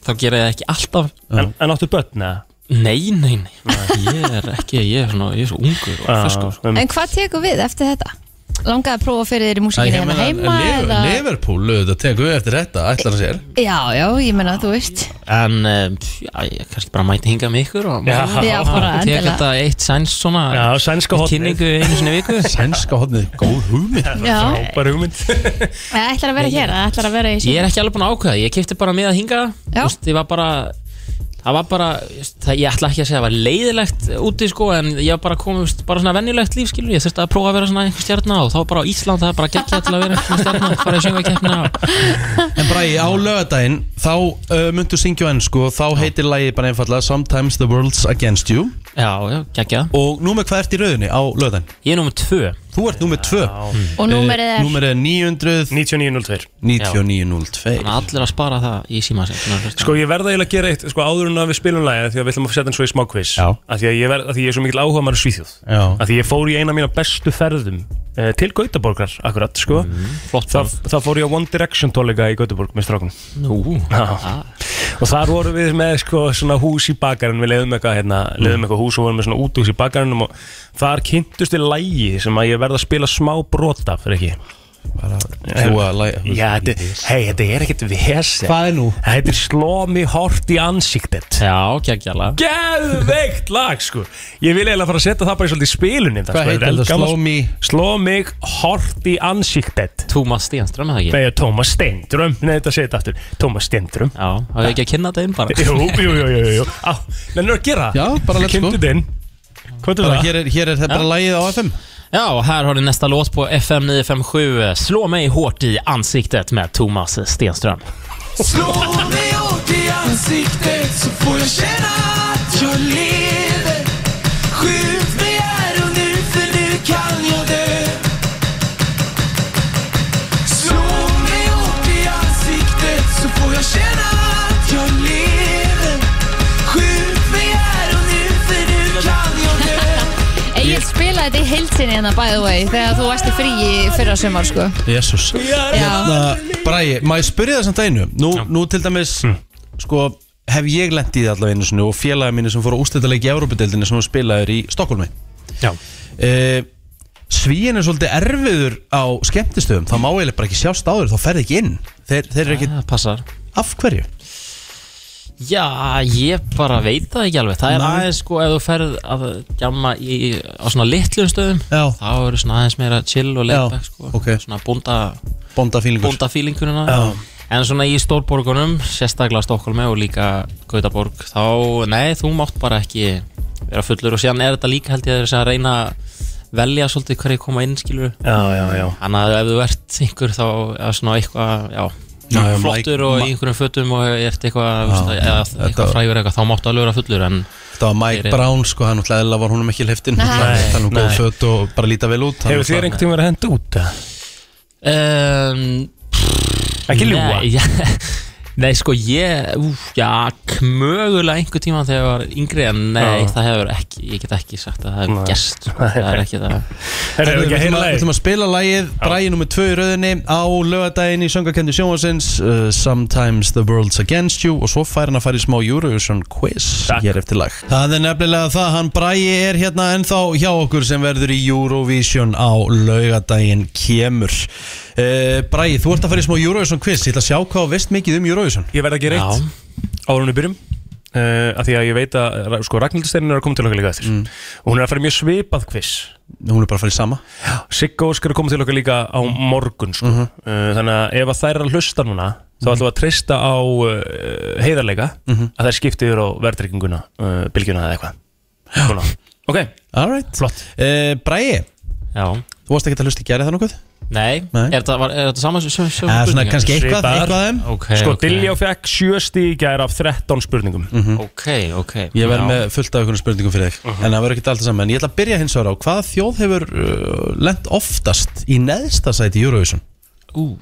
S7: þá gera ég það ekki alltaf
S4: En, en áttu börn, eða?
S7: Nei, nei, nei, ég er ekki, ég er, svona, ég er svo ungur og ferskur sko.
S4: Já, um- einmitt.
S3: En hvað tekur við eftir þetta? Langaði að prófa fyrir þér í
S2: Ég
S3: músikinni hérna
S2: meina,
S3: heima
S2: Liver-
S3: eða...
S2: Liverpool, auðvitað, tekur við eftir þetta Ætlar að sér
S3: Já, já, ég menna, þú veist
S7: En um, já, ég kannski bara mæti hinga með ykkur og
S4: Já.
S3: Já, bara
S7: Tek
S3: endilega.
S7: þetta eitt sæns svona
S4: Já, sænska
S7: eitt
S4: hotnið.
S7: Kynningu einu sinni í viku
S2: <laughs>
S4: <laughs>
S2: Sænska hodnið, góð hugmynd
S3: Já,
S4: Frábær hugmynd
S3: eða ætlar að vera hér, eða ætlar að vera í
S7: <laughs> Ég er ekki alveg búin að ákveða, ég kefti bara með að hinga
S3: Já.
S7: Ég var bara Það var bara, það, ég ætla ekki að segja að það var leiðilegt úti sko En ég var bara komið, bara svona venjulegt líf skilur Ég þurfti að prófa að vera svona einhver stjarnar Og þá var bara á Ísland, það er bara geggjað til að vera einhver stjarnar
S4: <laughs>
S7: Fara í sjöngvakeppnina og
S2: En Bræði, á lögadaginn Þá uh, myndu syngja á ennsku Og þá heitir lagið bara einfallega Sometimes the world's against you
S7: Já, já, geggjað
S2: Og númer hvað ert í rauðinni á lögadaginn?
S7: Ég er nummer tvö
S2: Þú ert númer 2
S3: Og númerið er
S2: Númer
S4: 99.02
S2: 99902
S7: Þannig að allir að spara það í síma sér
S4: Sko ég verða eiginlega að gera eitt sko, áður en að við spilum lagið Því að við ætlum að setja hann svo í smá quiz
S2: Já.
S4: Af því að ég, verð, af því ég er svo mikil áhuga maður Svíþjóð
S2: Já.
S4: Af því ég fór í eina af mína bestu ferðum eh, Til Gautaborgar, akkurat sko.
S2: Mhm.
S7: flott
S4: Þa, Það fór ég á One Direction tónleika í Gautaborg með strákunum
S7: Nú,
S4: Já. Og þar vorum við með sko, svona hús í bakarinn, við leiðum eitthvað, hérna,
S2: Mm.
S4: leiðum eitthvað hús og vorum með svona útús í bakarinnum og þar kynntust við lægi sem að ég verð að spila smá brota fyrir ekki.
S2: Þú að lægja
S4: Já, þetta, hei, þetta er ekkert vese.
S2: Hvað er nú?
S4: Þetta er slómi hort í ansiktet.
S7: já, geggjala
S4: Geðveikt lag, sko. Ég vil eiginlega fara að setja það bara í svolítið spilunni.
S2: Hvað heitir þetta? Slow me
S4: Sló mig hort í ansiktet.
S7: Tómas Stenström, eða ekki?
S4: Nei, Tómas Steindrum. Nei, þetta segir þetta aftur. Tómas Steindrum.
S7: Já, hafði ég ekki að kynna þetta inn bara
S4: Jú,
S7: <laughs>
S4: jú, jú, jú, jú. Á, nennir að gera það?
S2: Já, bara let's go.
S4: Kynntu þinn. Hvað er
S2: Bara,
S4: það?
S2: hér, er, hér er það bara lagið á FM
S7: Já, og här har ni nästa låt på FM 957 eh, Slå mig hårt i ansiktet med Thomas Stenström
S8: Slå mig åt i ansiktet så får jag känna att jag lever Skjut mig här och nu för nu kan jag dö Slå mig åt i ansiktet så får jag känna att jag lever Skjut mig här og nu för nu kan jag dö
S3: Egil spilaði þetta í heilsinni hérna by the way Þegar þú varst í frí í fyrra sumar sko
S2: Jésús
S3: Já,
S2: Bræði, Hérna, má ég spyrja það samt að einu Nú, nú til dæmis, sko hef ég lent í það allavega einu sinni og félagið mínu sem fór að ústættalegi í Európa-deildinni sem hún spilaður í Stokkólmi
S7: Já
S2: e, Svíin er svolítið erfiður á skemmtistöðum, þá má eiginlega bara ekki sjást áður þá ferði ekki inn, þeir, þeir eru ekki
S7: Það Ah, passar
S2: af hverju
S7: Já, ég bara veit það ekki alveg Það er
S2: Nei.
S7: aðeins sko, ef þú ferð að gjamma í, á svona litlum stöðum
S2: Já.
S7: Þá eru svona aðeins meira chill og
S2: Já,
S7: leitbæk sko
S2: ok.
S7: Svona bónda,
S2: Bonda fílingur
S7: bónda En svona í stórborgunum, sérstaklega Stokkólmi og líka Gautaborg Þá, nei, þú mátt bara ekki vera fullur Og síðan er þetta líka held ég að þeir sem að reyna að velja svolítið hverju koma inn skilur
S4: Já, já, já.
S7: Þannig að ef þú ert einhver þá eða svona eitthvað, já,
S2: Já, já,
S7: flottur
S2: Mike-
S7: og
S2: Ma-
S7: í einhverjum fötum og ert eitthvað, já,
S2: Já,
S7: eða,
S2: þetta-
S7: eitthvað frægur eitthvað, þá máttu alveg vera fullur en
S2: Það var Mike
S7: Fyrir-
S2: Brown sko, hann náttúrulega eðla var húnum ekki hliftin
S3: Nei.
S2: Þannig hann góð fött og bara líta vel út hann
S4: Hefur þér
S2: náttúrulega-
S4: einhvern tíma verið að henda út? eða?
S7: um,
S4: Ekki ljúa.
S7: Nei, já, <laughs> nei sko ég, úf, já, mögulega einhver tíma þegar ég var yngri en nei,
S4: Já.
S7: það hefur ekki, ég get ekki sagt að það hefur
S4: Nei.
S7: gerst, sko, það er ekki það
S4: Herra,
S2: Herru,
S4: Hefur
S2: Við
S4: ekki að
S2: ætlum
S4: heyra
S2: að- við
S4: lagið?
S2: ætlum að spila lagið Bræði nummer 2 í rauðinni á lögadaginn í söngakendi sjónvarsins uh, Sometimes the world's against you og svo fær hann að fara í smá Eurovision quiz
S4: Takk.
S2: hér eftir lag Það er nefnilega það, hann Bræði er hérna ennþá hjá okkur sem verður í Eurovision á lögadaginn kemur uh, Bræði, þú ert að fara í smá Eurovision quiz ég ætla að sjá hvað þú veist mikið um Eurovision
S4: Ég verð að gera
S7: Já.
S4: eitt. Árunni byrjum. uh, að því að ég veit að ra- sko, Ragnhildur Steinin er að koma til okkar líka eftir og hún er að fara í mjög svipað quiz
S2: Mm. Hún er bara að fara í sama
S4: Siggo Óskar er að koma til okkar líka á morgun sko.
S2: Mhm.
S4: uh, þannig að ef að þær er að hlusta núna þá ætlum við að treysta á uh, heiðarleika
S2: Mhm.
S4: að þær skipti yfir á verðrygginguna, uh, bylgjuna eða eitthvað Svona. ok,
S2: Alright
S4: flott
S2: uh, Bræi,
S7: Já.
S2: þú varst ekki að hlusta í gæri það nokkuð?
S7: Nei,
S2: Nei.
S7: Er, þetta, var, er þetta saman sem sögum
S2: Eða Eh, svona kannski eitthvað,
S4: Svipaðar.
S2: eitthvað af þeim
S7: okay,
S4: sko,
S7: okay.
S4: okay. Diljá fekk sjö stíg í gær af 13 spurningum
S7: Ok, ok
S2: Mhm. Ég verð
S7: Já.
S2: með fullt af einhvern spurningum fyrir þig
S4: Mhm.
S2: En það verður ekki alltaf saman En ég ætla að byrja hins vegar á Hvaða þjóð hefur uh, lent oftast í neðsta sæti í Eurovision?
S7: Ú,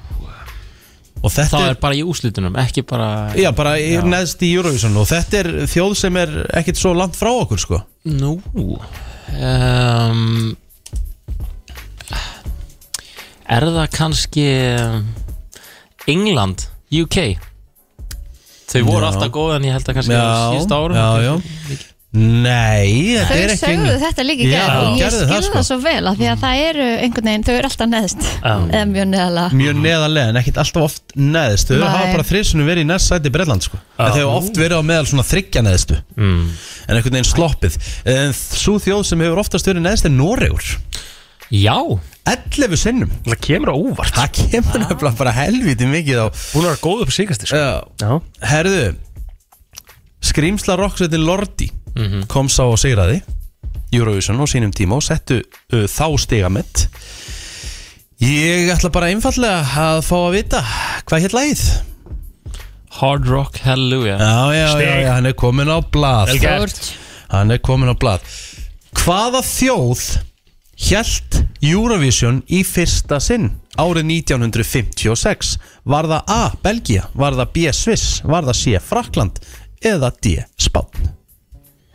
S2: Og þetta
S7: Það
S2: er,
S7: er bara í úslitunum, ekki bara
S2: Já, bara er neðst í Eurovision Og þetta er þjóð sem er ekkit svo langt frá okkur sko
S7: Nú um, Er það kannski um, England, UK Þau voru
S2: Já.
S7: alltaf góð en ég held að kannski
S2: Já,
S7: síðust árum
S2: já, já Nei, þetta er
S3: Þau
S2: ekki
S3: sögðu
S2: England.
S3: þetta líka í
S2: Já,
S3: gerð og ég
S2: gerðu
S3: skilði
S2: það,
S3: það,
S2: sko.
S3: svo vel af því að það eru einhvern veginn, þau eru alltaf neðst eða mjög neðala
S2: Mjög neðarlega, en ekkit alltaf oft neðst Þau
S3: Nei.
S2: hafa bara þrísunum verið í neðst sæti í Bretland sko. En þau hafa oft verið á meðal svona þryggja neðstu
S7: mm.
S2: En einhvern veginn sloppið En Sú þjóð sem hefur oftast verið neðst er Noregur
S7: Já,
S2: 11 sinnum
S4: það kemur á óvart
S2: Það kemur nefnilega bara helviti mikið á
S4: hún er góð upp síkast sko.
S2: uh,
S4: Já.
S2: Herðu Skrýmsla rocksveitin Lordi kom sá og sigraði Eurovision á sínum tíma og settu uh, þá stigamett Ég ætla bara einfallega að fá að vita hvað hétt lagið
S7: Hard Rock Hallelujah
S2: Já, já, já,
S4: Stig.
S2: já, hann er komin á blað
S4: Vel gert.
S2: Hann er komin á blað Hvaða þjóð hjælt Eurovision í fyrsta sinn árið 1956? Var það A. Belgia? Var það B. Sviss? Var það C. Frakland? Eða D. Spán?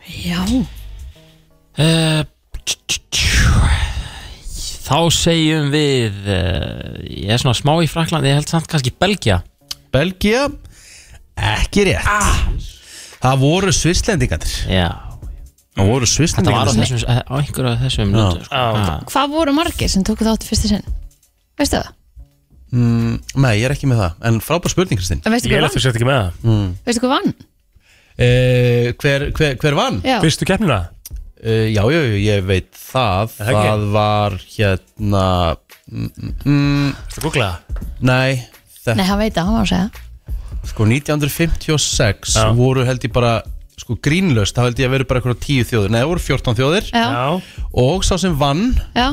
S3: Já,
S7: Eh, tj- tj- tj- Þá segjum við eh, Ég er svona smá í Fraklandi Ég held samt kannski Belgia
S2: Belgia? Ekki rétt Það voru svisslendingandir
S7: Já,
S2: Það voru
S7: þetta var á,
S2: svisslendingandir
S7: þessum, eh, á einhverju af þessum lundum sko. ah.
S3: hvað voru margir sem tóku þátt í fyrsta sinn? Veistu það?
S2: mm, Nei, ég er ekki með það En frábær spurning, Mm. Kristinn
S3: En Veistu
S4: ég
S3: hvað
S4: er að þú
S3: vann?
S4: sett ekki með það
S3: Veistu hvað vann?
S2: uh, hver, hver, hver vann?
S3: Já,
S4: fyrstu keppnina
S2: Uh, já, já, já, ég veit
S4: Er
S2: það
S4: það ekki?
S2: Það var hérna mm,
S4: Ertu að googla það?
S2: Nei, þetta,
S3: nei, hann veit að hann var að segja það.
S2: sko 1956
S4: Já.
S2: voru held ég bara sko grínlöst, þá held ég að veru bara eitthvað tíu þjóðir, nei, það voru 14 þjóðir
S3: Já,
S2: og sá sem vann <laughs>
S3: já,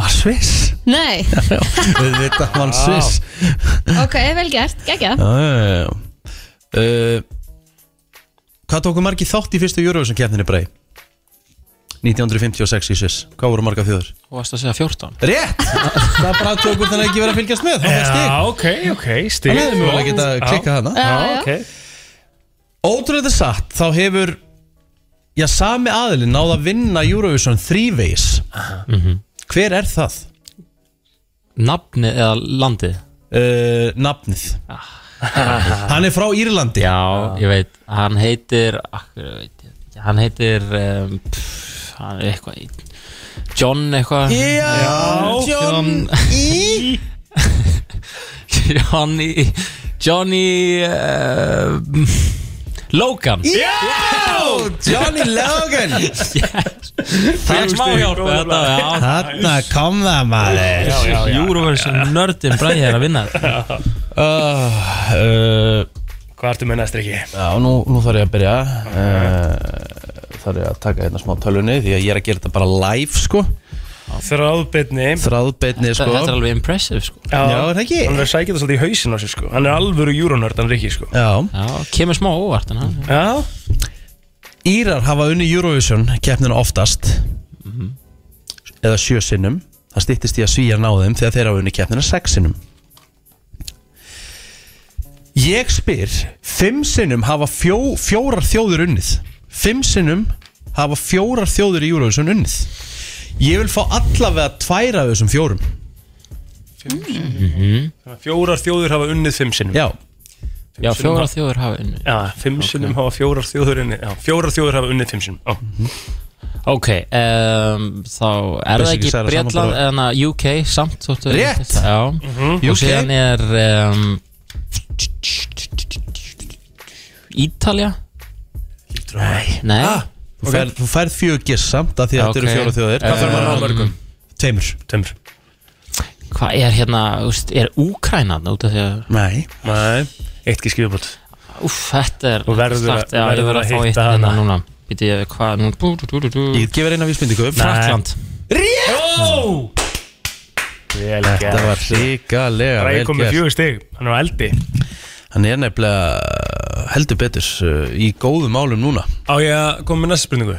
S2: var Sviss
S3: nei,
S2: Við veitum vann Sviss
S3: <laughs> ok, vel gert, geggja
S2: Já, já, já, já. uh, Hvað tóku margi þátt í fyrstu Eurovision keppninni brei? 1956 í Sviss, hvað voru marga þjóðir?
S7: Þú varst að segja 14
S2: Rétt, það bara tókur þannig ekki verið að fylgjast með, þá fæst ég
S4: já, ok, ok, stig
S2: Þannig hefði mjög að geta
S4: Já.
S2: klikkað hana
S3: Já,
S4: já,
S3: já.
S4: ok
S2: Ótrúlega satt, þá hefur Já, sami aðilinn náð að vinna Eurovision þrívegis
S4: Mhm.
S2: Hver er það?
S7: Nafni eða landi Ah.
S2: Uh, nafnið Hann er frá Írlandi
S7: Já, ég veit, hann heitir ah, ég veit ég ekki, Hann heitir um, pff, hann er eitthvað í- John eitthvað
S2: Já, John
S7: <laughs>
S2: E
S7: Johnny Johnny E. uh, Logan
S2: Já, Johnny Logan
S7: Það er smá hjálp þetta, já
S2: Þarna kom það maður
S7: Eurovision nördin bræði er að vinna
S2: uh, uh,
S4: Hvað ertu með næst ekki?
S2: Já, nú, nú þarf ég að byrja uh, Þarf ég að taka hérna smá tölunni Því að ég er að gera þetta bara live sko
S4: Þráðbyrni
S2: Þráðbeinni sko
S7: Þetta er alveg impressive sko
S2: Já, er það ekki?
S4: Hann er að sækja það svolítið í hausin á sér sko Hann er alvöru júronörd, hann er ekki sko
S2: Já
S7: Já, kemur smá óvart en hann
S4: Já
S2: Írar hafa unni Eurovision keppnina oftast eða sjö sinnum það stýttist í að svíjar náðum þegar þeir hafa unni keppnina sex sinnum Ég spyr fimm sinnum hafa fjó, fjórar þjóður unnið fimm sinnum hafa fjórar þjóður í Eurovision unnið Ég vil fá allavega tværa af þessum fjórum
S4: Fjórar þjóður hafa unnið fimm sinnum
S2: Já,
S7: Mhm. Já, fjóra þjóður hafa unnu
S4: Já, fimm sinnum hafa fjórar þjóður unnið Já, fjórar þjóður hafa unnið fimm sinnum Já,
S7: Ok, um, þá er það
S2: Basically
S7: ekki
S2: sagði það
S7: Bretland
S2: samanburðar.
S7: en að UK samt þóttu
S2: Rétt. Mhm.
S7: Já, og
S2: UK.
S7: síðan er um, Ítalja
S2: Nei
S7: Nej.
S4: Ah,
S2: Þú færð okay. fær fjögur giss samt að því
S7: Ok.
S2: að
S7: Eh,
S2: þetta eru fjóra þjóðir Um,
S4: Hvað þarf maður að ná mörgum?
S2: Tveimur
S4: Tömur
S7: Hvað er hérna, úst, er Úkrænan út af því að
S2: Nei
S4: Nei, eitt gísk viðbútt
S7: Úff, þetta er
S4: Þú verður
S7: slakt.
S4: að-
S7: Já, ég
S4: verður
S7: verður að
S4: að
S7: fá
S4: hitta
S7: eitt hérna
S4: hana.
S7: núna Býti ég, hvað, nú bú, bú, bú, bú.
S2: Ég get gefur eina vísmyndingu
S7: Frakland
S4: Vel
S2: Þetta var ríkalega
S4: Ræði
S2: vel
S4: komið
S2: gert
S4: fjögur stig, hann er á eldi
S2: Hann er nefnilega heldur betur uh, í góðum málum núna
S4: Á ég að koma með næsta spurningu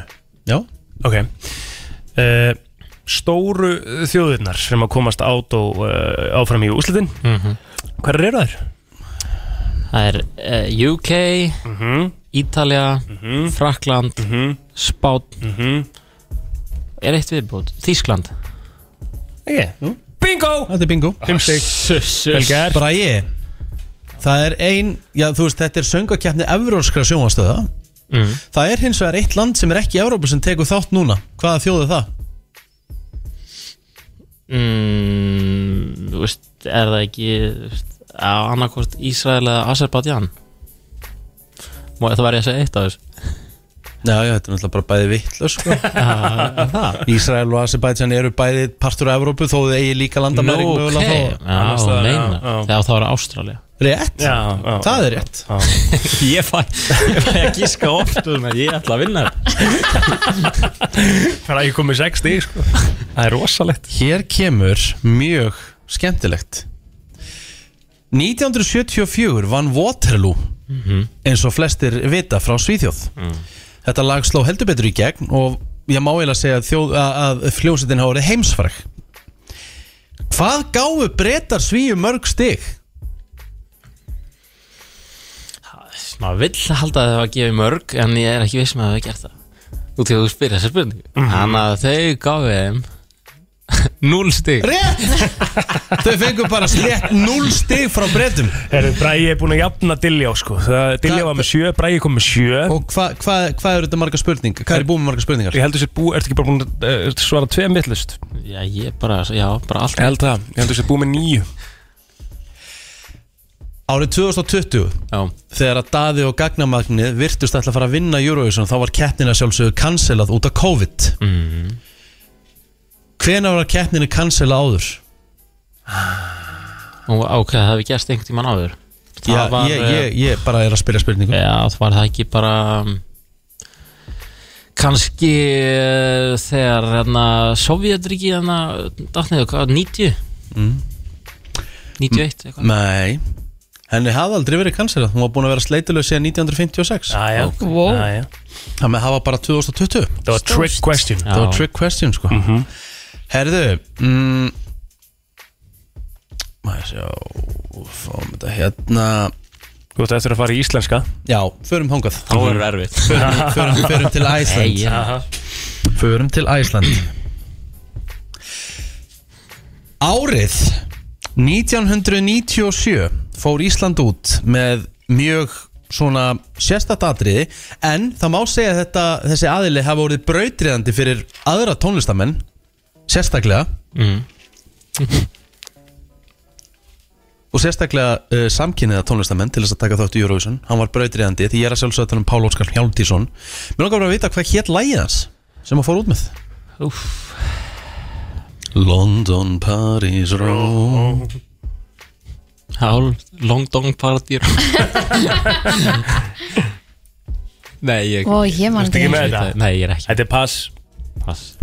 S2: Já
S4: Ok uh, Stóru þjóðirnar sem að komast át og uh, áfram í úslitin mm
S7: Mhm.
S4: Hver eru þær?
S7: Það er eh, UK,
S4: Mhm.
S7: Ítalja, Frakland, Spán
S4: Mhm.
S7: Er eitt viðbútt? Þískland
S4: Ekki Bingo!
S2: Þetta er bingo
S4: Fimm stig Vel
S7: Sussus
S4: gert
S2: Bragi Það er ein Já þú veist þetta er söngakeppni Evróskra sjónvastöða
S7: mm.
S2: Það er hins vegar eitt land sem er ekki í Evrópu sem tekur þátt núna Hvaða þjóð er það?
S7: mm, Þú veist, er það ekki þú veist, á annarkvort Ísrael eða Azerbaijan Má það verið að segja eitt af þessu Ah,
S2: Já, já, þetta er náttúrulega bara bæði vittlu
S7: <laughs>
S2: sko. Ísrael og Azerbaijan eru bæði partur af Evrópu þó þau eigi líka
S7: Nú,
S2: landamæring
S7: ok
S2: mögulega þó.
S7: Já,
S4: Annars staðar, já,
S7: neina
S4: já.
S7: Þegar það var Ástralja
S2: Rétt,
S4: Já, já,
S2: það er rétt
S7: Ég fæ, ég fæ að gíska oft um að ég ætla að vinna
S4: Það er ekki komið sex stig sko. Það er rosalegt
S2: Hér kemur mjög skemmtilegt 1974 vann Waterloo
S4: Mhm.
S2: eins og flestir vita frá Svíþjóð
S4: Mm.
S2: Þetta lag sló heldur betur í gegn og ég má eiginlega segja að, þjóð, að, að fljósetin hafa verið heimsfræk Hvað gáfu breytar Svíu mörg stig?
S7: Maður vill halda að það var gefið mörg En ég er ekki viss með að það hafi gert það Út í að þú spyrir þessa spurningu Þannig að þau gáfið þeim Núl stig
S2: Rétt! Þau fengur bara slétt 0 stig frá breytum
S4: Herru, Bræði er búin að jafna Dilljá sko. Það- Dilljá var með sjö, Bræði kom með sjö
S2: Og hvað hva, hva eru þetta marga spurningar? Hvað er búið með marga spurningar?
S4: Ég heldur sér bú, ertu ekki bara búin að uh, svara tveim vittlust?
S7: Já, ég bara, já, bara allt
S4: Ég held það, ég heldur sér búin með nýju
S2: Árið 2020
S7: Já,
S2: þegar að Daði og Gagnamagnið virtust ætla að fara að vinna Eurovision þá var keppnina sjálfsögðu cancelað út af COVID mm.
S7: Mhm.
S2: Hvena var keppninu cancelað áður?
S7: og ok, það hafi gerst einhvern tímann áður Það
S2: Já,
S7: var, eh,
S2: ég, ég, ég bara er að spyrja spurningum
S7: Já, það var það ekki bara um, kannski eh, þegar hérna, Sovjetriki hérna, datnið, hvað, 90 91 eitthvað
S2: Mm. Nei, henni hafði aldrei verið cancelað hún var búin að vera sleituleg síðan 1956
S4: Æja,
S3: Wow.
S4: æja
S2: það með hafa bara 2020
S4: Það var trick question Mhm.
S2: það var trick question sko Herðu mm, maður sjá fáum þetta hérna
S4: Þú ætti eftir að fara í íslenska
S2: já, förum hongað
S7: Það voru erfitt
S2: förum, förum, förum til Æsland
S7: Nei, já.
S2: Förum til Æsland Árið 1997 fór Ísland út með mjög svona sérstætt atriði en það má segja að þetta, þessi aðili hafa orðið brautriðandi fyrir aðra tónlistamenn sérstaklega og sérstaklega uh, samkynniða tónlistamenn til þess að taka þátt í Eurovision hann var brautriðandi því ég er að sjálfsögða að tala um Pál Óskar Hjálmtísson mér langar bara að vita hvað hétt lægið hans sem að fór út með
S7: Úff.
S2: London, Paris, Rome
S7: Hál, long dong party <laughs> Nei, ég
S3: Ó, ég man
S4: Ertu
S3: ekki
S4: ekki með
S3: neitt.
S4: þetta?
S7: Nei, ég er ekki
S4: Þetta er pass
S7: pass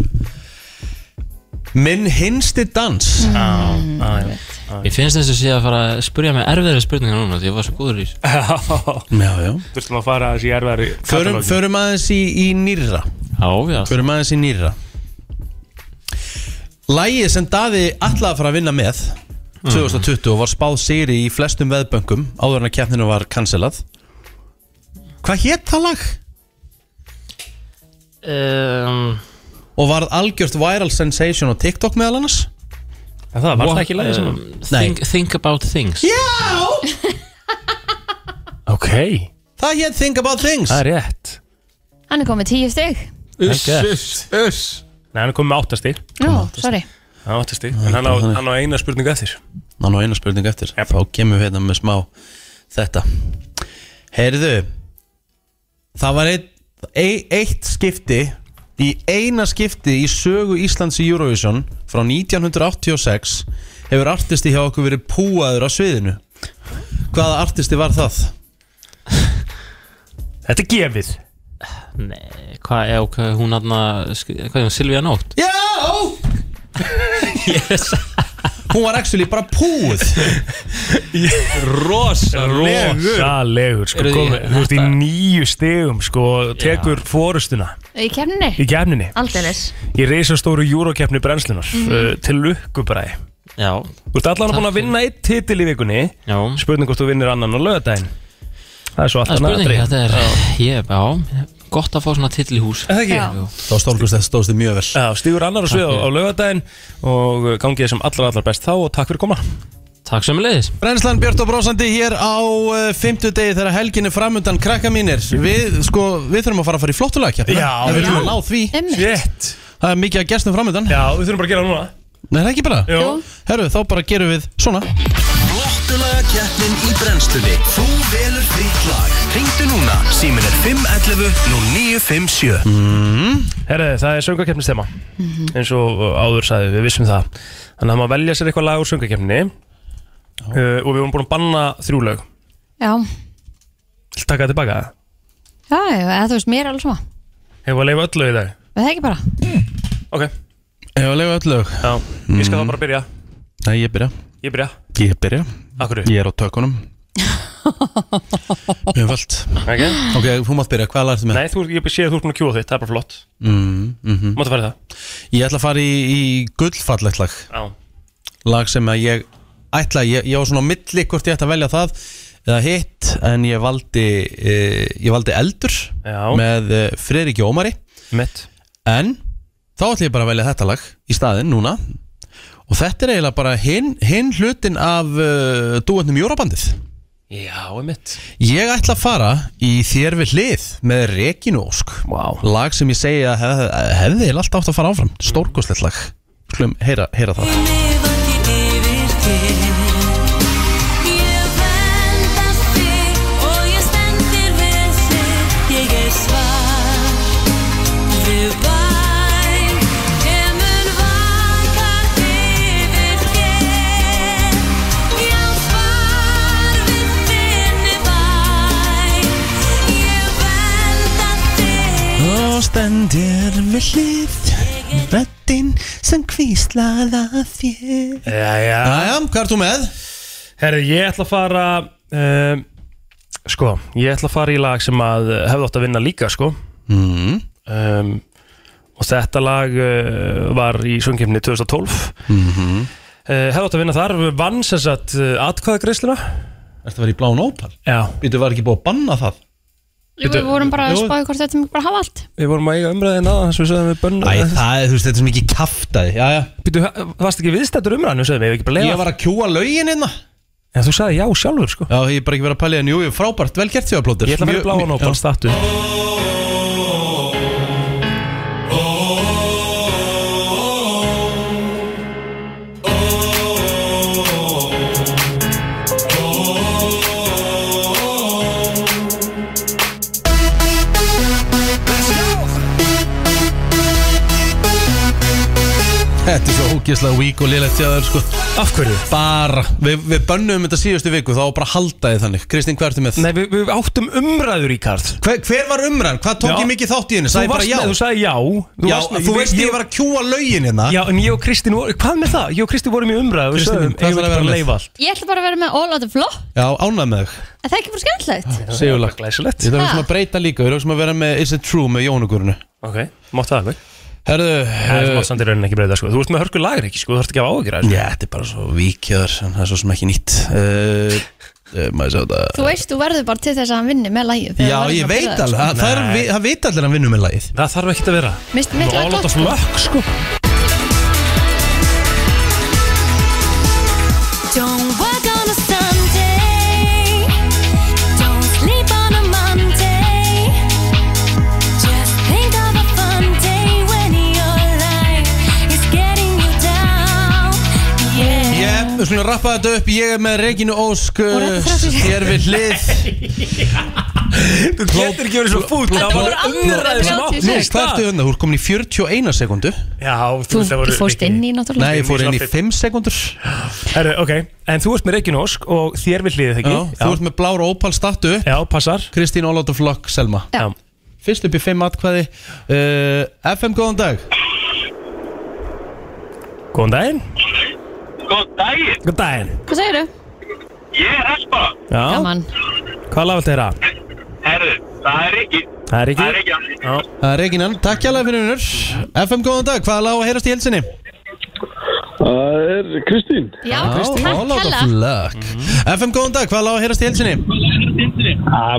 S2: Minn hinsti dans
S3: Mm.
S4: Ah,
S7: Ég finnst þess að sé að fara að spurja mig erfiðri spurningar núna því ég var svo góður í þessu
S4: Þurftum
S2: Já, já
S4: að fara að þessi erfari
S2: Förum, förum aðeins í, í nýrra
S7: Já, já
S2: Förum aðeins í nýrra Lægið sem Daði ætlaði að fara að vinna með
S4: Mm.
S2: 2020 og var spáð sigri í flestum veðböngum áður en að keppninu var cancelað Hvað hétt það lag?
S7: um,
S2: Og varð algjört viral sensation á TikTok meðal annars?
S4: Það var það
S7: what-
S4: ekki lægið sem
S7: um, think, think about things
S2: Já!
S4: Ok,
S2: Það hétt Think About Things
S4: það er rétt
S3: Hann er komið tíu stygg
S4: Uss, uss, uss Nei, hann er komið með áttastig
S3: Nú, sorry
S4: Það áttastig En hann á,
S2: þannig.
S4: hann á eina spurningu eftir
S2: Ná nú eina spurning eftir
S4: Jep.
S2: Þá kemur við hérna með smá þetta Heyrðu Það var einn e eitt skipti í eina skipti í sögu Íslands í Eurovision frá 1986 hefur artisti hjá okkur verið púaður á sviðinu hvaða artisti var það?
S4: Þetta er gefið
S7: Nei, hvað er ok, hún hann Hvað er hún, Silvía Nótt?
S2: Já!
S7: Yes
S2: Hún var actually bara púð
S4: Rósalegur sko,
S7: Eru þið-
S4: komið, Þú veist í
S7: þetta-
S4: nýju stegum sko, og tekur fórustuna
S3: Í kemni?
S4: í kefninni
S3: Aldeilis Mhm.
S4: Í reisastóru júrókefni brennslunar uh, Til lukkubræði
S7: Já,
S4: Þú ert allan búin að vinna eitt titil í vikunni
S7: já
S4: Spurning hvort þú vinnir annan á lögadaginn Það er svo
S7: Það er
S4: alltaf
S7: spurning, þetta er Ég, já, gott að fá svona titil í hús
S4: Það ekki?
S3: Já.
S2: Þá stólkust þetta stóðst þið mjög vel
S4: Já, stígur annar á svið á, á lögadaginn og uh, gangið sem allra allar best þá og takk fyrir að koma
S7: Takk sömulegis
S2: Brennslan Björn og Brósandi hér á uh, fimmtudegi þegar helgin er framundan krakka mínir Við, sko, við þurfum að fara að fara í flottulega kjapna
S4: Já.
S2: Við þurfum að ná því
S3: Einmitt.
S4: Rétt
S2: Það er mikið að gestum framundan
S4: Já, við þurfum bara að gera það núna
S2: Nei, það er ekki bara
S4: Jú.
S2: Herru, þá bara gerum við svona
S1: Flottulega keppnin í brennstunni Þú velur þitt lag Ringdu núna, símin er 511 0957
S2: Mhm.
S4: Herre, það er söngakefnistema eins og uh, áður sagði, við vissum það Þannig að maður velja sér eitthvað lag úr söngakefni uh, og við vorum búin að banna þrjú lög
S3: Já,
S4: Viltu taka það tilbaka?
S3: já, já, eða þú veist, mér er alveg svona
S4: Hefur að leifa öll lög í dag?
S3: Við það ekki bara
S4: Ok,
S2: Ég var að lega öll lög Mhm.
S4: já, ég skal þá bara byrja
S2: Nei, ég byrja
S4: Ég byrja,
S2: Ég byrja
S4: akkur
S2: Ég er á tökunum Mjög völd
S4: okay.
S2: Ok, þú mátt byrja, hvað lærðu með?
S4: Nei, þú, ég sé að þú er búin að kjúa þitt, það er bara flott
S2: Mm, mm -hmm.
S4: Máttu færi það?
S2: Ég ætla að fara í, í gullfallegt lag
S4: Já
S2: Lag sem að ég ætla Ég, ég var svona á milli hvort ég ætla að velja það Eða hitt En ég valdi, e, ég valdi eldur
S4: Já.
S2: Með e, Fredrik Jómari
S4: Mitt
S2: En þá ætla ég bara að velja þetta lag Í staðinn núna Og þetta er eiginlega bara hinn hin hlutin af uh, Dúendnum Jórabandið
S4: Já, mitt
S2: Ég ætla að fara í Þér við hlið með Regínu Ósk wow. Lag sem ég segi að hef, hefði eiginlega alltaf átt að fara áfram Stórkostlegt lag Skulum heyra, heyra það Og stendur við hlið Röddinn sem kvíslaða þér
S4: Já, já
S2: Jæja, hvað ert þú með?
S4: Herri, ég ætla að fara um, Sko, ég ætla að fara í lag sem að uh, hefði átt að vinna líka, sko
S2: Mm.
S4: um, Og þetta lag uh, var í sungkjöfni 2012 mm -hmm. uh, Hefði átt að vinna þar, vann sem sagt uh, atkvæðagreisluna
S2: Ertu að vera í bláun ópal?
S4: Já
S2: Býtu, var ekki búið að banna það?
S3: Jú, við vorum bara að
S4: Jú.
S3: spáði hvort þetta mjög bara hafa allt
S4: Við vorum að eiga umræðina þess að við sögðum við bönn
S2: Æ, það er, þú veist, þetta er sem ekki kaftaði Jæja,
S4: Býtu, varst ekki viðstættur umræðinu, sögðum við, ef ekki bara leiða
S2: ég var að kjúa lögin hérna
S4: Já, þú sagði já sjálfur, sko
S2: Já, ég er bara ekki verið að pælja en jú, jú, frábært, vel gert því að plótur
S4: Ég ætla að vera í bláan ópan statu
S2: Þetta er svo ógeðslega vík og lélegt hjá þér, sko
S4: Af hverju?
S2: Bara, við, við bönnum þetta síðustu viku þá bara haldaði þannig Kristín, hvað ertu með?
S4: Nei, við, við áttum umræður í kart
S2: Hver, hver var umræðan? Hvað tók
S4: Já.
S2: ég mikið þátt í henni?
S4: Þú
S2: Sæði bara
S4: varst
S2: já
S4: með, þú sagði já Þú,
S2: Já,
S4: varst með-
S2: þú veist ég var að kjúa lögin hérna
S4: Já, en ég og Kristín voru, hvað með það? Ég og Kristín vorum í umræðu og við
S2: Kristín,
S4: sögðum,
S2: hvað
S4: eigum
S2: ætlarðu
S4: við
S2: að
S4: ekki bara
S2: vera
S4: að
S2: með?
S3: Ég ætla bara að vera með all out of flop En
S4: leifa allt
S2: Já, ánægð með þig
S3: það er ekki bara skemmtilegt
S2: Sigurlag
S4: Glæsilegt
S2: Ég þarf
S3: Ha?
S2: svona að breyta líka Við erum svona að vera með Is it true með Jónugurinu
S4: Ok, mátt það alveg
S2: Herðu
S4: Það
S2: eh,
S4: mátt samt í rauninni ekki breyta, sko Þú ert með hörku lagir ekki, sko, þú þarfst ekki að hafa áhyggjur af
S2: Já, þetta er bara svo víkjöður en það er svo sem ekki nýtt uh, uh, Maður
S3: Eh.
S2: sá þetta
S3: Þú veist, þú verður bara til þess að hann vinni með lægið
S2: Já, ég veit
S3: sko.
S2: alveg Það, það, er, vi- það veit allir að hann vinnur með lagið
S4: þessu. Það þarf ekki að vera
S3: Misti mitt lag
S4: All
S3: gott
S4: out of
S3: sko.
S4: luck, sko
S9: Don't work on a Sunday. Don't sleep on a Monday. Just think of a fun day when your life is getting you down. Yeah.
S2: Jep, við skulum rappa þetta upp Ég er með Regínu Ósk
S3: Og
S2: uh,
S3: rappa þetta upp.
S2: Hér við hlið
S4: Þú getur ekki verið svo fúll
S3: Þetta
S4: Það
S3: voru
S4: voru
S3: alveg
S4: umræður sem
S3: 36.
S4: átt
S2: Nei, hvað ertu undan? Þú ert komin í 41 sekundu
S4: Já,
S3: Þú
S4: það voru
S3: fórst
S4: ekki-
S3: inn í náttúrulega
S2: Nei, ég fór inn í
S4: Mjög
S2: 5 sekundur
S4: Herru, ok, en þú ert með Reykjavík og þér vil hlýðið
S2: Já,
S4: ekki
S2: Þú ert með blára ópal statu
S4: Já, passar
S2: Kristín Óláttur Flokk, Selma
S3: Já.
S2: Fyrst upp í 5 atkvæði uh, FM, góðan dag
S4: Góðan daginn
S10: Góð daginn,
S4: Góðan daginn
S3: Hvað segirðu?
S10: ég er Espa
S4: Já,
S3: Gaman
S4: hvað lag viltu heyra?
S10: Herðu, það er ekki Það
S4: Það er
S10: er
S4: ekki
S10: ekki
S4: Já,
S2: Það er Reginan, takk hjá fyrir unnur FM, góðan dag, hvað er lág að heyrast í helsinni?
S11: Það er Kristín
S3: Já, takk hella
S2: Flökk FM, góðan dag, hvað er lág að heyrast í helsinni?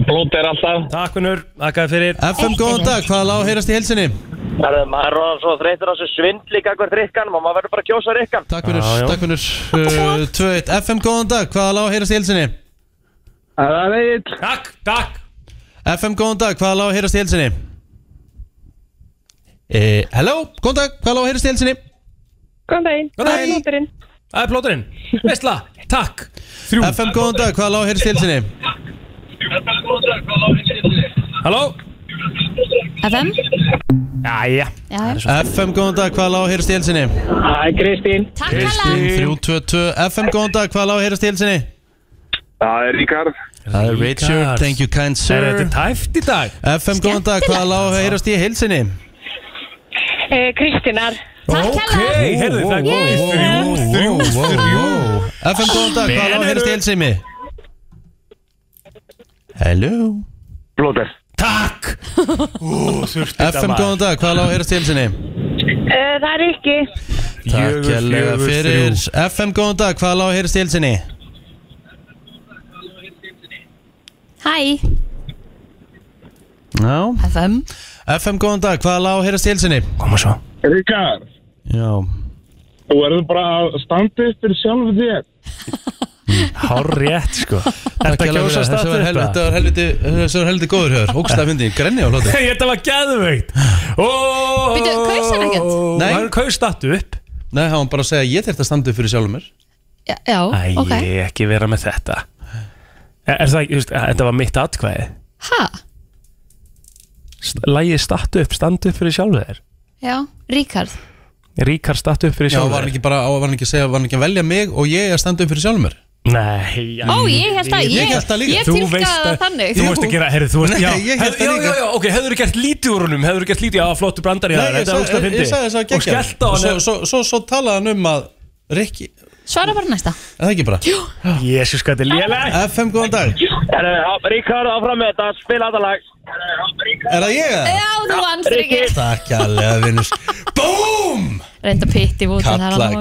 S11: Blót er alltaf
S4: takk vinnur, þakkaði fyrir
S2: FM, góðan dag, hvað er lág að heyrast í helsinni?
S10: Herðu, maður er orðan svo þreytur á þessu svindli Gagvar drikkanum og maður verður bara að kjósa drikkan
S2: Takk fyrir,
S4: Já, já.
S2: takk fyrir uh, 2-1, FM, góðan dag, hvað er lág að heyrast í helsinni?
S11: Það er Egil
S4: Takk, takk
S2: FM, góðan dag, hvað er lág að heyrast í helsinni? Eh, hello, góðan dag, hvað er lág að heyrast í helsinni?
S12: Góðan daginn.
S4: Góðan
S12: Það er
S4: daginn.
S12: nóturinn.
S4: Það er plóturinn Vesla, takk Þrjú
S2: FM, góðan dag, hvað er lág að heyrast í helsinni?
S4: Halló
S3: FM
S4: Jæja
S3: Já,
S2: FM, góðan dag, hvað er lág að heyrast í helsinni?
S11: Það er Kristín
S3: takk hella
S2: 3-2-2, FM, góðan dag, hvað er lág að heyrast í helsinni?
S11: Það er Ríkard
S2: Það er Richard, thank you kind
S4: Er
S2: sir
S4: þetta er tæft í dag?
S2: FM, góðan dag, hvað er lág að heyrast í helsinni?
S12: Eh, Kristínar.
S3: Takk
S4: Ok,
S3: hella
S4: heyrðu það er komið Þrjú, þrjú, þrjú
S2: FM, góðan dag, hvað er lág að heyrast í helsinni? Hello
S11: Blóter
S4: Takk
S2: FM, góðan dag, hvað er lág að heyrast í helsinni?
S12: Eh, það er Rikki.
S2: Takk
S4: Fjögur,
S2: hérlega
S4: fjögur,
S2: fyrir FM, góðan dag, hvað er lág að heyrast í helsinni?
S3: Hæ
S2: Já
S3: FM
S2: FM, góðan dag, hvað er lág að heyrast í helsinni?
S4: Koma svo
S11: Ríkard
S2: Já
S11: Þú verður bara að standa upp fyrir sjálf þér
S4: Hár rétt sko
S2: Takk
S4: Þetta
S2: hérlega fyrir
S4: kjósa
S2: það. Þessi
S4: stað
S2: var helviti-
S4: þetta
S2: Þetta var helviti Þessi var helviti góður höfður Ógstað fyndið, grenni á hlóti
S4: Hey, Þetta var gæðveikt
S3: Bíddu, kaus hann ekkert?
S2: Nei.
S4: Hann kaus statu upp
S2: Nei, hann var bara að segja að ég þurfti að standa upp fyrir sjálfur mér
S3: Já, já,
S4: Æ,
S3: ok
S4: ekki vera með þetta Er, er það ekki, þú veist, eh, þetta var mitt atkvæði
S3: Ha,
S4: Lægið statu upp, standu upp fyrir sjálfu þér
S3: já, Ríkard
S4: Ríkar statu upp fyrir
S2: Já,
S4: sjálfu
S2: var hann ekki bara á, var hann ekki að segja, var hann ekki að velja mig og ég að standa upp fyrir sjálfur mér
S4: Nei,
S3: Ó, ég held að, ég,
S2: held það líka.
S3: ég
S4: Þú
S3: tilkaði
S4: veist
S3: það
S4: að-
S3: þannig
S4: Þú veist að gera, herri, þú veist
S2: Nei,
S4: já,
S2: ég held
S4: hefðu-
S2: það
S4: já,
S2: líka.
S4: já, já, ok, hefur þú gert lítið úr honum Hefur þú gert lítið, já, flottur brandar í það
S2: Nei, ég
S4: Þetta er úrst að
S2: sagði
S4: fyndi
S2: ég sagði þess að
S4: Og skellt á
S2: gegja
S4: hann
S2: Svo, svo, svo talaði hann um að Rikki, er
S3: Svara bara næsta
S2: það ekki bara? Jú
S4: Jésus, hvað þetta er lélega
S2: FM, góðan dag
S10: Herðu, Ríkard áfram með þetta, spila þetta lag
S2: Er það ég eða?
S3: Já, þú vannst ekki
S2: Takk alveg, vinnus Búm!
S3: Reynda pitt í vútin
S2: Kallaði,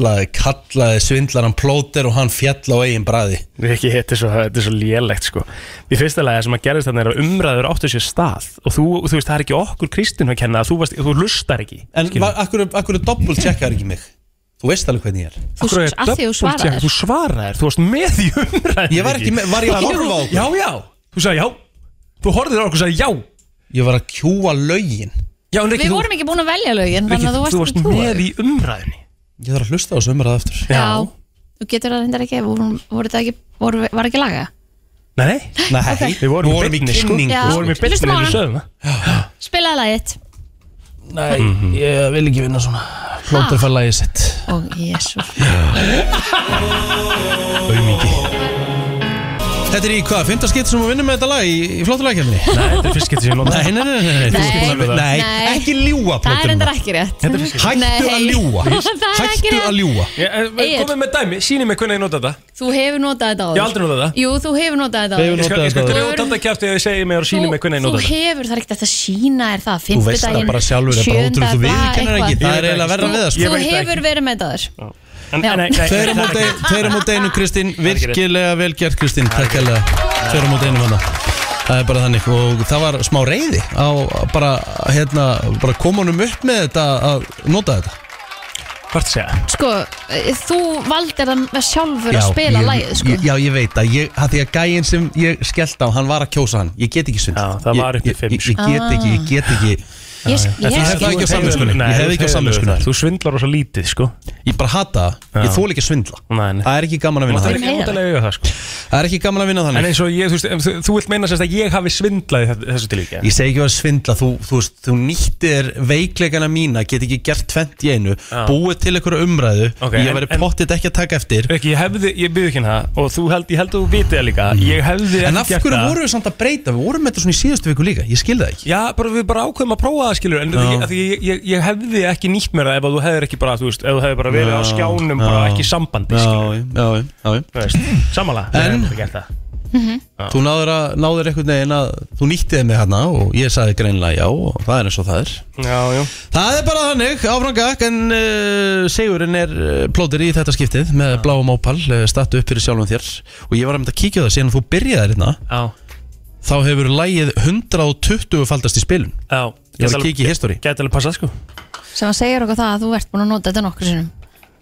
S2: kallaði, kallaði svindlar hann plóter og hann fjall á eigin bræði
S4: Rikki, þetta er svo, þetta er svo lélegt sko Í fyrsta lagi sem að gerðist þarna er að umræður áttu sér stað Og þú, þú veist, það er ekki okkur Kristinn að kenna að Þú, varst, þú lustar ekki
S2: En var- akkur, akkur doppult tjekkar ekki mig? Þú veist alveg hvernig ég er
S3: Þú,
S4: Akkur er
S3: að því þú
S4: double
S3: svaraðir
S4: check- Þú svaraðir, þú varst með í umræður
S2: Ég var ekki með- var ég að horfa á okkur?
S4: Já, já, þú sagði já Þú horfðir á okkur og sagði já
S2: Ég var að kjúa lögin
S4: Já, en Rikki,
S3: Við
S4: þú-
S3: vorum ekki búin að velja lögin
S4: Rikki,
S3: Þannig að þú varst um ekki
S4: með
S3: trúið
S4: í umræðinni
S2: Ég þarf að hlusta á þessu umræða aftur
S3: Já, þú getur það reyndar ekki Voru, voru það ekki, voru, var ekki laga
S4: Nei,
S2: Nei,
S4: við vorum í beinni sko
S2: kynningu
S3: Já.
S4: Við vorum í beinni
S3: Hlustum á
S4: þegar
S3: hana.
S4: við sögum það
S3: Spilaði lagið
S2: Nei,
S4: Mhm.
S2: ég vil ekki vinna svona Plóter fær lagið sitt
S3: Ó, jésus
S2: Aumingi Þetta er í hvað, fymtaskitt sem við vinnum með þetta lag í, í flottulækjafni?
S4: Nei, þetta er fyrst getur sem ég nota
S2: Nei, nei, nei, nei,
S3: Nei.
S2: nei, nei, nei,
S3: Nei.
S2: ekki
S3: Það
S2: ljúa
S3: er
S2: plóter
S3: reyndar ekki rétt
S4: Þetta er fyrst
S2: Hættu að
S3: Nei.
S2: ljúa
S3: <laughs> Það er ekki
S2: Hættu
S3: rétt.
S2: að ljúa
S4: getur
S3: Egill.
S4: eh, Komið með dæmi, síni mig hvernig ég nota þetta
S3: Þú hefur notað þetta áður
S4: Ég hef aldrei notað það.
S3: Jú, þú hefur notað þetta
S2: Hefur
S3: áður
S4: Ég skal, ég skal
S3: þetta.
S2: Notaðu
S4: drjóta alltaf kæfti að ég segi mig og síni mig hvernig ég nota
S3: Þú
S4: þetta
S3: hefur, það er ekkert hægt að sína er það
S2: Þú veist það
S3: fimmtudaginn,
S2: bara sjálfur er bara
S3: sjöunda,
S2: ótrúð Þú
S3: hvað,
S2: viðkennar
S3: eitthvað.
S2: ekki, það er eiginlega verra við það
S3: Þú
S2: sko.
S4: veit það
S3: hefur verið með þetta áður
S4: En-
S3: Já.
S4: en- nei, nei,
S2: Tveir á
S4: nei,
S2: móti-
S4: nei,
S2: Tveir á móti einu Kristín,
S4: ekki rétt.
S2: virkilega vel gert Kristín Takk hella, tveir á móti einu hana Það er bara þannig og það var smá reyði á bara, hérna, bara komunum upp með þetta að nota þetta
S4: Hvort segja
S3: Sko, eh, þú valdir það sjálfur
S2: Já,
S3: að spila
S2: ég-
S3: lagið sko.
S2: ég- Já, ég veit að ég, að því að gæinn sem ég skellt á, hann var að kjósa hann Ég get ekki svindl
S4: Já, það var upp í
S2: Ég-
S4: fimm,
S2: Ég, ég, ég get ekki, ég get ekki
S3: sko. Ah. Ég-
S4: já.
S3: ég
S4: En þú
S3: skil.
S4: hefur það ekki á samviskunni.
S2: Nei,
S4: Ég hef ekki á
S2: þú
S4: samviskunni.
S2: hefur það.
S4: Þú svindlar rosa lítið, sko.
S2: Ég bara hata það, ég þól ekki að svindla
S4: Nei, nei.
S2: Það er ekki gaman að vinna
S4: Það er
S2: það
S4: ekki út að lega það, sko.
S2: Það er ekki gaman að vinna
S4: En
S2: þannig
S4: eins og ég, þú veist, em, þú- þú vilt meina sérst að ég hafi svindlaði þessu til líka.
S2: Ég segi ekki að svindla, þú, þú, veist, þú nýttir veikleikana mína, get ekki gert tvent í einu,
S4: Já.
S2: búið til einhverju umræðu,
S4: Ok,
S2: ég
S4: en-
S2: verið
S4: en-
S2: pottitt ekki að taka eftir
S4: Ekki, ég hefði, ég byrði ekki það og þú held, ég held að þú vitið það líka. Ég hefði
S2: Mm. En
S4: ekki
S2: af
S4: gert
S2: hverju
S4: það.
S2: vorum við samt að breyta, við vorum með þetta svona í síðustu viku líka, ég skil það ekki
S4: Já, bara við bara ákveðum að prófa það skilur En
S2: Já.
S4: ég, af því ég, ég, ég hefði ekki nýtt mér það Ef að þú hefðir ekki bara, þú veist Ef þú hefðir bara verið á
S2: Já,
S4: skjánum,
S2: já.
S4: bara ekki í sambandi skilur.
S2: Já, já, já, já.
S4: Þú veist, Samanlega,
S2: En-
S4: hefði gert það
S3: Mhm.
S2: Þú náður, að, náður einhvern veginn að þú nýttið mig hérna og ég sagði greinlega já og það er eins og það er
S4: Já, já
S2: Það er bara þannig, áfrangak en uh, Sigurinn er uh, plótir í þetta skiptið með bláum ópal uh, stattu upp fyrir sjálfum þér og ég var að mynda að kíkja á það síðan þú byrjaðir hérna
S4: Já,
S2: þá hefur lægið 120 faldast í spilun
S4: já
S2: Ég var að kíkja í history
S4: Gæti alveg passað sko
S3: sem að segja okkur það að þú ert búin að nota þetta nokkur sinnum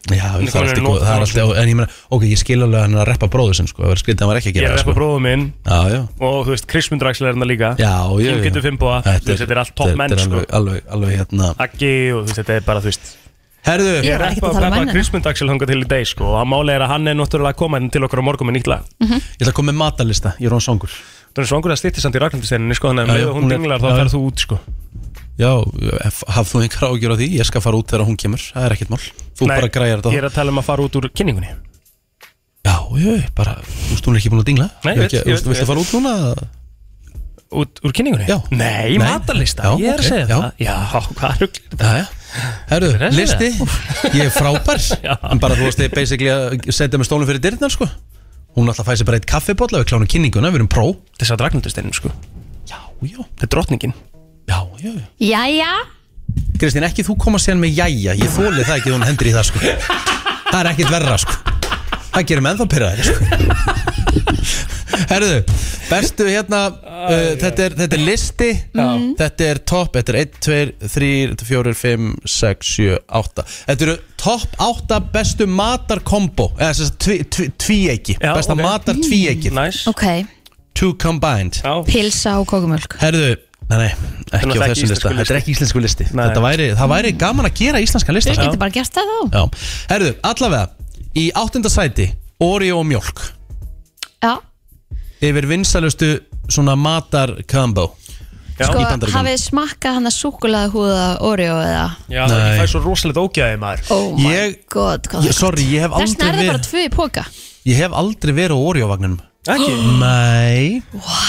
S2: Já, það er
S4: Nicole er
S2: alltaf
S4: nú-
S2: góð, það er alltaf, en ég meina, ok, ég skil alveg að hann er að reppa bróður sinn, sko, það var skrítið að hann var ekki að
S4: Ég
S2: gera sko.
S4: er
S2: það,
S4: reppa bróðum minn
S2: Já, já,
S4: Og þú veist, Krismundur Axel er hérna líka
S2: já, já,
S4: Kim
S2: já.
S4: getur fimm búa Þú veist, þetta er allt topp menn
S2: Þetta er
S4: sko
S2: alveg, alveg, alveg hérna
S4: Aggi og þú veist, þetta er bara, þú veist
S2: Herðu,
S3: Ég er ekkert
S4: Reppa
S3: að tala um
S4: Peppa
S3: mennina.
S4: Krismund Axel hanga til í dag sko Og að máli er að hann er náttúrulega að koma hérna til okkar á morgun með nýtt lag
S3: Mm.
S2: ég ætla að koma með matalista, ég er án songur
S4: Það er svangur að stýtti samt í raknandisteininni sko Þannig
S2: Já,
S4: að
S2: já,
S4: með hún
S2: hún er-
S4: dinglar þá
S2: já, já.
S4: ferð þú út sko
S2: Já, hafðu þú einhver ágjör á því, ég skal fara út þegar hún kemur, það er ekkert mál Þú bara græjar
S4: Ég
S2: þetta
S4: er að tala um að fara út úr kynningunni
S2: Já, ég, bara, þú veist, hún er ekki búin að dingla
S4: Nei, ég
S2: Ég er ekki-
S4: veit, ég veit,
S2: Þú veist, viltu
S4: ég
S2: fara út núna?
S4: Út úr kynningunni?
S2: Já.
S4: Nei,
S2: Nei.
S4: matarlista,
S2: Já,
S4: ég er
S2: ok,
S4: að segja
S2: já.
S4: það Já, hvað rugl er
S2: Já, já Herðu,
S4: er þessi
S2: listi, ég er frábær
S4: <laughs> Já.
S2: En bara, þú veist, ég er basically að setja með stólum fyrir dyrnar, sko Hún alltaf fæði sér bara eitt kaffibólla, við klánum kynninguna, við erum pró
S4: Þess að Ragnhildursteinin sko
S2: Já, já,
S4: Þetta er drottningin
S2: já, já já.
S3: Jæja,
S2: Kristín, ekki þú koma síðan með jæja Ég þóli það ekki þegar hún hendur í það sko Það er ekkit verra sko Það gerir menn þá pyrraðir sko Herðu, bestu hérna uh, þetta, er, þetta er listi Mm-hmm. Þetta er topp, þetta er 1, 2, 3, 4, 5, 6, 7, 8 Þetta eru topp 8 bestu matarkombo Eða þess að tví, tví, tvíeiki
S4: Já,
S2: Besta
S4: ok.
S2: matar tvíeiki
S4: Næs
S3: ok,
S2: Two combined
S4: Já
S3: pilsa og kókumölk
S2: Herðu, nei, nei,
S4: er
S2: ekki
S4: náttúrulega
S2: á
S4: ekki íslenskur
S2: þessum lista Þetta er
S4: listi.
S2: ekki íslensku listi
S4: Nei.
S2: Þetta væri, Það væri gaman að gera íslenskan lista
S3: Þú
S2: sko.
S3: getur bara gert það þá
S2: Já, herðu, allavega Í áttunda sæti, Oreo og mjólk
S3: Já,
S2: Yfir vinsalustu svona matar combo
S4: Já.
S3: sko,
S2: Í Bandaríkjunum.
S3: hafið smakkað hann að súkulaði húða Oreo eða
S4: Já, það
S2: Nei.
S4: fær svo rosalegt ógæði maður
S3: Oh my
S2: Ég-
S3: god, hvað
S2: ég, Sorry, ég hef
S3: Þessna
S2: aldrei
S3: er það bara
S2: verið
S3: tvö í póka
S2: Ég hef aldrei verið á Oreo-vagninum
S4: Ekki
S2: Nei,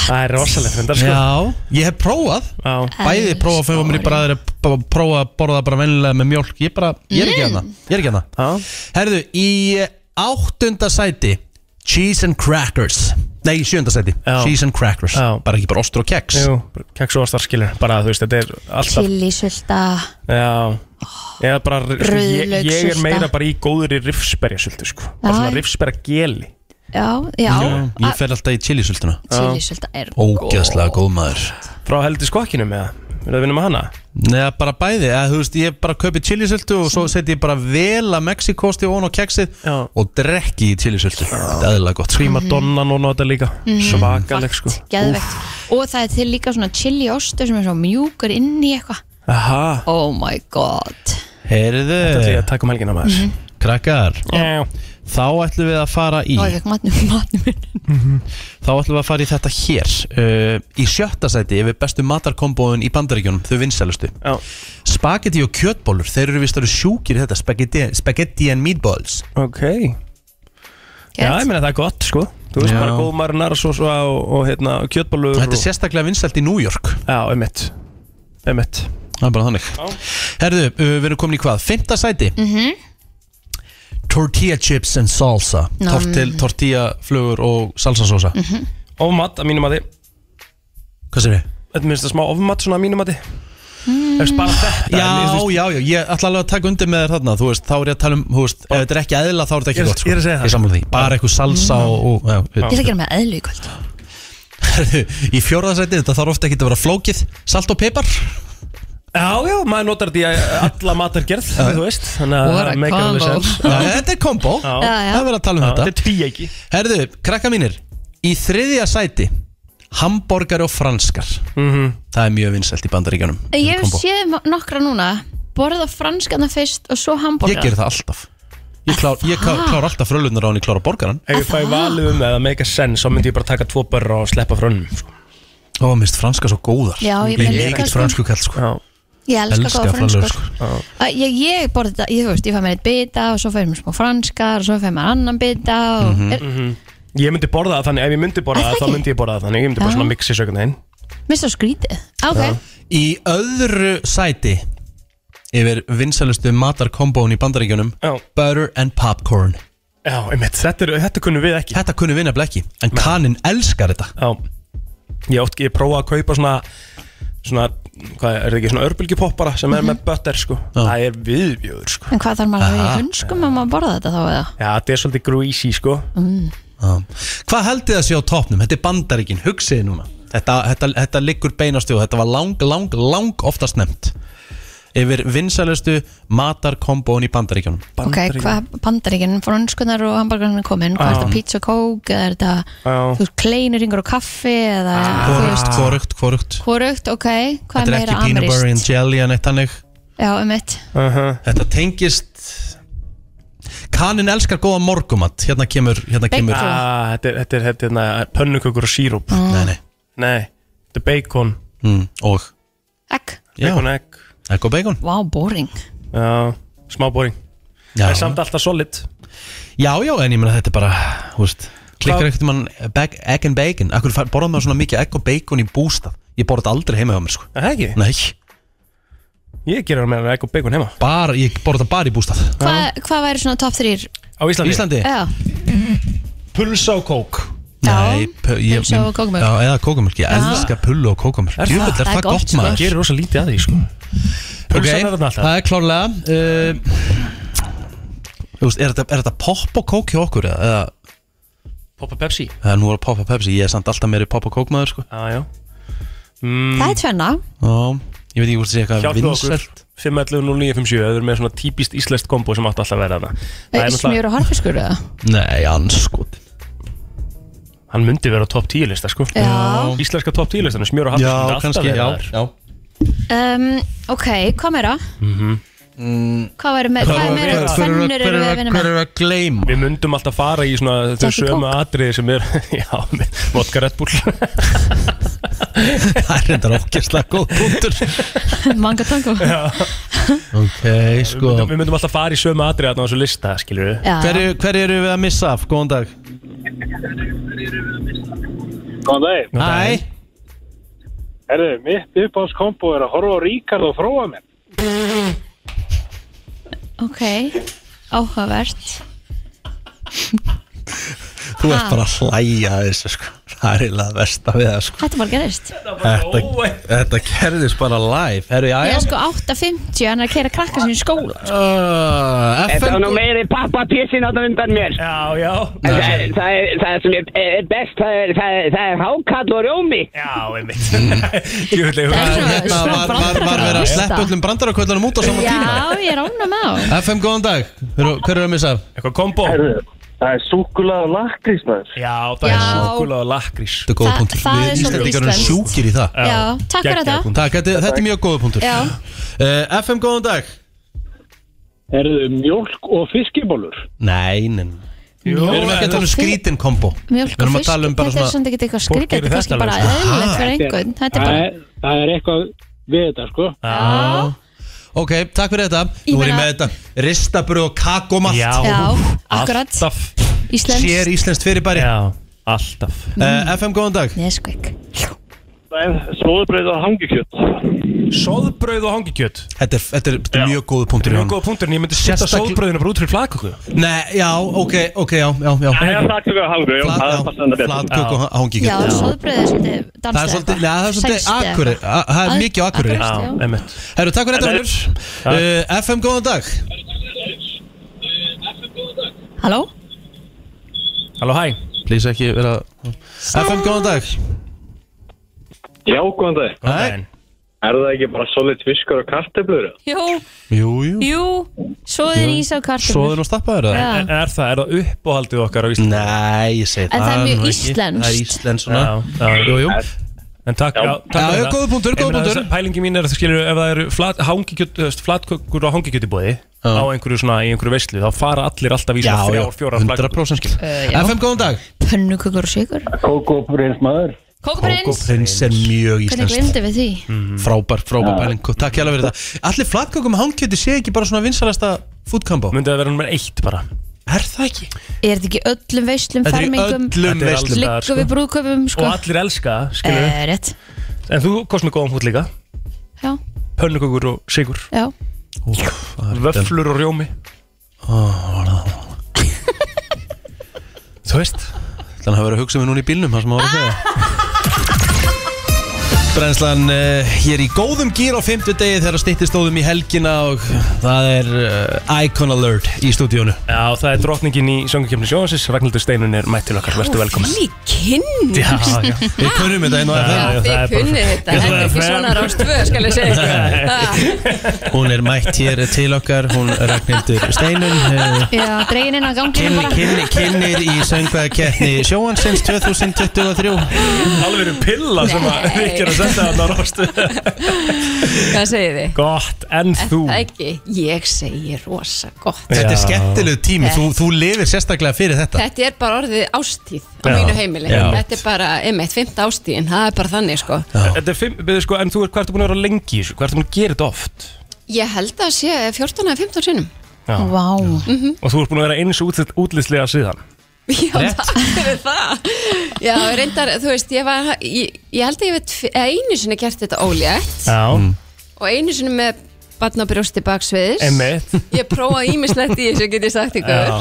S4: Það er rosalegt þetta sko
S2: já Ég hef prófað
S4: Já
S2: Bæði prófað að fá mér í bræðir Prófað að borða bara vennilega með mjólk Ég bara, ég er ekki hana Ég er ekki hana
S4: Já
S2: Herðu, í áttunda sæti Cheese and Crackers Nei, í sjöunda sæti
S4: Já.
S2: Cheese and Crackers
S4: Já.
S2: Bara ekki bara ostur og keks
S4: Jú, keks og astar skilur Bara þú veist, þetta er alltaf
S3: Chili, sulta
S4: Já Eða bara ég, ég er
S3: Rauðlaukssulta.
S4: meira bara í góðri rifsberjasultu sko
S3: Já.
S4: Bara svona rifsberjageli
S3: Já, já,
S2: Ég fer alltaf í chilisöltuna
S3: chili, sulta er
S2: Ógeðslega góð maður
S4: Frá heldur skokkinum eða Vil það vinna með hana?
S2: Nei, bara bæði eða, Þú veist, ég bara kaupi chilisöltu og svo setji ég bara vel að Mexikosti og ón og keksið
S4: Já.
S2: og drekki í chilisöltu Þetta er eðlilega gott sko.
S4: Primadonna núna þetta líka
S3: Mhm.
S4: Svakaleg sko
S3: Geðvegt Og það er til líka svona chili ostur sem er svo mjúkur inn í eitthvað
S4: Aha
S3: Oh my god
S4: Þetta ætlum ég
S2: Heyrðu,
S4: að taka um helgina maður
S3: Mhm.
S2: krakkar
S4: Já
S2: Þá ætlum við að fara í
S3: Ó, ég fekk matnum, matnum minn
S2: Þá ætlum við að fara í þetta hér uh, Í sjötta sæti yfir bestu matarkombóðun í bandaríkjunum Þau vinsælustu
S4: Já
S2: Spagetti og kjötbólur, þeir eru vist að eru sjúkir í þetta Spagetti, spagetti and meatballs
S4: Ok Já, ég meina það er gott sko Þú veist
S2: Já.
S4: bara góð marinara svo svo og, og hérna kjötbólur
S2: Þetta er sérstaklega vinsælt í New York
S4: Já, einmitt Einmitt
S2: Það er bara þannig Herðu, uh, við erum komin í hvað? Fymta sæti
S3: Mm.
S2: Tortilla chips and salsa
S3: Nam.
S2: Tortil, Tortilla flugur og salsasósa
S3: Mm.
S4: Ofmat að mínum að þið
S2: Hvað sér þið?
S4: Þetta minnst það smá ofmat svona að mínum að þið mm. Efst bara þetta
S2: Já,
S4: en, þú veist,
S2: já, já, ég ætla alveg að taka undir með þér þarna Þú veist, þá er ég að tala um, þú veist, ef þetta er ekki eðla þá er þetta ekki
S4: Ég-
S2: gott sko.
S4: ég er að segja það.
S2: Ég sammála því, bara eitthvað salsa og, og já,
S3: Mm. Ég ætla að gera með eðlu í kvöld
S2: <laughs> Herðu, Í fjórðasæti, þetta þarf ofta ekki að vera flókið Salt og pipar
S4: já, já, maður notar þetta í alla matargerð Þú veist Þannig
S3: What a
S4: að make
S3: combo.
S4: alveg sens
S3: <laughs>
S2: Þetta er kombo,
S4: Já.
S2: það
S3: Já, já.
S2: er verið að tala um
S4: Já, Þetta
S2: þetta
S4: er tví ekki
S2: Herðu, krakka mínir Í þriðja sæti Hamborgari og franskar
S4: Mhm.
S2: Það er mjög vinsælt í bandaríkjanum
S3: Ég hef séð nokkra núna Borða franskana fyrst og svo
S2: Ég
S3: hambúrgar
S2: ger það alltaf Ég, klár, ég klá,
S3: það?
S2: klár alltaf frölunar á hann, ég klára borgaran
S4: Ef ég fæ valið um eða make a sense Svo myndi ég bara taka tvo börra og sleppa frönnum sko.
S2: Ó, minnst franska svo góðar
S3: Já, ég
S2: Ég
S3: meina
S2: er
S3: líka,
S2: ekkert
S3: sko.
S2: fransku kall sko
S4: Já.
S3: Ég elska
S2: Elska
S3: góða franskar
S2: franskar, sko.
S3: Æ, Ég, ég borði þetta, ég, þú veist, ég fæ mér eitt bita og svo fæ mér smá franskar og svo fæ mér annan bita og
S2: Mhm.
S3: er,
S4: Mhm. Ég myndi borða það þannig, ef ég myndi borða það, þá myndi ég borða það þannig Ég myndi bara
S3: Já.
S4: svona mixi söguna inn
S3: mista skrítið Ok,
S2: Í öðru sæti Yfir vinsælustu matarkombón í bandaríkjanum
S4: Já.
S2: Butter and popcorn
S4: Já, einmitt, þetta, er- þetta kunnum við ekki
S2: Þetta kunni vinna blekki En kaninn elskar þetta
S4: Já, ég, oft, ég prófa að kaupa svona Svona, hvað er það ekki, svona örbylgjupoppara sem
S3: Mhm.
S4: er með butter, sko Það er viðbjóður, sko
S3: en hvað þarf maður að vera í hundskum ef maður borða þetta þá eða? Mm,
S4: Já, þetta er svolítið greasy, sko
S2: Já. Hvað haldið þið að sé á topnum? Þetta er bandaríkin, hugsiði núna Þetta, þetta, þetta liggur beinast og þetta var lang, lang, lang oftast nefnt Yfir vinsælustu matarkombón í bandaríkjanum
S3: Ok, hvað bandaríkinn, franskunar og hambúrgarinn er komin, hvað er þetta pizza og kók eða er þetta, þú veist, kleinur yngur og kaffi eða, þú
S2: Ah, Hvorugt,
S3: veist,
S2: hvorugt, hvorugt
S3: hvorugt, ok hvað
S2: Þetta
S3: er
S2: er
S3: meira
S2: ekki peanut butter and
S3: amrist?
S2: jelly en eitt hannig
S3: Já, um mitt,
S2: Þetta tengist Kanin elskar góða morgumat Hérna kemur, hérna
S3: Bacon.
S2: kemur
S4: ah, Þetta er, þetta er, þetta er, þetta er pönnukökur og síróp
S2: Nei, nei
S4: Nei, þetta er bacon,
S2: mm, Og,
S3: egg,
S2: já,
S4: bacon egg
S2: ekko bacon
S3: wow, boring
S4: Já, smá boring
S2: já.
S4: Það er samt alltaf solid
S2: já, já, en ég meina þetta er bara húst, Klikkar ekkert mann bag, egg and bacon Akkur borðað maður svona mikið egg og bacon í bústað Ég borða þetta aldrei heima hjá mér sko
S4: Er Það ekki?
S2: Nei,
S4: Ég gerir það með egg og bacon heima
S2: bara, ég borða þetta bara í bústað
S3: Hvað hva væri svona top 3?
S4: Á Íslandi?
S2: Íslandi?
S3: Já,
S4: Pulsa og kók
S3: Já.
S2: Nei, pu- ég-
S3: Pulsa og kókmjólk.
S2: Já, eða kókumjölk, ég elska pullu og kókumjölk
S4: Er
S2: Jöfnveld,
S4: það?
S2: er það gott
S3: sko.
S2: maður
S4: Gerir rosa lítið að því sko
S2: Ok,
S4: Pulsan er þarna alltaf
S2: það er klárlega uh, Þú veist, er þetta, er þetta popp og kók hjá okkur? eða- Eða,
S4: Poppa Pepsi
S2: eða nú er að poppa Pepsi, ég er samt alltaf meiri popp og kók maður sko.
S4: Já, já mm,
S3: það er tvenna
S2: Já, ég veit ekki hvort það sé eitthvað
S4: Hjálpa okkur
S2: vinsælt
S4: 5.11.09.57 Það eru með svona típist íslenskt kombo sem átt alltaf að vera þarna Það er náttúrulega
S3: Smjör og harfiskur eða?
S2: Nei, anskot
S4: Hann myndi vera á topp 10 lista sko
S3: Já.
S4: Íslenska topp 10 listan Smjör og hatt
S2: Já, kannski, já, já.
S3: um, Ok, hvað meira?
S4: Mhm.
S3: -hmm. Hvað væri með, hvað er meira tvennur
S2: Mm. hver
S3: eru við að
S2: er
S3: vinna með?
S2: að gleyma?
S4: Við myndum alltaf fara í svona þau
S3: Jack and Coke.
S4: sömu atriði sem er <laughs> Já, með vodka Red
S2: <laughs>
S4: Bull
S2: Það er reyndar okkjastlega góð
S3: <laughs>
S2: punktur
S3: Manga tango
S2: Ok, sko
S4: Við myndum alltaf fara í sömu atriði þarna á þessu lista, skilur við
S3: Já.
S2: Hverju hver eru við að missa af? Góðan dag
S11: Góðan dag.
S2: Hæ
S11: Herðu, mitt uppáðskombo er að horfa á Ríkard og fróa mér.
S3: Ok, áhugavert
S2: Þú ert bara að hlæja að þessu sko Það er eiginlega versta við það sko
S3: Þetta bara gerist
S2: Þetta, þetta kerðist bara live Herru, já,
S3: Ég
S2: já
S3: er sko 8.50 hann er að keira krakka sinni í skóla
S2: Uh,
S13: Þetta var nú
S2: FM
S13: meiri pappapísin á undan mér.
S4: Já, já
S13: Það er, það, er, það er sem er- er best, það er, það er, það er hákall og rjómi.
S4: Já,
S2: <laughs>
S4: einmitt Djúvillig
S3: Það er svona-
S2: Hérna
S3: svona
S2: var, var, var verið að
S3: brandarafræði.
S2: sleppa öllum brandaraköllunum út á saman tíma
S3: Já, ég er ánum á
S2: FM, góðan dag Hver, hver er að missa af?
S4: Eitthvað kombo
S11: Herðu, það er súkulað og lakrís maður.
S4: Já, það
S3: Já.
S4: er súkula og lakrís
S2: Þetta er góða
S3: Þa-
S2: punktur
S3: það er
S2: Við
S3: svolítið
S2: Íslandingar erum
S3: íslenskt.
S2: sjúkir í það
S3: Já, takk fyrir
S4: geggjaður
S3: þetta.
S4: punktur.
S2: Takk, þetta, þetta er mjög góða punktur
S3: Já.
S2: uh, FM, góðan dag
S11: Herðu, mjölk og fiskibólur.
S2: Nei, nei, nei Við erum ekki að tala um skrítin kombo Við
S3: Mjölk og
S2: erum að
S3: fisk,
S2: tala um bara
S3: þetta er
S2: svona
S3: svona ekki eitthvað
S4: Fólk
S3: skrítið Þetta
S4: gerir
S3: er kannski
S4: þetta
S2: sko.
S3: bara
S4: alveg,
S3: eðlilegt fyrir einhvern Þetta er bara
S11: það er eitthvað við þetta sko.
S3: Já,
S2: Ok, takk fyrir þetta Nú er ég
S3: meina-
S2: með þetta Ristabröð og kakomalt
S4: Já,
S3: já, akkurat
S4: Alltaf
S3: Íslensk
S2: Sér íslenskt fyrirbæri uh,
S4: Já, alltaf
S2: FM, góðan dag
S3: Nesquik
S11: Smóðbröð og hangikjött.
S4: Sóðbrauð og hangikjöt
S2: Þetta er, þetta er, þetta er mjög góða punktur í
S4: Mjög
S2: honum.
S4: góða punktur en ég myndi setja
S2: Sérstaklega-
S4: sóðbrauðina bara út fyrir flakku
S2: Nei, já, ok, ok, já, já, já
S11: Lakrís og hangikjött,
S2: Flatkök og
S3: Já,
S2: hangikjöld
S3: soðbröðið er svolítið dansið
S2: Það er svolítið, neða, það er svolítið akkurir Það er mikið á akkurir
S3: Akureyri. Já.
S4: einmitt
S2: Herru, takk fyrir þetta Unnur. Uh, FM, góðan dag
S3: Halló?
S4: Halló, hæ
S2: Please ekki vera FM, góðan dag
S11: Já, góðan dag.
S2: Nei,
S14: Er það ekki bara solid fiskur og kartöflur?
S3: Jú,
S2: Jú, jú
S3: jú, svoðin ís á kartum
S2: Svoðin og stappaður
S3: Já.
S4: En er það, er það uppáhaldið okkar á Íslandi?
S2: Nei, ég segi
S3: En það er það mjög nú ekki. íslenskt.
S2: Það er íslenskt svona.
S4: Jú, jú En takk, já, takk
S2: Já,
S4: fyrir
S2: já,
S4: það.
S2: góður punktur,
S4: Ég
S2: góður
S4: meina,
S2: punktur.
S4: þess- Pælingi mín er að það skilur ef það eru flat, hangikjöt, þú veist, flatkökur og hangikjöt í bóði á einhverju svona, í einhverju veislu þá fara allir alltaf í
S2: Já,
S4: svona
S2: já,
S4: þrjár, fjórar
S2: 100% skil
S3: Eh, já. FM,
S2: góðan dag
S3: Pönnukökur og sigur
S2: Kókóprins maður
S3: Kókoprins,
S2: Kókóprins er
S3: hvernig
S2: mjög íslenskt Mhm.
S3: glemdi við því?
S2: Frábær, frábær pæling Takk hérlega fyrir það Allir flatkökum með hangkjöti sé ekki bara svona vinsalasta fútkambo
S4: Myndi það vera nummer eitt bara
S2: Er það ekki?
S3: Er þetta ekki öllum veislum,
S4: Þetta er í
S3: fermingum
S4: öllum Þetta er veislum. alls staðar,
S3: Liggum
S4: sko.
S3: við brúðköpum,
S4: Og
S3: sko
S4: allir elska, það, skilur
S3: Eh, Rétt,
S4: En þú komst með góðan hút líka
S3: Já.
S4: Pönnukökur og sigur
S3: já
S4: Vöflur og rjómi
S2: <laughs>
S4: Þú veist
S2: Þannig að hafa verið að hugsa um mig núna í bílnum Það sem að voru að segja Brennslan uh, hér í góðum gýr á fimmtudegi þegar snittistóðum í helgina og það er uh, Icon Alert í stúdíónu
S4: Já, það er drottningin í söngakefni sjónsins Ragnhildur Steinun er mætt til okkar, verðstu velkomin
S5: Því kynni
S4: Já, já, við kunnum þetta einu að
S5: Já, þið kunni þetta,
S4: Já,
S5: þetta er ekki
S4: það er
S5: svona rástvö, skal ég segja
S8: <laughs>
S5: ykkur.
S2: Hún er mætt hér til okkar, hún Ragnhildur Steinun uh,
S3: <laughs> já dregin inn á ganginu
S2: Kynni,
S3: bara
S2: kynni, kynnir í söngvaðakeppni sjóansins 2023
S4: Alveg eru pilla sem að
S5: Nei.
S4: Rikki er að senda þarna rostu
S5: Hvað segir þið?
S4: Gott, en
S5: Er
S4: þú
S5: það ekki? Ég segi rosa gott
S2: Þetta er skemmtilegu tími, þú,
S5: Þetta-
S2: þú lifir sérstaklega fyrir þetta
S5: Þetta er bara orðið ástíð á
S4: Já.
S5: mínu heimili
S4: Já.
S5: Þetta er bara, einmitt, fymta ástíðin, það er bara þannig sko
S4: Þetta er fimm, beðið sko, en þú er hvað ertu búin að vera lengi í þessu? Hvað ertu búin að gera þetta oft?
S5: Ég held að sé 14 eða 15 sinnum
S4: Já.
S3: Vá
S5: Mhm.
S4: Og þú ert búin að vera eins og útlýslega síðan
S5: Já, takk fyrir það Já, reyndar, þú veist, ég var Ég, ég held að ég veit, einu sinni gert þetta ólétt
S4: Já
S5: og einu sinni með barnabrjósti baksviðis <laughs>
S4: Einmitt.
S5: Ég prófaði ímislegt í þessu, get ég sagt ykkur
S4: Já.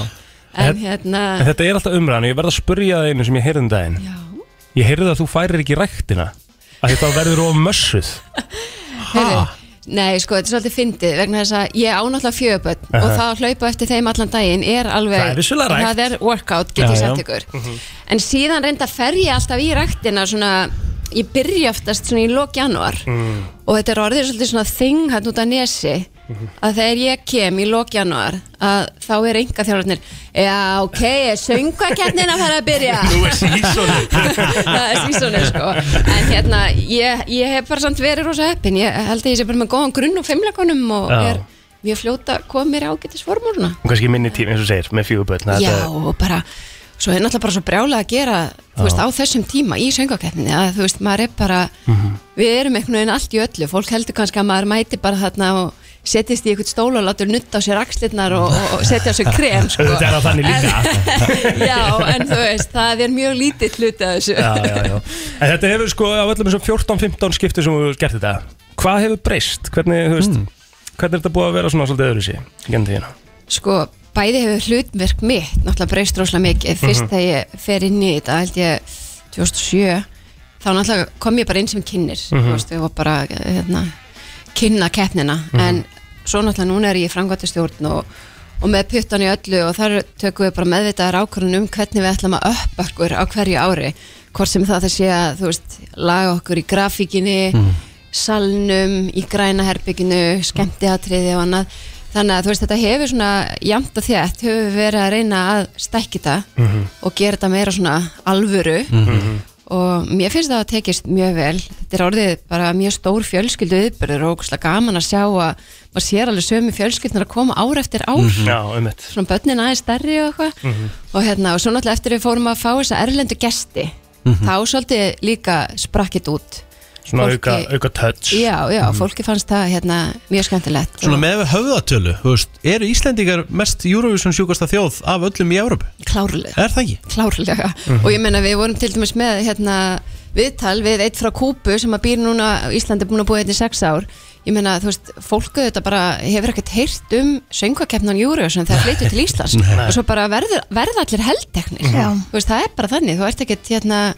S5: En
S4: En-
S5: hérna,
S4: En þetta er alltaf umræðan og ég verð að spurja það einu sem ég heyrði um daginn Já Ég heyrði að þú færir ekki í ræktina Af því Þetta verður of mössuð
S5: heyrðu Nei, sko, þetta er svolítið fyndið vegna þess að ég ánáttúrulega fjöguböld uh
S4: Aha.
S5: og það að hlaupa eftir þeim allan daginn er alveg
S4: Það er vissulega rækt.
S5: það er workout, get ég sagt ykkur
S8: Mhm,
S5: En síðan reynda fer ég alltaf í ræktina svona, ég byrja oftast svona í lok janúar
S8: Mm.
S5: og þetta er orðið svolítið svona þing hann út af nesi
S4: Mhm.
S5: að þegar ég kem í lok janúar að þá er enga þjálfarnir já ok, söngvakernin að fara að byrja
S8: Nú er sísonið.
S5: <laughs> það er sísonið sko en hérna, ég, ég hef bara samt verið rosa heppin, ég held að ég sé bara með góðan grunn og fimmlegunum og
S4: Já.
S5: er mjög fljóta að koma mér ágætis formúluna
S4: Og kannski minni tími eins og þú segir, með fjöguböld
S5: já og bara, svo er náttúrulega bara svo brjálega að gera, þú
S4: Já.
S5: veist, á þessum tíma í söngvakerninni að þú veist, maður er bara
S8: Mhm,
S5: Við erum einhvern veginn allt í öllu, fólk heldur kannski að maður mæti bara þarna og setjist í einhvern stól og látur nutta á sér axlirnar og, og, og setja á sér
S4: <laughs>
S5: krem sko.
S4: Þetta er það þannig líka
S5: <laughs> Já, en þú veist, það er mjög lítið hluti af þessu.
S4: já, já, já. En þetta hefur sko á öllum þessum 14-15 skipti sem þú hefur gert þetta Hvað hefur breyst? Hvernig, þú veist,
S2: Hmm.
S4: hvernig er þetta búið að vera svona svolítið öðruvísi? Genn tíðina
S5: Sko, bæði hefur hlutverk mitt náttúrulega breyst rosalega mikið. Fyrst
S4: Mhm.
S5: þegar ég fer inn í þetta, held ég 2007, þá náttúrulega kom ég bara inn sem kynir. Mm
S8: Mhm.
S5: Þú veist, ég var bara, hérna, kynna keppnina.
S8: Mhm.
S5: En svo náttúrulega núna er ég frangvættustjórn og og með puttan í öllu og þar tökum við bara meðvitaðar ákvörðun um hvernig við ætlum að upp okkur á hverju ári hvort sem það það sé að þú veist laga okkur í grafíkinni salnum, í græna herbygginu skemmtiatriði og annað þannig að þú veist þetta hefur svona jamt og þétt hefur við verið að reyna að stækki það og gera þetta meira svona alvöru
S8: Mhm.
S5: og mér finnst það að tekist mjög vel þetta er orðið bara mjög stór fjölskyldu yfirburður og ógeðslega gaman að sjá að maður sér alveg sömu fjölskyldnar að koma ár eftir ár
S4: Já, Mhm. um þetta
S5: svona börnin aðeins stærri og eitthvað og hérna og svo náttúrulega eftir við fórum að fá þessa erlendu gesti þá svolítið líka sprakkit út
S4: Svona
S5: Fólki-
S4: auka, auka touch
S5: já, já,
S2: Mhm.
S5: fólki fannst það hérna mjög skemmtilegt
S2: Svona með höfðatölu, þú veist, eru Íslendingar mest Eurovision sjúkasta þjóð af öllum í Európu?
S5: Klárlega
S2: Er það ekki?
S5: klárlega
S2: Mhm.
S5: og ég meina við vorum til dæmis með hérna, viðtal við eitt frá Kúpu sem að býr núna, Íslandi er búin að búa hérna í sex ár ég meina þú veist, fólku þetta bara hefur ekkert heyrt um söngvakeppnan Júriðsson þegar flyttu til Íslands
S8: Nei.
S5: og svo bara verður, verða allir heldteknir
S2: Já.
S5: þú veist, það er bara þannig, þú ert ekkert hérna,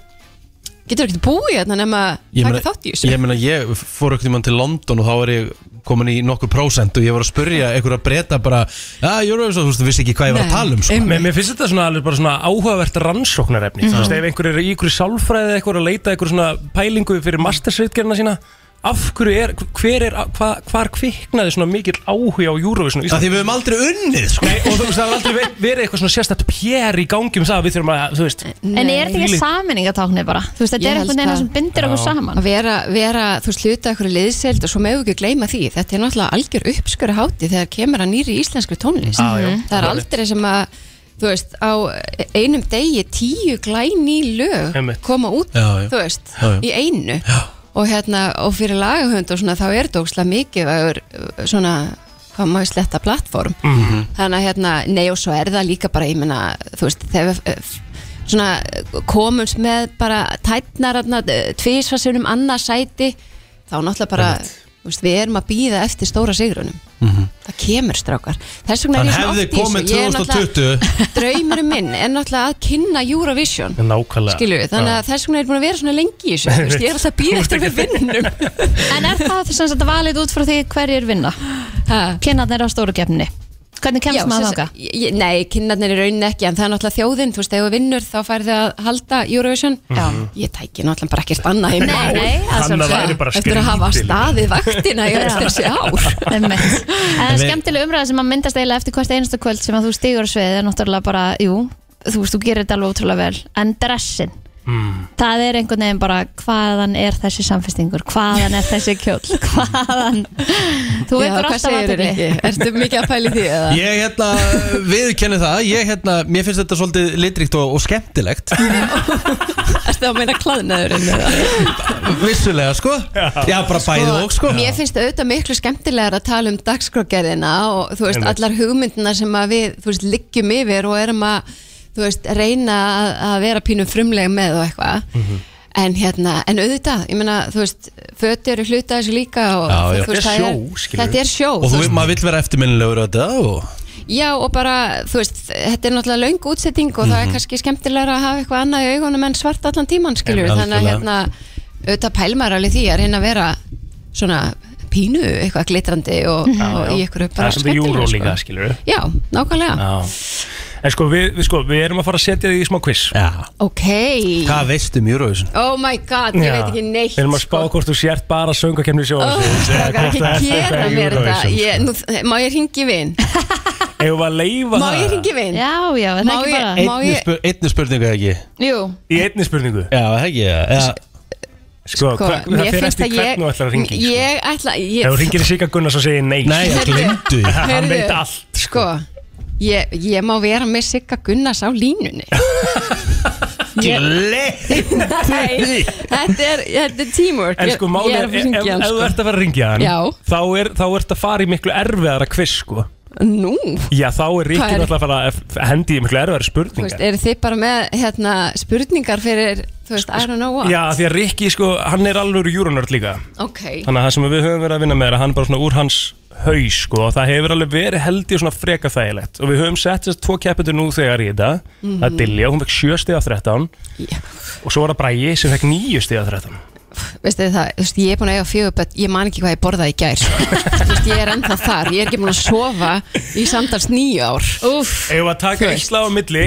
S5: getur ekkert búið hérna nema
S2: Ég
S5: taka
S2: meina-
S5: þátt í þessu
S2: Ég meina, ég fór ekkert í mann til London og þá er ég komin í nokkur prósent og ég var að spurja einhverja breyta bara Já, Eurovision, þú veist, þú vissi ekki hvað ég var að tala um sko.
S4: Mér, mér finnst þetta svona alveg bara svona áhugavert
S3: Mhm.
S4: rannsóknarefni Þú veist, ef einhver er í ykkur sálfræði eða eitthvað að leita einhver svona pælingu fyrir mastersritgerina sína af hverju er, hver er, hva, hvar kviknaði svona mikill áhuga á Eurovision
S2: Af því við höfum aldrei unnið, sko.
S4: Nei, og þú veist, það hefur aldrei ve- verið eitthvað svona sérstætt pér í gangi um það að við þurfum að, þú veist
S3: En er þetta ekki saminningatáknir bara? Þú veist, þetta
S4: Ég
S3: er
S4: held
S3: einhvern veginn
S4: það.
S3: sem bindir okkur
S4: Já.
S3: saman
S5: Að vera, vera þú veist, hluta ykkur liðseild og svo meðu ekki gleyma því. Þetta er náttúrulega algjör uppskjöru háti þegar kemur að nýri íslenskri tónlist.
S4: Ah,
S3: Já, já.
S5: Það er aldrei sem að, þú veist, á einum degi tíu glæný lög
S4: Einmitt.
S5: koma út,
S4: Já, já.
S5: þú veist,
S4: Já, já.
S5: í einu. Já. Og hérna, og fyrir lagahönd og svona, þá er þetta ógslag mikið svona, hvað maður sletta plattform. þannig að hérna, nei og svo er það líka bara, ég meina, þú veist, þegar við eh, svona eh, komumst með bara tætnar tvísvarsunum annað sæti þá náttúrulega bara, þú veist, við erum að býða eftir stóra sigrunum það kemur strákar, þess vegna er
S2: Hann
S5: ég svona oft
S2: hefði
S5: í
S2: komið
S5: þessu. Ég er náttúrulega-
S2: 2020
S5: draumurum minn er náttúrulega að kynna Eurovision
S4: Nákvæmlega
S5: skilu, þannig að þess vegna er ég búin að vera svona lengi í
S4: <laughs>
S5: þessu, þú veist, ég er alltaf að býða eftir að við vinnunum
S3: En er það þess að þetta valið út frá því hverjir vinna? Pinnarnir á stóru keppninni Hvernig kemst maður þáka?
S5: þáka? Nei, kynnarnir er raunin ekki, en það er náttúrulega þjóðin, þú veist, ef þú vinnur þá færðu að halda Eurovision Já. Ég tæki náttúrulega bara ekkert annað í
S3: Nei,
S5: mál.
S3: nei, það er Þannig svolítið. væri bara
S5: Eftir að hafa
S3: skrýtil.
S5: staðið vaktina í öll þessi ár
S3: En
S5: En við-
S3: skemmtileg umræða sem að myndast eiginlega eftir hvert einasta kvöld sem að þú stigur á sviðið er náttúrulega bara, jú, þú veist, þú gerir þetta alveg ótrúlega vel, en dressin það er einhvern veginn bara hvaðan er þessi samfestingur, hvaðan er þessi kjól, <laughs> hvaðan þú
S5: Já,
S3: veikur
S5: hvað
S3: alltaf
S5: segirðu,
S3: athygli.
S5: Rikki? Ertu mikið að pæli því eða?
S2: Ég hérna, viðkenni það Ég hérna, mér finnst þetta svolítið litrikt og, og skemmtilegt
S5: Ertu að meina klaðnaðurinn eða?
S2: Vissulega, sko Já, bara bæðið og, sko
S5: Mér finnst auðvitað miklu skemmtilegar að tala um dagskrágerðina og þú veist,
S2: Einmitt.
S5: allar hugmyndina sem að við, þú veist, liggjum yfir og erum að, þú veist, reyna að, að vera pínum frumleg með og eitthvað
S2: Mhm.
S5: en hérna, en auðvitað ég meina, þú veist, föti eru hluta þessu líka og
S2: Já, já.
S5: þú veist, það
S2: skilur
S5: þetta er sjó
S2: Og
S5: þú
S2: þú,
S5: veist.
S2: maður vill vera eftirminnilegur á þetta og...
S5: já, og bara, þú veist, þetta er náttúrulega löng útsetting og það er
S2: Mhm.
S5: kannski skemmtilegra að hafa eitthvað annað í augunum en svart allan tíman skilur,
S2: Einmitt.
S5: þannig að
S2: Algjörlega.
S5: hérna auðvitað pælmar alveg því að reyna að vera svona pínu, eitthvað glitrandi og, og í eitthvað
S4: Það
S5: bara
S4: er svolítið
S5: skemmtilegur,
S4: júró
S5: sko.
S4: líka, skilur
S5: Já, nákvæmlega
S4: En sko við, við, sko, við erum að fara að setja þig í smá quiz
S2: Já
S5: Ok
S2: Hvað veistu um Eurovision?
S5: Oh my god, ég veit ekki neitt
S4: Við erum að spá hvort þú sért bara söngakefni
S5: Oh,
S4: sjóðansins
S5: það er ekki gera mér þetta ég, nú, Má ég ringi vin?
S4: Eða að leifa
S5: Má ég
S4: það
S5: ringi vin?
S3: Já, já,
S5: það ekki bara- Má
S2: Einni,
S5: ég-
S2: spur, einni spurningu eða ekki
S5: Jú,
S4: Í einni spurningu
S2: Já, það ekki ja.
S4: Sko,
S5: sko,
S4: hver, það
S5: mér
S4: fer
S5: finnst
S4: eftir
S5: að ég
S4: hvernig þú ætlar að ringi sko.
S5: Ég ætla ég,
S4: Ef þú ringir í Sigga Gunnars og segir nei sko.
S2: Nei,
S5: Heyrðu,
S4: <laughs> Hann
S5: heyrðu,
S4: veit allt
S5: Sko, ég, ég má vera með Sigga Gunnars á línunni
S4: <laughs>
S5: Nei, þetta er, þetta er teamwork
S4: En sko,
S5: Ég- ég
S4: málið
S5: er
S4: er,
S5: að fara að
S4: ef,
S5: hringja
S4: ef
S5: hann,
S4: þú
S5: sko.
S4: ert að fara að ringja hann
S5: Já.
S4: Þá er, þá ert að fara í miklu erfiðara quiz, sko
S5: Nú,
S4: Já, þá er Ríkir
S5: Hvað er-
S4: alltaf að fara að f- hendi í miklu erfiðara
S5: þú veist,
S4: spurningar
S5: eru þið bara með hérna, spurningar fyrir, þú veist, I don't know what
S4: Sko, Já, því að Ríkki, sko, hann er alveg júronörd líka
S5: Ok,
S4: Þannig að það sem við höfum verið að vinna með er að hann er bara svona úr hans haus sko og það hefur alveg verið held ég svona freka þægilegt og við höfum sett þess tvo keppendur nú þegar í þetta
S5: Mhm.
S4: það er Dilja, hún fekk 7 stig af 13 og svo var það Bræi sem fekk 9 stig af 13
S5: veistu það, þú veist, ég er búin að eiga fjögur börn, ég man ekki hvað ég borðaði í gær sko. <laughs> Þú veist, ég er ennþá þar, ég er ekki búin að sofa í samtals nýju ár Úf,
S4: Eða að taka eitt slag á milli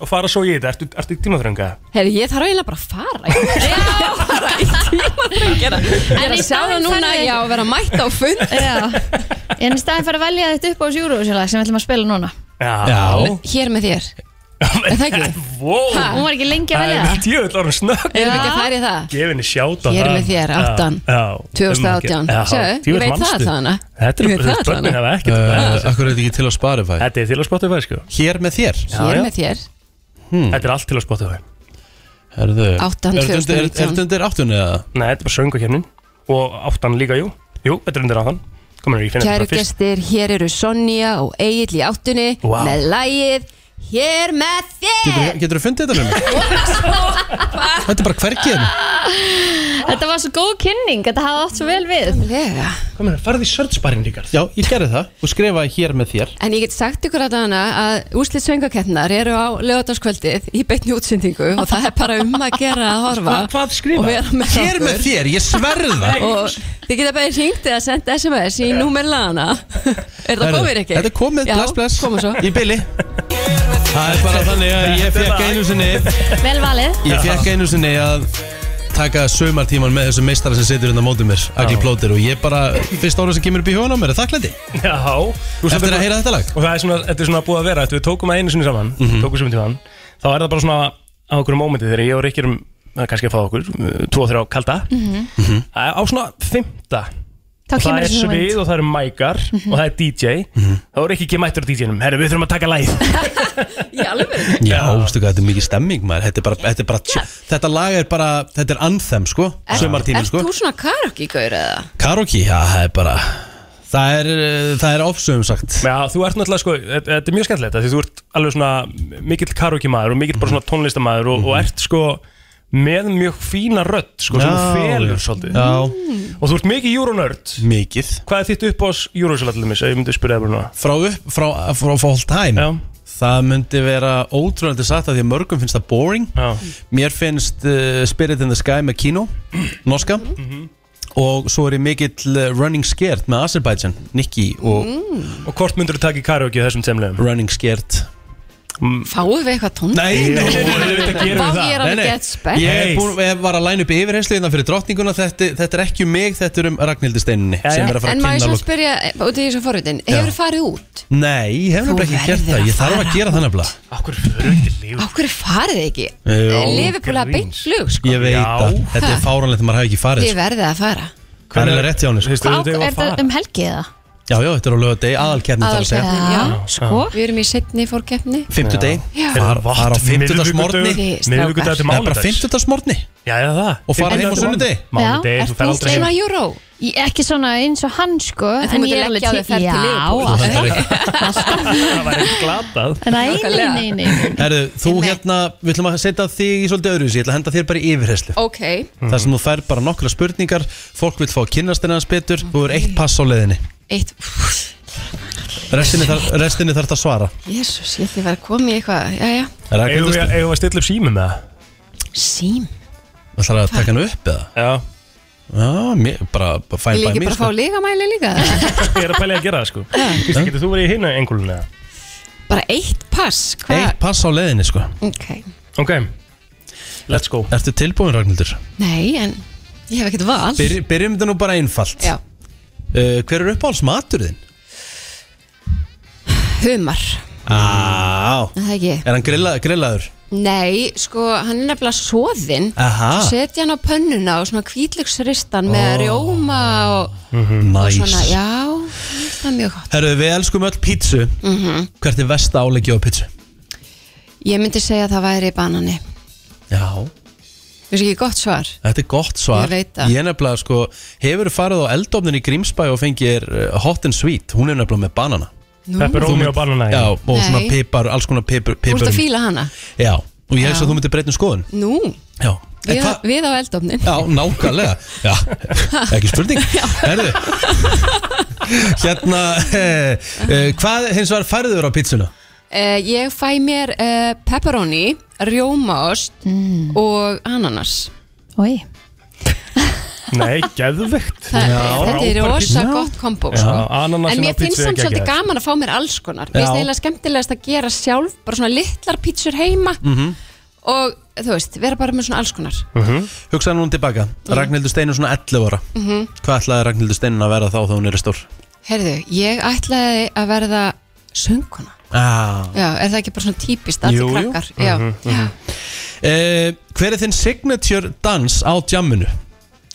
S4: og fara svo í þetta, ertu, ertu í tímaþrönga?
S5: herri, ég þarf eiginlega bara að fara Ég þarf bara í tímaþröngina Ég er
S3: En
S5: að sjá það
S3: í staðinn
S5: núna,
S3: færðu-
S5: já, að vera mætt á fund
S3: Já, en í staðin fyrir að velja þetta upp á sjúruvísjólag sem við ætlum að spila núna
S4: Já,
S5: Hér með þér Er það
S4: <laughs>
S5: ekki?
S4: Wow.
S3: Ha, hún var ekki lengi að
S4: Það
S3: velja
S4: er
S3: það
S4: djöfull orðin snögg
S5: Erum við ekki að fara í það?
S4: Gef henni sjátt á
S5: Ég er með þér, áttan. 2018. Sjáðu, Eh, ég veit það þaðana.
S4: Þetta
S5: Ég veit
S4: er
S5: það
S4: bara, börnin
S5: þaðana.
S4: hafa ekkert
S2: Uh,
S4: Akkur er þetta ekki til að Spotify? Þetta er til að Spotify sko
S2: Hér með þér
S5: Hér með þér
S4: Hmm. Þetta er allt til að spotta þau
S2: Herðu
S5: Áttan
S2: Er þetta undir- er-
S5: 2019.
S2: er þetta undir áttunni eða?
S4: Nei, þetta er bara söngakefnin Og áttan líka, jú Jú, þetta er undir áttan Komin er
S2: Hérna
S4: ég finna þetta
S5: Kæru
S4: bara fyrst
S5: gestir, hér eru Sonja og Egil í áttunni
S4: Vá.
S5: með lægið Hér með þér
S2: Getur þú fundið þetta með mig? Þetta er bara hvergi hérna
S3: Ah. Þetta var svo góð kynning, þetta hafði átt svo vel við
S5: Lega.
S4: Komin er, farði hérna, í sördsparinn líka
S2: Já, ég gerði það og skrifaði hér með þér
S5: En ég get sagt ykkur að hana að úslit söngakeppnar eru á lögadagskvöldið í beinni útsendingu og það er bara um að gera að horfa
S2: Hvað- hvað skrifa?
S5: og vera með
S2: Hér
S5: okkur.
S2: með þér, ég sverða
S5: Og þið geta bara hringt eða sendt SMS í númer lana Er það
S2: Herðu,
S5: komið ekki?
S2: Þetta er komið,
S5: Já,
S2: bless, bless
S5: komið svo
S2: Í byli Það er bara þannig að ég fekk einu sinni
S3: Vel valið
S2: Ég fekk einu sinni að taka sömartíman með þessum meistara sem situr hérna á mótið mér, Agli Plóter og ég bara, fyrst ára sem kemur upp í hugan á mér er þakklæti
S4: Já
S2: Eftir að heyra þetta lag Mhm.
S4: Og það er svona, þetta er svona búið að vera Þetta við tókum að einu sinni saman Tókum sem tíðan Þá er það bara svona á okkur mómenti Þegar ég og Rikki erum eh, kannski að fá okkur eh, Tvo og þrjá kalda
S3: Mhm.
S4: -hmm. Á svona fymta
S3: Þá
S4: Og
S3: kemur
S4: það er
S3: þessi hugmynd.
S4: svið og það eru mækar og það er DJ
S2: Mhm.
S4: Þá er ekki ekki mættur á DJ-num Herru, við þurfum að taka læð
S2: Já, veistu hvað, þetta er mikið stemming maður Þetta, er bara, þetta, er bara, þetta lag er bara, þetta er anthem sko, sömartíman
S5: Ert
S2: sko
S5: þú svona karaoke-gaur eða?
S2: Karoki, já, það er bara Það er, eh, það er ofsöfum sagt
S4: Já, þú ert náttúrulega sko, þetta- þetta er mjög skemmtilegt af Því þú ert alveg svona mikill karaoke maður Og mikill
S2: Mhm.
S4: bara svona tónlistamaður Og, og ert sko með mjög fína rödd Sko, sem þú
S2: Já,
S4: felur
S2: já.
S4: svolítið
S2: Já.
S4: Og þú ert mikið euronörd
S2: Mikið
S4: Hvað er þitt upp ás euronörd Ég myndi spyrja það bara núna
S2: Frá upp, frá, frá, frá all time
S4: Já.
S2: Það myndi vera ótrúlega satt að því að mörgum finnst það boring
S4: Já.
S2: Mér finnst uh, Spirit in the Sky með Kino, norska Og svo er ég mikill eh, Running Scared með Azerbaijan, Nicky og
S5: Mhm. Hmm.
S4: Og hvort myndur þú taka í karaoke í þessum semlegum?
S2: Running Scared
S5: Fáðu við eitthvað tónlist?
S2: Nei, nei, nei, nei, nei, nei, nei,
S5: Vá, ég er
S2: Nei, nei.
S5: alveg gett spennt
S2: Ég er búin, ég var að læna upp í yfirheyslu innan fyrir drottninguna þetta, þetta er ekki um mig, þetta er um Ragnhildi Steinunni sem er að fara
S5: En
S2: að
S5: maður
S2: kynna
S5: svo
S2: lok
S5: spyrja, eh, út í þessu forritin, hefur farið út?
S2: Nei, ég hef
S5: Þú
S2: nefnilega ekki gert
S5: verður
S2: það,
S5: að
S2: ég þarf að
S5: fara
S2: gera það nefnilega
S5: Á hverju farið þið ekki?
S2: Jó,
S5: Livipúla beint flug, sko
S2: Ég veit að þetta er fáránlegt að maður hafi ekki farið
S5: Þið
S2: sko.
S5: verðið að fara
S2: Það er alveg rétt hjá henni sko.
S3: Á, er það um helgi eða?
S2: Já, já, þetta er á lögadegi, aðalkerni þarf að segja
S5: Aðalkeppnin, já.
S2: sko
S5: Við erum í setni fórkeppni
S2: Fimmtudegi,
S5: Já.
S2: fara fara á fimmtudagsmorni
S5: Þið strákar.
S2: Það er bara fimmtudagsmorni
S4: Já, já, það
S2: Og fara heim á sunnudegi
S3: Já, ert þú svona júró? Ekki svona eins og hann sko
S5: En þú
S3: en
S5: myndir
S3: ég er alveg
S5: leggja á þig
S3: til-
S5: ferð til Liverpool. Þú
S3: Já,
S2: þarf
S3: alltaf.
S4: Það var ekki glatað
S3: Nei, nei, nei, nei
S2: Herðu, þú hérna, við ætlum að setja þig í svolítið öðruvísi Ég ætla að henda þér bara í yfirheyslu
S5: Ok
S2: þar sem þú fær bara nokkra spurningar fólk vil fá að kynnast henni hans betur þú er eitt pass á leiðinni
S5: Eitt
S2: restinni þarf, restinni þarf að svara
S5: Jésús, ég ætti að vera að koma í eitthvað Jæja,
S4: Eigum við- eigum við að stilla upp sími með það?
S5: sím
S2: Það þarf að taka hann upp eða?
S4: Já
S2: Já, mér, bara, bara fæn
S5: Vil ég
S2: bæ
S5: ekki
S2: mér
S5: bara fá lígamæli líka?
S4: <laughs> Ég er að pælega að gera það sko Kristi, getur þú verið í hinna engulun eða?
S5: Bara eitt pass, hvað?
S2: Eitt pass á leiðinni sko
S5: Ok,
S4: Ok, let's go
S2: Ertu tilbúin Ragnhildur?
S5: nei, en ég hef ekkert val
S2: Byr, Byrjum þetta nú bara einfalt
S5: Já.
S2: uh, Hver er uppáhalds matur þinn?
S5: Humar,
S2: Á,
S5: er Mm. það ekki?
S2: er hann grilla, grillaður?
S5: Nei, sko, hann er nefnilega soðinn
S2: Aha.
S5: Setja hann á pönnuna og svona kvítlöksristan með rjóma og,
S4: Mhm.
S5: og
S2: Næs
S5: svona, já, mér finnst það er mjög gott
S2: Herru, við elskum öll pítsu
S5: Mhm.
S2: Hvert er vest áleggi á pítsu?
S5: Ég myndi segja að það væri banani
S2: Já,
S5: Við ekki gott svar
S2: Þetta er gott svar
S5: Ég veit það.
S2: Ég er nefnilega sko Hefur farið á eldofnin í Grímsbæ og fengir uh, hot and sweet Hún er nefnilega með banana
S5: Nú. Pepperoni
S2: Þú
S4: og banana,
S2: Já,
S4: já.
S2: og svona
S5: Nei.
S2: pipar, alls konar pipar
S5: Þú ert að fíla hana
S2: Já, og ég hefst
S5: Já.
S2: að þú myndir breytnum skoðun
S5: Nú,
S2: Já
S5: við, við á eldofnin
S2: Já,
S5: <laughs>
S2: nákvæmlega Já, ekki spurning Herðu Hérna eh, eh, Hvað hins vegar færður á pizzuna?
S5: uh, Ég fæ mér uh, pepperoni, rjómaost og ananas
S3: Oi.
S4: Nei, geðvegt
S5: Þa, Þetta er rosa gott kombo
S4: Já,
S5: sko.
S4: ananasin
S5: En
S4: á
S5: mér
S4: pizzu
S5: finnst
S4: er
S5: samt svolítið
S4: geggjað.
S5: gaman að fá mér alls konar Mér
S4: Já.
S5: finnst eiginlega skemmtilegast að gera sjálf Bara svona litlar pítsur heima
S4: Mm.
S2: Mhm.
S5: Og þú veist, vera bara með svona alls konar
S2: Hugsaði núna um tilbaka Ragnhildur Steinn er svona 11 ára
S5: Mhm.
S2: Hvað ætlaði Ragnhildur Steinn að vera þá þegar hún er stór?
S5: Heyrðu, ég ætlaði að verða sönguna
S2: Ah.
S5: Já, er það ekki bara svona típist allir krakkar Já,
S2: Mhm, mhm. Eh, Hver er þinn signature dans á jamminu?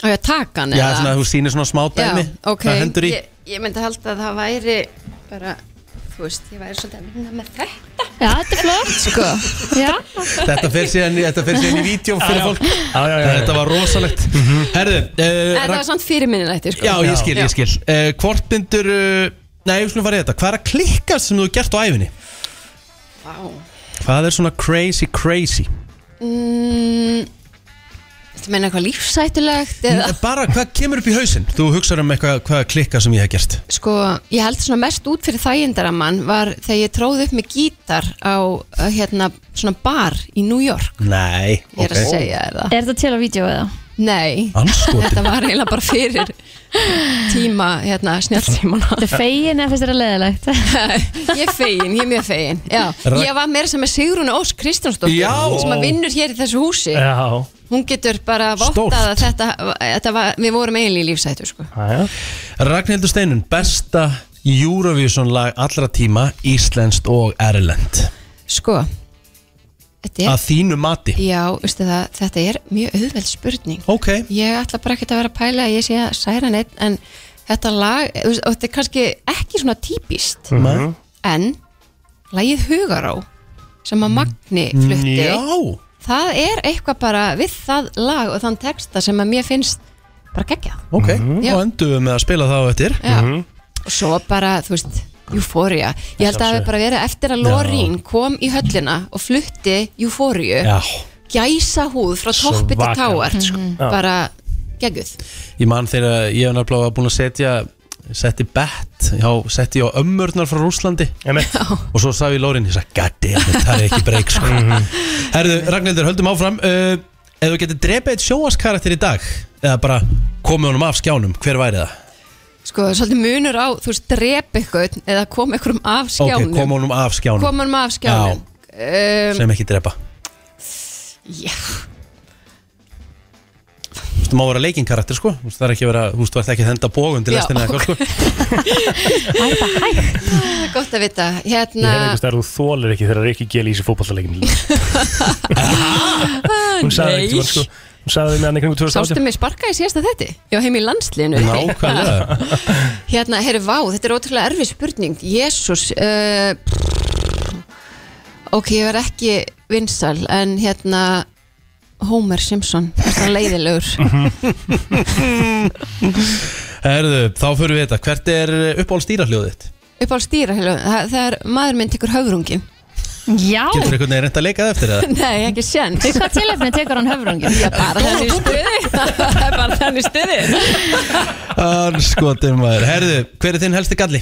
S5: og ég taka hann
S2: Já,
S5: eða?
S2: svona að þú sýnir svona smá dæmi
S5: Já, ok
S2: Það hendur í
S5: ég, ég myndi halda að það væri bara, þú veist, ég væri svolítið að vinna með þetta
S3: Já, þetta er
S5: <laughs>
S3: flott sko Já,
S2: Eh, Þetta fer síðan, í- þetta fer síðan í vídeo fyrir fólk já, já, já, Þetta var rosalegt Herðu
S5: En
S2: eh,
S5: það var
S2: Ragn-
S5: samt fyrir minnilegti sko.
S2: Já, ég skil, ég skil eh, Hvort myndur eh, Nei, ég skulum fara í þetta Hvað er að klikka sem þú hefur gert á æfinni?
S5: Vá.
S2: Hvað er svona crazy, crazy?
S5: mm, Þetta meina eitthvað lífsætulegt eða,
S2: Bara hvað kemur upp í hausinn? Þú hugsar um eitthvað hvað að klikka sem ég hef gert
S5: Sko, ég held svona mest út fyrir þægindaramann var þegar ég tróði upp með gítar á, uh, hérna, svona bar í New York
S2: Nei,
S5: Ég er að segja þér það.
S3: Er þetta til á vídeo eða?
S5: Nei,
S2: Andskotin.
S5: þetta var eiginlega bara fyrir tíma, hérna, snjálfstímana
S3: Þetta er fegin eða finnst þetta leðilegt?
S5: <laughs> ég er fegin, ég er mjög fegin Já,
S3: Ra-
S5: ég var meira sem með Sigrún Ósk Kristjánsdóttir
S3: Já.
S5: sem að vinnur hér í þessu húsi
S4: Já
S5: hún getur bara
S2: Stórt.
S5: vottað að þetta, þetta var, við vorum eiginlega í lífsættu sko.
S2: Ragnhildur Steinun, besta Eurovision lag allra tíma Íslenskt og Erlend
S5: sko þetta
S2: Að
S5: er,
S2: þínu mati
S5: já, veistu það þetta er mjög auðveld spurning
S2: okay.
S5: ég ætla bara ekki að vera að pæla að ég sé að særa neitt en þetta lag, þú veist, og þetta er kannski ekki svona típist
S2: Nei.
S8: Mhm.
S5: en lagið Hugará sem að Magni flutti
S2: Mm, Já.
S5: það er eitthvað bara við það lag og þann texta sem að mér finnst bara geggjað
S2: Ok,
S5: Já.
S2: og endum við með að spila það á eftir
S5: Já. og svo bara, þú veist, Euphoria ég held að það hefur bara verið eftir að Lorín kom í höllina og flutti Euphoria
S2: Já.
S5: gæsa húð frá toppi til
S4: Mm,
S2: Svakalegt,
S5: táar
S2: sko.
S5: Mhm.
S2: Já.
S5: bara gegguð
S2: Ég man þegar ég hef náttúrulega búin að setja setti bett, já, setti ég á ömmurnar frá Rúslandi og svo sagði ég Lórin, ég sagði, goddammit, það er ekki breyk sko. Herðu, Ragnhildur, höldum áfram uh, Ef þú getur drepið eitt sjóaskarakter í dag eða bara komið honum af skjánum hver væri það?
S5: sko, svolítið munur á, þú veist, drep eitthvað eða kom einhverjum af skjánum
S2: Ok, komið honum af skjánum
S5: Koma honum af skjánum.
S2: Já,
S5: Um, <laughs>
S2: sem ekki drepa
S5: já,
S2: Þú veist, það má vera leikinkarakter sko Þú veist, það er ekki að vera, þú veist, þú ert ekki að henda bógun til
S5: Já,
S2: lestina eða eitthvað sko
S5: Ah,
S2: <laughs>
S5: gott að vita
S4: Ég
S5: hérna,
S4: hefði einhvers þegar þú þólar ekki þegar Rikki Gél í þessu fótballalegjum
S5: <laughs>
S4: Hún sagði
S5: nei.
S4: ekki sko, Hún sagði með hann einhverjum 2018
S5: sástu mig sparka í síðasta þetti ég var heim í landsliðinu
S4: Nákvæmlega
S2: <laughs>
S5: Hérna, herru, vá, þetta er ótrúlega erfið spurning Jésús uh, Ok, ég var ekki vinsal En hérna Homer Simpson, þetta er leiðilegur
S2: Herðu, þá förum við þetta Hvert er uppáhald stýrahljóðið þitt?
S5: Upp á stýra, hérna, það, það er maður minn tekur höfrungin Já
S2: Getur einhvern veginn reynda að leika það
S5: <laughs>
S2: eftir það?
S5: Nei, ekki sjens
S3: Við hvað tilefni tekur hann höfrungin?
S5: Já, bara þannig stuði <laughs> Það er bara þannig stuði
S2: Anskotir maður Herðu, hver er þinn helsti galli?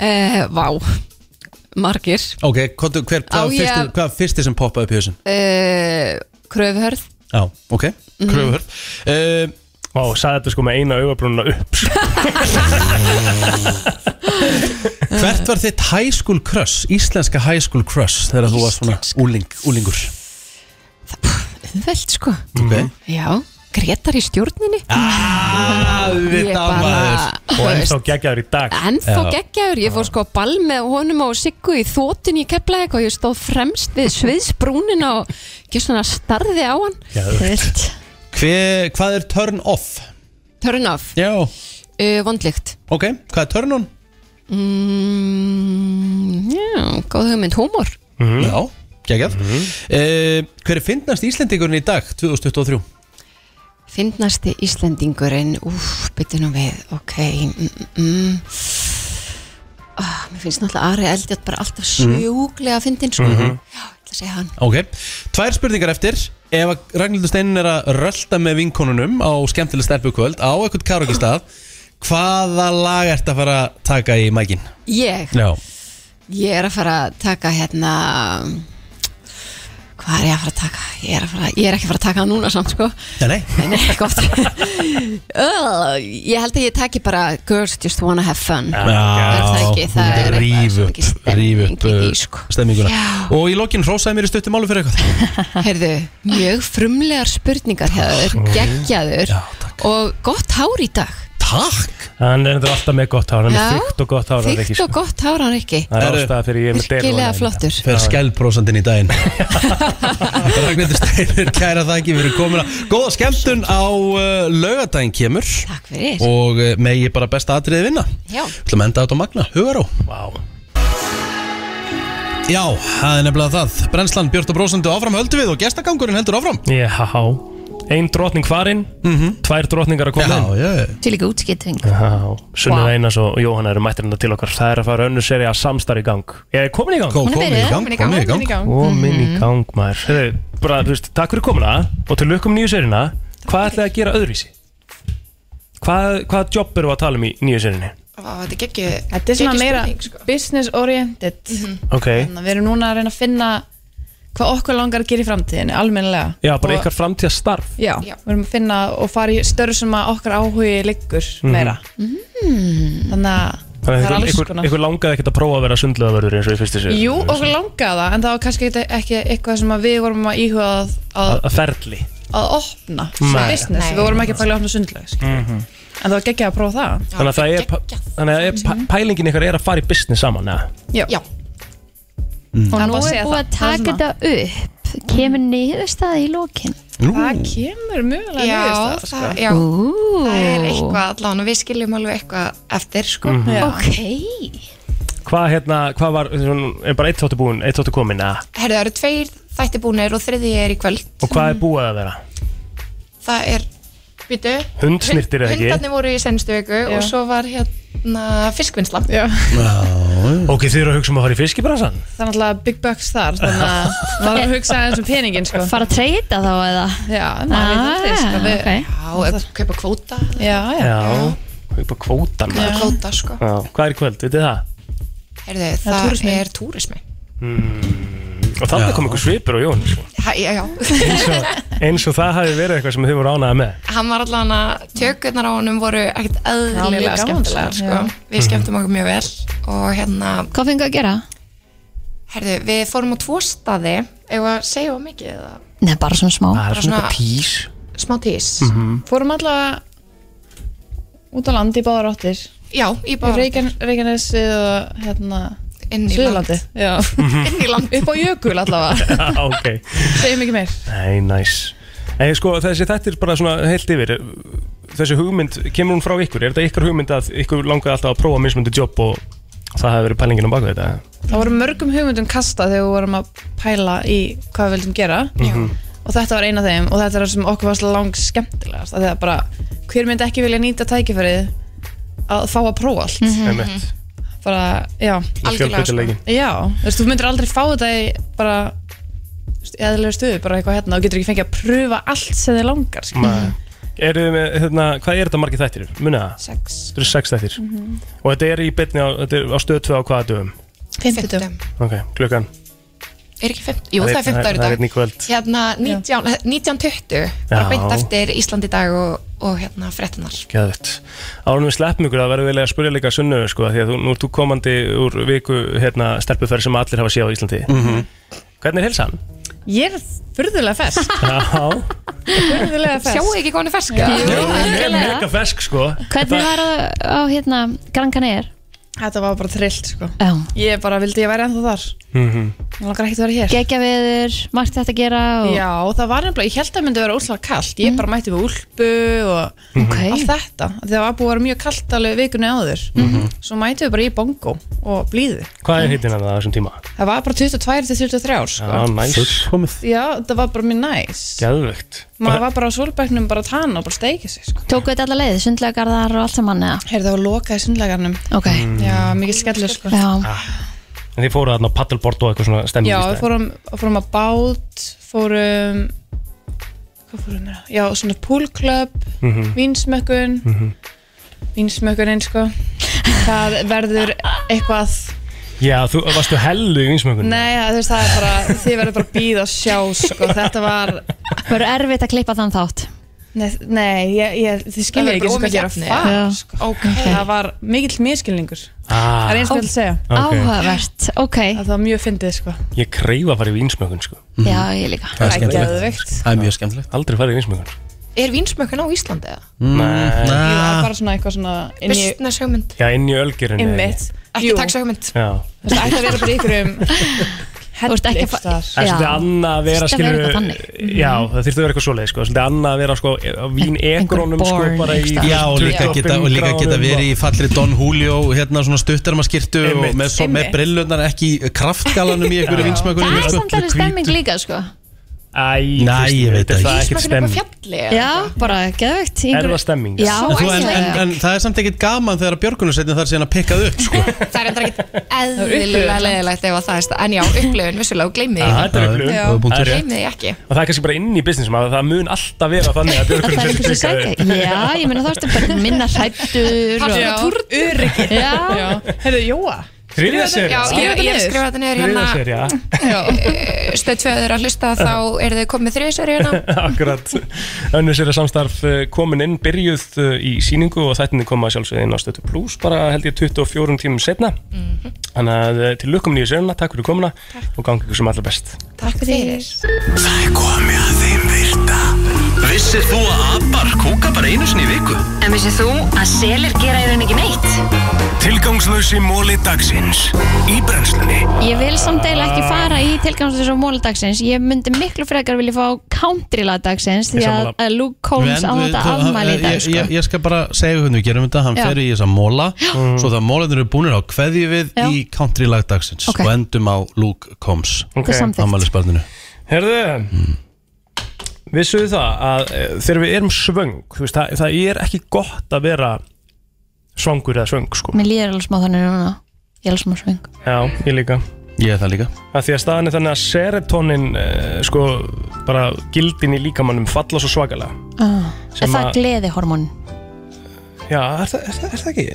S5: uh, Vá, margir
S2: Ok, hvað, hver,
S5: Á,
S2: hvað,
S5: ég-
S2: fyrsti, hvað fyrsti sem poppaði upp í þessum?
S5: uh, Kröfuhörð
S2: Já, ok,
S5: Mhm.
S2: kröfuhörð mm.
S4: Ó, sagði þetta sko með eina augabrúnuna upp sko.
S5: Mhm.
S2: Hvert var þitt high school crush? Íslenska high school crush Þegar þú varst svona úling, úlingur
S5: Veld sko
S2: Ok.
S5: Já, Gretar í stjórninni ah,
S2: Við
S4: Og ennþá geggjaður í dag
S5: ennþá geggjaður, ég fór sko á ball með honum og Siggu í þótun í keflaðið og ég stóð fremst við sviðsbrúnina og ekki svona starði á hann
S2: Geðveikt. Hver, Hvað er turn off?
S5: turn off,
S2: Já
S5: uh, vondlikt
S2: Ok, hvað er turn on?
S5: mm, já, góð hugmynd, húmor
S2: Já, geggjað mm
S5: Mhm.
S2: Hver er fyndnast Íslendingurinn í dag 2023?
S5: finnasti Íslendingurinn úf, byttu nú við, ok mm, mm, mm. Ah, mér finnst náttúrulega Ari Eldjátt bara alltaf
S2: Mhm.
S5: sjúklega að fyndin sko,
S2: Mhm.
S5: já, ég ætla að segja hann
S2: Ok, tvær spurningar eftir Ef að Ragnhildur Steinin er að rölda með vinkonunum á skemmtileg stelpu kvöld á eitthvað karokistað hvaða lag ert að fara að taka í mækin?
S5: ég,
S2: Já
S5: Ég er að fara að taka hérna Hvað er ég að fara að taka? Ég er, að fara, ég er ekki að fara að taka það núna samt sko
S2: Nei, nei
S5: Nei, nei, gott Ugh, Ég held að ég taki bara Girls just wanna have fun Er það ekki, það er
S2: ríf upp, ríf upp uh, stemminguna
S5: sko. Já.
S2: Og í lokinn rósaði mér í stuttum álu fyrir eitthvað
S5: Herðu, mjög frumlegar spurningar hefur, geggjaður Og gott hár í dag
S2: Takk
S4: Hann er þetta alltaf með gott hár Hann er
S5: Já.
S4: þygt og gott hár hann er ekki, sko.
S5: Þygt og gott hár hann ekki
S4: Það er ástæða fyrir ég er með
S5: Virkilega flottur
S2: Fyrir skælbrósandinn í
S4: <laughs>
S2: daginn Ragnhildur Steinur, kæra þakki fyrir komuna Góða skemmtun á uh, laugardaginn kemur Takk
S5: fyrir.
S2: Og uh, megi bara besta atriði vinna
S5: Já.
S2: Þú ætlum að enda þetta á magna, hugaró
S4: Vá
S2: Já, það er nefnilega það Brennslan, Björn og Brósandi áfram höldum við og gestagangurinn heldur áfram Mhm.
S4: Já, ein drotning farin Tvær drotningar að koma inn
S2: Já, já
S3: Til líka útskipting
S4: Já, Sunnið
S3: Vá.
S4: Einars og Jóhanna eru mættir hérna til okkar Það er að fara önnur seri að samstarf í gang Er þið komin í gang?
S2: Kom- Hún er komin í byrjuð, gang, komin í gang, komin í komin í gang. gang.
S4: Komin í gang, maður Heyrðu, bara, þú veist, Takk fyrir komuna og til lukkum nýju serina Hvað ætlaði að gera öðruvísi? Hvað, hvað jobb eru að tala um í nýju serinni?
S15: þetta er ekki sko.
S16: Þetta er svona meira business oriented
S4: Ok,
S15: Mhm.
S16: Þannig að við erum núna að reyna að finna
S15: hvað okkur langar að gera í framtíðinni, almennilega
S4: Já, bara
S15: Og-
S4: ykkar framtíða starf
S15: Já, við erum að finna og fara í störf sem að okkar áhugi liggur
S4: Mhm.
S15: meira Þannig að það er alls
S4: Ykkur,
S15: konar
S4: ykkur langaði ekkert að prófa að vera sundleðavörður eins og ég fyrst þessu
S15: Jú, okkur langaði það, en það var kannski ekki- ekki eitthvað sem að við vorum að íhuga að, að,
S4: Að að ferli
S15: að opna sem
S4: Nei.
S15: business,
S4: Nei.
S15: við vorum ekki að pæla að opna sundlaug skilur.
S4: Mhm.
S15: en það var geggjað að prófa það
S4: Þannig að það er, pa- þannig að er pa- pælingin ykkar er að fara í business saman, eða?
S15: Já, Já.
S3: Og
S15: Hann
S3: nú
S15: bara
S3: er
S15: segja
S3: búið
S15: það.
S3: að
S15: Það er
S3: taka þetta upp Kemur niðurstaða í lokin
S15: Það kemur mögulega
S16: Já,
S15: niðurstaða, sko.
S16: það, já
S3: Ú.
S16: það er eitthvað allan og við skiljum alveg eitthvað eftir sko.
S4: Mhm. Já. Ok.
S16: Herðu,
S4: Hvað hérna, hvað var, er bara eitt þáttu búinn, eitt þáttu kominn, eða?
S16: það eru tveir þætti búnir og þriði er í kvöld
S4: Og hvað er búið að vera?
S16: það er, býtu
S4: Hundsnyrtir eða ekki?
S16: hundarnir voru í senstu viku
S15: Já.
S16: og svo var hérna fiskvinnsla
S15: Já.
S4: Ok, þið eru að hugsa um að fara í fiskibransan?
S15: Það er náttúrulega big bucks þar Þannig
S3: <laughs>
S15: að maður er að hugsa aðeins um peningin sko.
S3: Fara að treyta þá eða Ah,
S15: Já, maður veit aldrei sko. við,
S3: ok.
S16: Já, kaupa kvóta
S15: Já, já,
S4: upp á kvótan
S16: Kaupa
S4: maður.
S16: kvóta, sko.
S4: Já, Hvað er í kvöld, veitir það?
S16: Heyrðu,
S15: Það er
S16: það
S15: túrismi.
S16: er túrismi
S4: Mm, og þannig kom einhver svipur á Jón sko.
S16: Hæ, já, já.
S4: eins, og, eins og það hafi verið eitthvað sem þið voru ánaði
S16: <laughs>
S4: með
S16: hann var allan að tökurnar á honum voru ekkert
S15: Já, mjög
S16: eðlilega
S15: gaman,
S16: skemmtilegar
S15: sko.
S16: sko.
S15: Já.
S16: við skemmtum okkur mjög vel og hérna
S3: Hvað fengið að gera?
S16: herðu, við fórum á tvo staði ef að segja of mikið eða
S3: Nei, bara svona smá
S16: er Bara svona svona- eitthvað
S4: pís
S16: smá tís
S4: Mhm.
S15: Fórum allavega út á land í báðar áttir
S16: Já, í báðar
S15: áttir Reykjanesi og hérna
S16: Inn í
S15: Suðurlandi.
S16: land.
S15: Já.
S16: <laughs> Inn í land
S15: Upp á jökul allavega
S4: Já, ok,
S15: Segjum ekki meir
S4: nei, næs en sko þessi þetta er bara svona heilt yfir þessi hugmynd, kemur hún frá ykkur er þetta ykkar hugmynd að ykkur langaði alltaf að prófa mismundi jobb og það hafi verið pælingin á baku þetta
S15: Það voru mörgum hugmyndum kastað þegar við vorum að pæla í hvað við vildum gera
S4: Mhm.
S15: og þetta var eina af þeim og þetta er það sem okkur var langt skemmtilegast að það bara, hver myndi ekki vilja nýta tækifærið að fá að prófa allt
S4: Mhm. Einmitt.
S15: bara, já
S4: Algjörlega, fjölbreytileiki. sko.
S15: Já, þú veist, þú myndir aldrei fá þetta í bara þú veist, í eðlilega stuðu, bara eitthvað hérna og getur ekki fengið að pröfa allt sem þið langar sko. skilur.
S4: mm. eru þið með, hérna, hvað er þetta margir þættir munið það?
S16: Sex
S4: þetta eru sex þættir
S15: Mhm.
S4: og þetta er í byrni á, þetta er á stöð 2 á hvaða dögum?
S15: Fimmtudum.
S4: ok, klukkan
S16: er ekki 50, jú það,
S4: Það er-
S16: er 50
S4: það er-
S16: ári
S4: það er einn í kvöld.
S16: dag hérna 19 19.20
S4: Já.
S16: bara beint eftir Íslandi dag og, og hérna frettunar
S4: Gæðvett. Árnum við sleppum ykkur að verðum við eiginlega að spyrja líka sunnu sko, því að þú, nú ert þú komandi úr viku hérna, stelpuferð sem allir hafa séð á Íslandi Hvernig er helsan?
S15: Ég er furðulega fersk
S4: <laughs> Já,
S15: Furðulega fersk
S16: Sjáu ekki konu ferska?
S4: ég er mega fersk sko
S3: Hvernig var það á hérna Gran Canair?
S15: Þetta var bara trillt sko
S3: Já.
S15: Ég bara vildi ég væri ennþá þar
S4: Mhm.
S15: Mér langar ekkert að vera hér
S3: Gekja viður, margt þetta að gera og...
S15: Já, það var nefnilega, ég held að það myndi vera óslega kallt Ég bara mætti við úlpu og
S8: mhm.
S15: allt þetta Það var búið að vera mjög kallt alveg vikunni áður
S4: Mhm.
S15: Svo mætti við bara í bongo og blíðu
S4: Hvað er hittin að það á þessum tíma?
S15: Það var bara 22 til 23 sko.
S4: Já, næs Fullkomið
S15: Já, það var bara mjög næs
S4: Gæðvegt
S15: Maður var bara á solbæknum bara að tana og bara steikja sig sko.
S3: Tóku þetta alla leið, sundlegarðar og allt saman eða?
S15: Heyrðu, það var lokað í sundlegarnum
S3: Ok
S15: Já, mikið skellur sko
S3: Já,
S4: Ah, En þið fóruð þarna á paddleboard og eitthvað svona stemning
S15: Já,
S4: í
S15: við
S4: staðinn.
S15: fórum, fórum að bát, fórum, hvað fórum við? Já, svona poolclub,
S4: Mhm.
S15: vínsmökkun,
S4: Mhm.
S15: vínsmökkun eins sko. Það verður eitthvað,
S4: Já, þú varstu hellu í vinsmökunni
S15: nei það, þú veist, það er bara, þið verður bara að býða og sjá sko. Þetta var,
S3: verður erfitt að klippa þann þátt
S15: nei, nei ég, ég, þið
S16: Það
S15: skiljið
S16: verður
S15: ekki
S16: bara
S15: sem hvað ég er
S16: ómikið
S15: að
S16: efni.
S15: fara.
S16: Já.
S15: Sko. Það var mikill miskilningur.
S4: ah,
S15: Það er eins og ég vil segja.
S4: Ok.
S3: Áhugavert, ok
S15: Það var mjög fyndið sko.
S4: Ég kreifa að fara í vinsmökun sko
S3: Já, ég líka
S2: Það er skemmtilegt.
S15: geðveikt.
S2: Það er mjög skemmtilegt Mm,
S4: Aldrei farið í vinsmökun
S16: er vinsmökkun á Íslandi? eða?
S15: Ég var
S4: Nei
S15: bara svona eitthvað svona inn í,
S16: business hugmynd
S4: Já, inn í ölgerinni
S15: Einmitt.
S16: ekki
S15: Jú.
S16: taksa hugmynd
S4: Já
S15: Þú veist, ætti að vera bara í einhverjum helli
S3: ekki að
S15: ykkur staðar.
S4: Það er svolítið annað að vera
S15: Þetta
S4: skilur
S15: verður eitthvað þannig.
S4: Já, það þyrfti að vera eitthvað svoleið sko Svolítið annað að vera sko á Vín ekronum sko
S2: born
S4: bara í
S2: Já, og líka geta, og líka geta verið í fallri Don Julio, hérna svona stuttarmaskirtu og
S4: Einmitt.
S2: með, svo, með
S3: Einmitt.
S2: brillurnar ekki í kraftgalanum
S15: sko.
S2: í einhverju sko.
S4: Já.
S2: vinsmökunni
S3: Það er samt alveg stemming líka sko
S4: Æ,
S2: Nei, ég veit
S4: það
S2: ekki.
S3: um
S4: er ekkert stemming
S16: fjalli
S3: Já, bara geðvegt
S4: Er það stemming?
S3: Já,
S2: en, þú- en, en,
S3: ætlaði
S2: en það er samt ekkit gaman þegar björgunarsveitin þar síðan að pikkað upp sko.
S16: það er endur ekkert eðlilega leðilegt ef að það er stað en já, upplöfun vissulega og gleymið
S4: Ah, þetta er upplifun. Já. Það er rétt.
S16: gleymið ekki
S4: Og það er kannski bara inn í businessum að það mun alltaf vera þannig
S3: Það
S4: að
S3: er
S4: björgunarsveitin
S3: einhvers að segja Já, ég meina þá ertu bara minna hrættur
S15: Passa með túrnum.
S3: Já,
S15: Já, heyrðu, Jóa
S4: Þriðja
S16: Já,
S4: serja
S16: ég, ég hef skrifað þetta niður
S4: Þriðja
S16: hérna
S4: serja
S16: stöð tvöður Eh, að hlusta þá er þið komið þriðsverju hérna
S4: <laughs> Akkurat Önnur sér að samstarf eh, komin inn Byrjuð eh, í síningu og þættinni koma sjálfsögði inn á stötu pluss Bara held ég 24 tímum setna
S3: Mhm.
S4: Þannig að eh, til lukkum nýju sérna Takk fyrir komuna og gangi ykkur sem allra best
S16: Takk fyrir
S1: Það er komið að þeim virta Vissir þú að abar kúka bara einu sinni í viku?
S17: En vissið þú að selir gera í raun ekki neitt?
S1: Tilgangslösi móli dagsins Í brennslunni
S3: Ég vil samt eiginlega ekki fara í tilgangslis og móladagsins Ég myndi miklu frekar vilja fá countryladdagsins Því
S2: Ég
S3: að
S2: sammála.
S3: að Luke Combs á þetta afmæli í dag
S2: ég,
S3: sko.
S2: ég, ég skal bara segja hvernig við gerum þetta Hann
S3: Já.
S2: fer í þessa móla Svo það mólanir eru búinir á kveðju við
S3: Já.
S2: Í country lagdagsins
S3: Ok.
S2: Og endum á Luke Combs
S4: Þetta er samþykkt.
S2: Ammælisbarninu
S4: Herðu Vissuðu það að eh, þegar við erum svöng þú veist, það, það er ekki gott að vera svangur eða svöng sko.
S3: Mér líður alveg smá þannig núna Ég er alveg smá svöng
S4: Já, ég líka
S2: Ég er það líka
S4: að Því að staðan er þannig að serotonin eh, sko, bara gildin í líkamannum falla svo svakalega
S3: ah.
S4: Sem
S3: Er það
S4: að-
S3: gleðihormón?
S4: Já, er það, er það, er það ekki?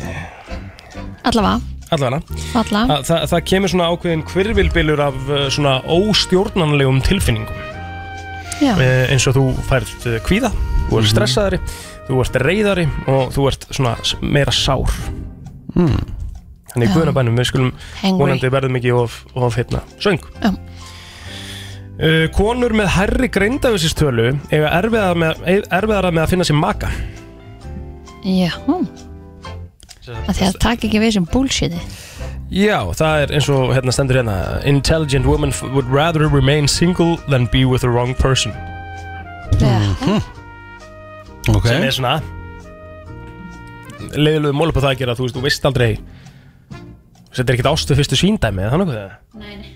S3: Allavega,
S4: Allavega
S3: alla
S4: Að það, það kemur svona ákveðin hvirvilbylur af eh, svona óstjórnanlegum tilfinningum
S3: Já.
S4: Eh, eins og þú færð eh, kvíða þú ert stressaðari, þú ert reyðari og þú ert svona s- meira sár
S2: hmm.
S4: þannig
S3: Já.
S4: guðnabænum við skulum
S3: Hangry.
S4: vonandi verðum ekki of, of hérna söng
S3: Já.
S4: uh, konur með herri greindafisistölu eiga erfiðara með, erfiðara með að finna sér maka
S3: Já, að því að taka ekki við sem bullshiti
S4: Já, það er eins og hérna stendur hérna Intelligent women f- would rather remain single than be with the wrong person
S3: Mhm.
S2: Ok.
S4: Sem er svona leiðilegu mól upp á það að gera þú veist, þú veist aldrei Þetta er ekkert ástu fyrstu síndæmi eða þannig það
S3: Nei, nei.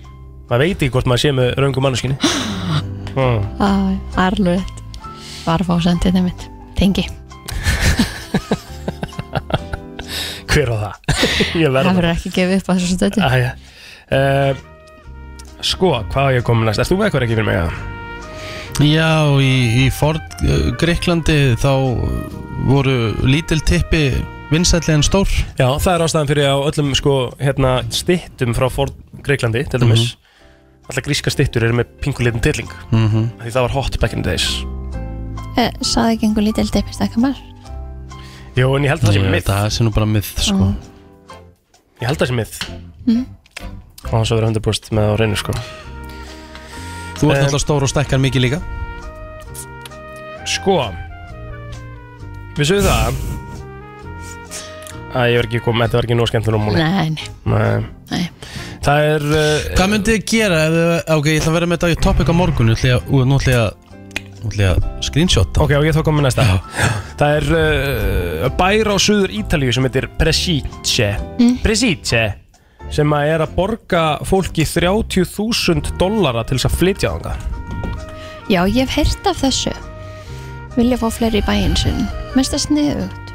S4: Maður veit ekki hvort maður sé með raungum manneskinni mm.
S3: Æ, Það er alveg rétt Varfásendinni mitt, tengi
S4: Hver á það? <laughs> <laughs> Ég
S3: Það
S4: verð
S3: verður ekki gefið upp að þessu stötu
S4: Æja uh, Sko, hvað á ég komið næst? Erst þú eitthvað ekki fyrir mig að?
S2: Já, í, í Ford uh, Greiklandi þá eh, voru lítil tippi vinsætli en stór
S4: Já, það er ástæðan fyrir að á öllum sko, hérna, stittum frá Ford Greiklandi til dæmis Alltaf gríska stittur eru með pingulitin tilling
S2: Mhm.
S4: Því það var hot back in the days
S3: Eh, Saði ekki einhver lítil deppist ekki maður
S4: Jó, en ég held að það sé
S2: Ég-
S4: mið
S2: Það sé nú bara mið sko.
S3: Mm.
S4: Ég held að það sé mið
S3: Mhm.
S4: Og það svo verið 100% með á reynu sko
S2: Þú ert
S4: Eh,
S2: alltaf stór og stekkar mikið líka
S4: Sko Vissuðu það að ég var ekki komið, þetta var ekki nóg skemmt um múli
S3: Nei, nei
S4: Nei. Það er uh,
S2: Hvað myndið þið gera ef þið, ok, ég ætla að vera með þetta í topic á morgun Nú ætla ég að- ú, nú ætla ég að- nú ætla ég að screenshot
S4: Ok, og ég þá komið næsta Það er uh, bær á suður Ítalíu sem heitir Presice
S3: Mm.
S4: Presice sem að er að borga fólki 30.000 dollara til þess að flytja þanga
S3: Já, ég hef heyrt af þessu Vilja fá fleiri í bæinn sinn Minnst það sniðugt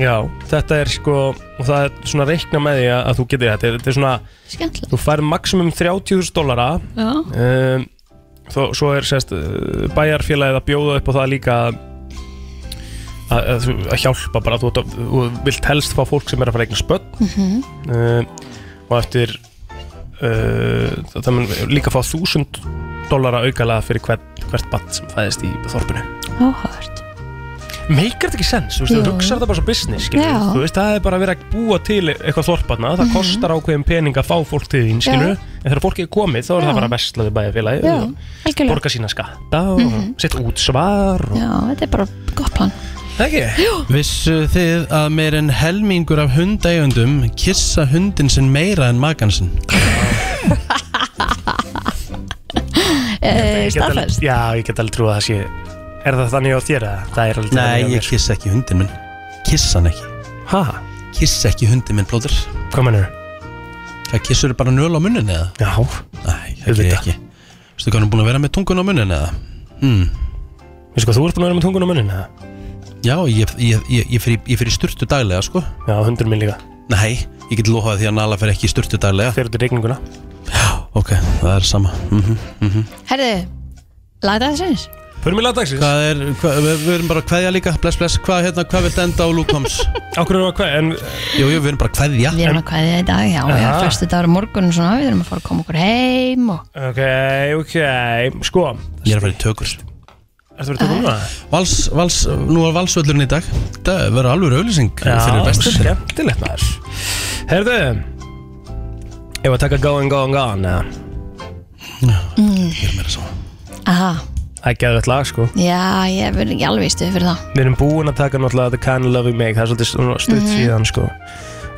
S4: Já, þetta er sko og það er svona að reikna með því að, að þú getur þetta þetta er svona,
S3: Skemmtilegt.
S4: þú fær maksimum 30.000 dollara
S3: Já.
S4: um, þó, svo er sérst uh, bæjarfélagið að bjóða upp á það líka að, að, að, þú- að hjálpa bara, þú, þú, þú vilt helst fá fólk sem er að fara að eigna spöld
S8: Mhm.
S4: uh, og eftir uh, það það mun líka fá 1000 dollara aukala fyrir hvert, hvert bann sem fæðist í þorpinu
S3: Áhört
S4: Meikar þetta ekki sens, þú veist,
S3: Jú.
S4: þú hugsar þetta bara svo business, skilur,
S3: Já.
S4: þú veist, það er bara verið að búa til eitthvað þorparna, það
S3: Mhm.
S4: kostar ákveðin pening að fá fólk til þín, skilur,
S3: Já.
S4: en þegar fólk er komið þá er
S3: Já.
S4: það bara að vesla við bæjarfélagi,
S3: Já,
S4: og
S3: algjörlega.
S4: borga sína skatta og
S3: Mhm.
S4: sitt útsvar og...
S3: Já, þetta er bara gott plan
S4: Ekki?
S3: Jú.
S2: Vissu þið að meir en helmingur af hundægjöndum kissa hundin sinn meira en makan sinn
S3: Eh,
S4: Ég get alveg-
S3: Staðfest
S4: Já, ég get alveg trú að það sé, er það þannig á þér að það er alveg
S2: Nei,
S4: þannig á
S2: ég
S4: mér?
S2: kissa ekki hundin minn Kissa hann ekki
S4: Ha?
S2: Kissa ekki hundin minn, blóður
S4: Hvað mennur?
S2: Það kissur bara nöl á munnin eða?
S4: Já
S2: Nei, það gerir ég ekki Veistu hvað hann er búin að vera með tungun á munnin eða? Hmm.
S4: Veistu hvað, þú ert búin að vera með tungun á munnin eða?
S2: Já, ég, ég, ég, ég fyrir, ég fyrir sturtu daglega sko
S4: Já, hundur minn líka
S2: Nei, ég get lofað því að Nala fyrir ekki í sturtu daglega
S4: Fyrir út í regninguna
S2: Já, ok, það er sama mm -hmm,
S3: Herðu, lagði það sinns
S4: Förum í lagdagsins
S2: Hvað er, hva, við, við erum bara að kveðja líka Bless, bless, hvað hérna, hvað vilt enda á Luke Combs?
S4: Okkur erum við að kveðja en...
S2: Jú, jú, við erum bara að kveðja
S3: Við erum að kveðja í dag, já, já,
S4: Aha.
S3: fyrstu dagur morgun og svona, við erum að fara að koma okkur heim og
S4: Ok, ok, sko
S2: Ég er að fara í tökur
S4: Ertu
S3: Ah.
S4: verið tökum núna?
S2: Vals, vals, nú var valsvöllurinn í dag Það verður alveg auðlýsing
S4: Já,
S2: fyrir bestu
S4: skemmtilegt maður Herðu Ef að taka going, going, gone eða?
S3: mm.
S2: Ég er meira svo
S3: Aha,
S4: Það er geðvett lag sko
S3: já, ég verður ekki alveg í stuð fyrir það
S4: Við erum búin að taka náttúrulega The Kind of Love You Make Það er svolítið svona stutt
S3: Mhm.
S4: síðan sko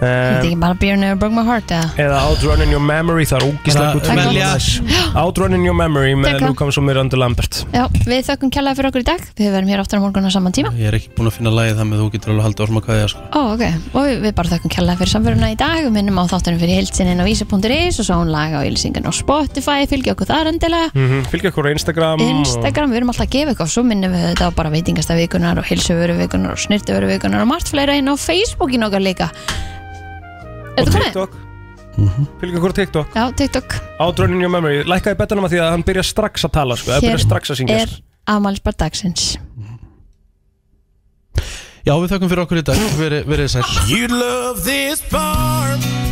S3: Þetta er
S4: um,
S3: ekki bara Beer Never Broke My Heart, eða
S4: Eða Outrunning Your Memory Það er
S2: Það-
S4: ógíslega gútt
S2: Velja.
S4: Outrunning Your Memory með
S3: Tekla.
S4: Luke Combs og Miranda Lambert
S3: Já, við þökkum kjallaði fyrir okkur í dag Við verðum hér áttur á morgun á saman tíma
S2: Ég er ekki búin að finna lagið það með þú getur alveg haldið orma kveðja sko.
S3: Ó, ok, og við við bara þökkum kjallaði fyrir samverðuna í dag og minnum á þáttunum fyrir heilsininn á vísa.is og svo hún laga á ylsingan á Spotify fylgja okkur þar endilega
S4: mm Fylgja okkur á Instagram og-
S3: Instagram, við erum alltaf að gefa eitthvað svo minnum við þetta á bara veitingastafikunar og heilsuvöruveikunar og snirtuvöruveikunar og margt fleira inn á Facebookin okkar líka Er
S4: Og
S3: þetta komið?
S4: TikTok Fylgja okkur á TikTok
S3: Já, TikTok
S4: Outrunning Your Memory Lækkaði betanum að því að hann byrja strax að tala sko Það byrja strax að syngja
S3: er afmælisbar dagsins
S2: Já, við þökkum fyrir okkur í dag Verið, verið sæl
S8: You love this bar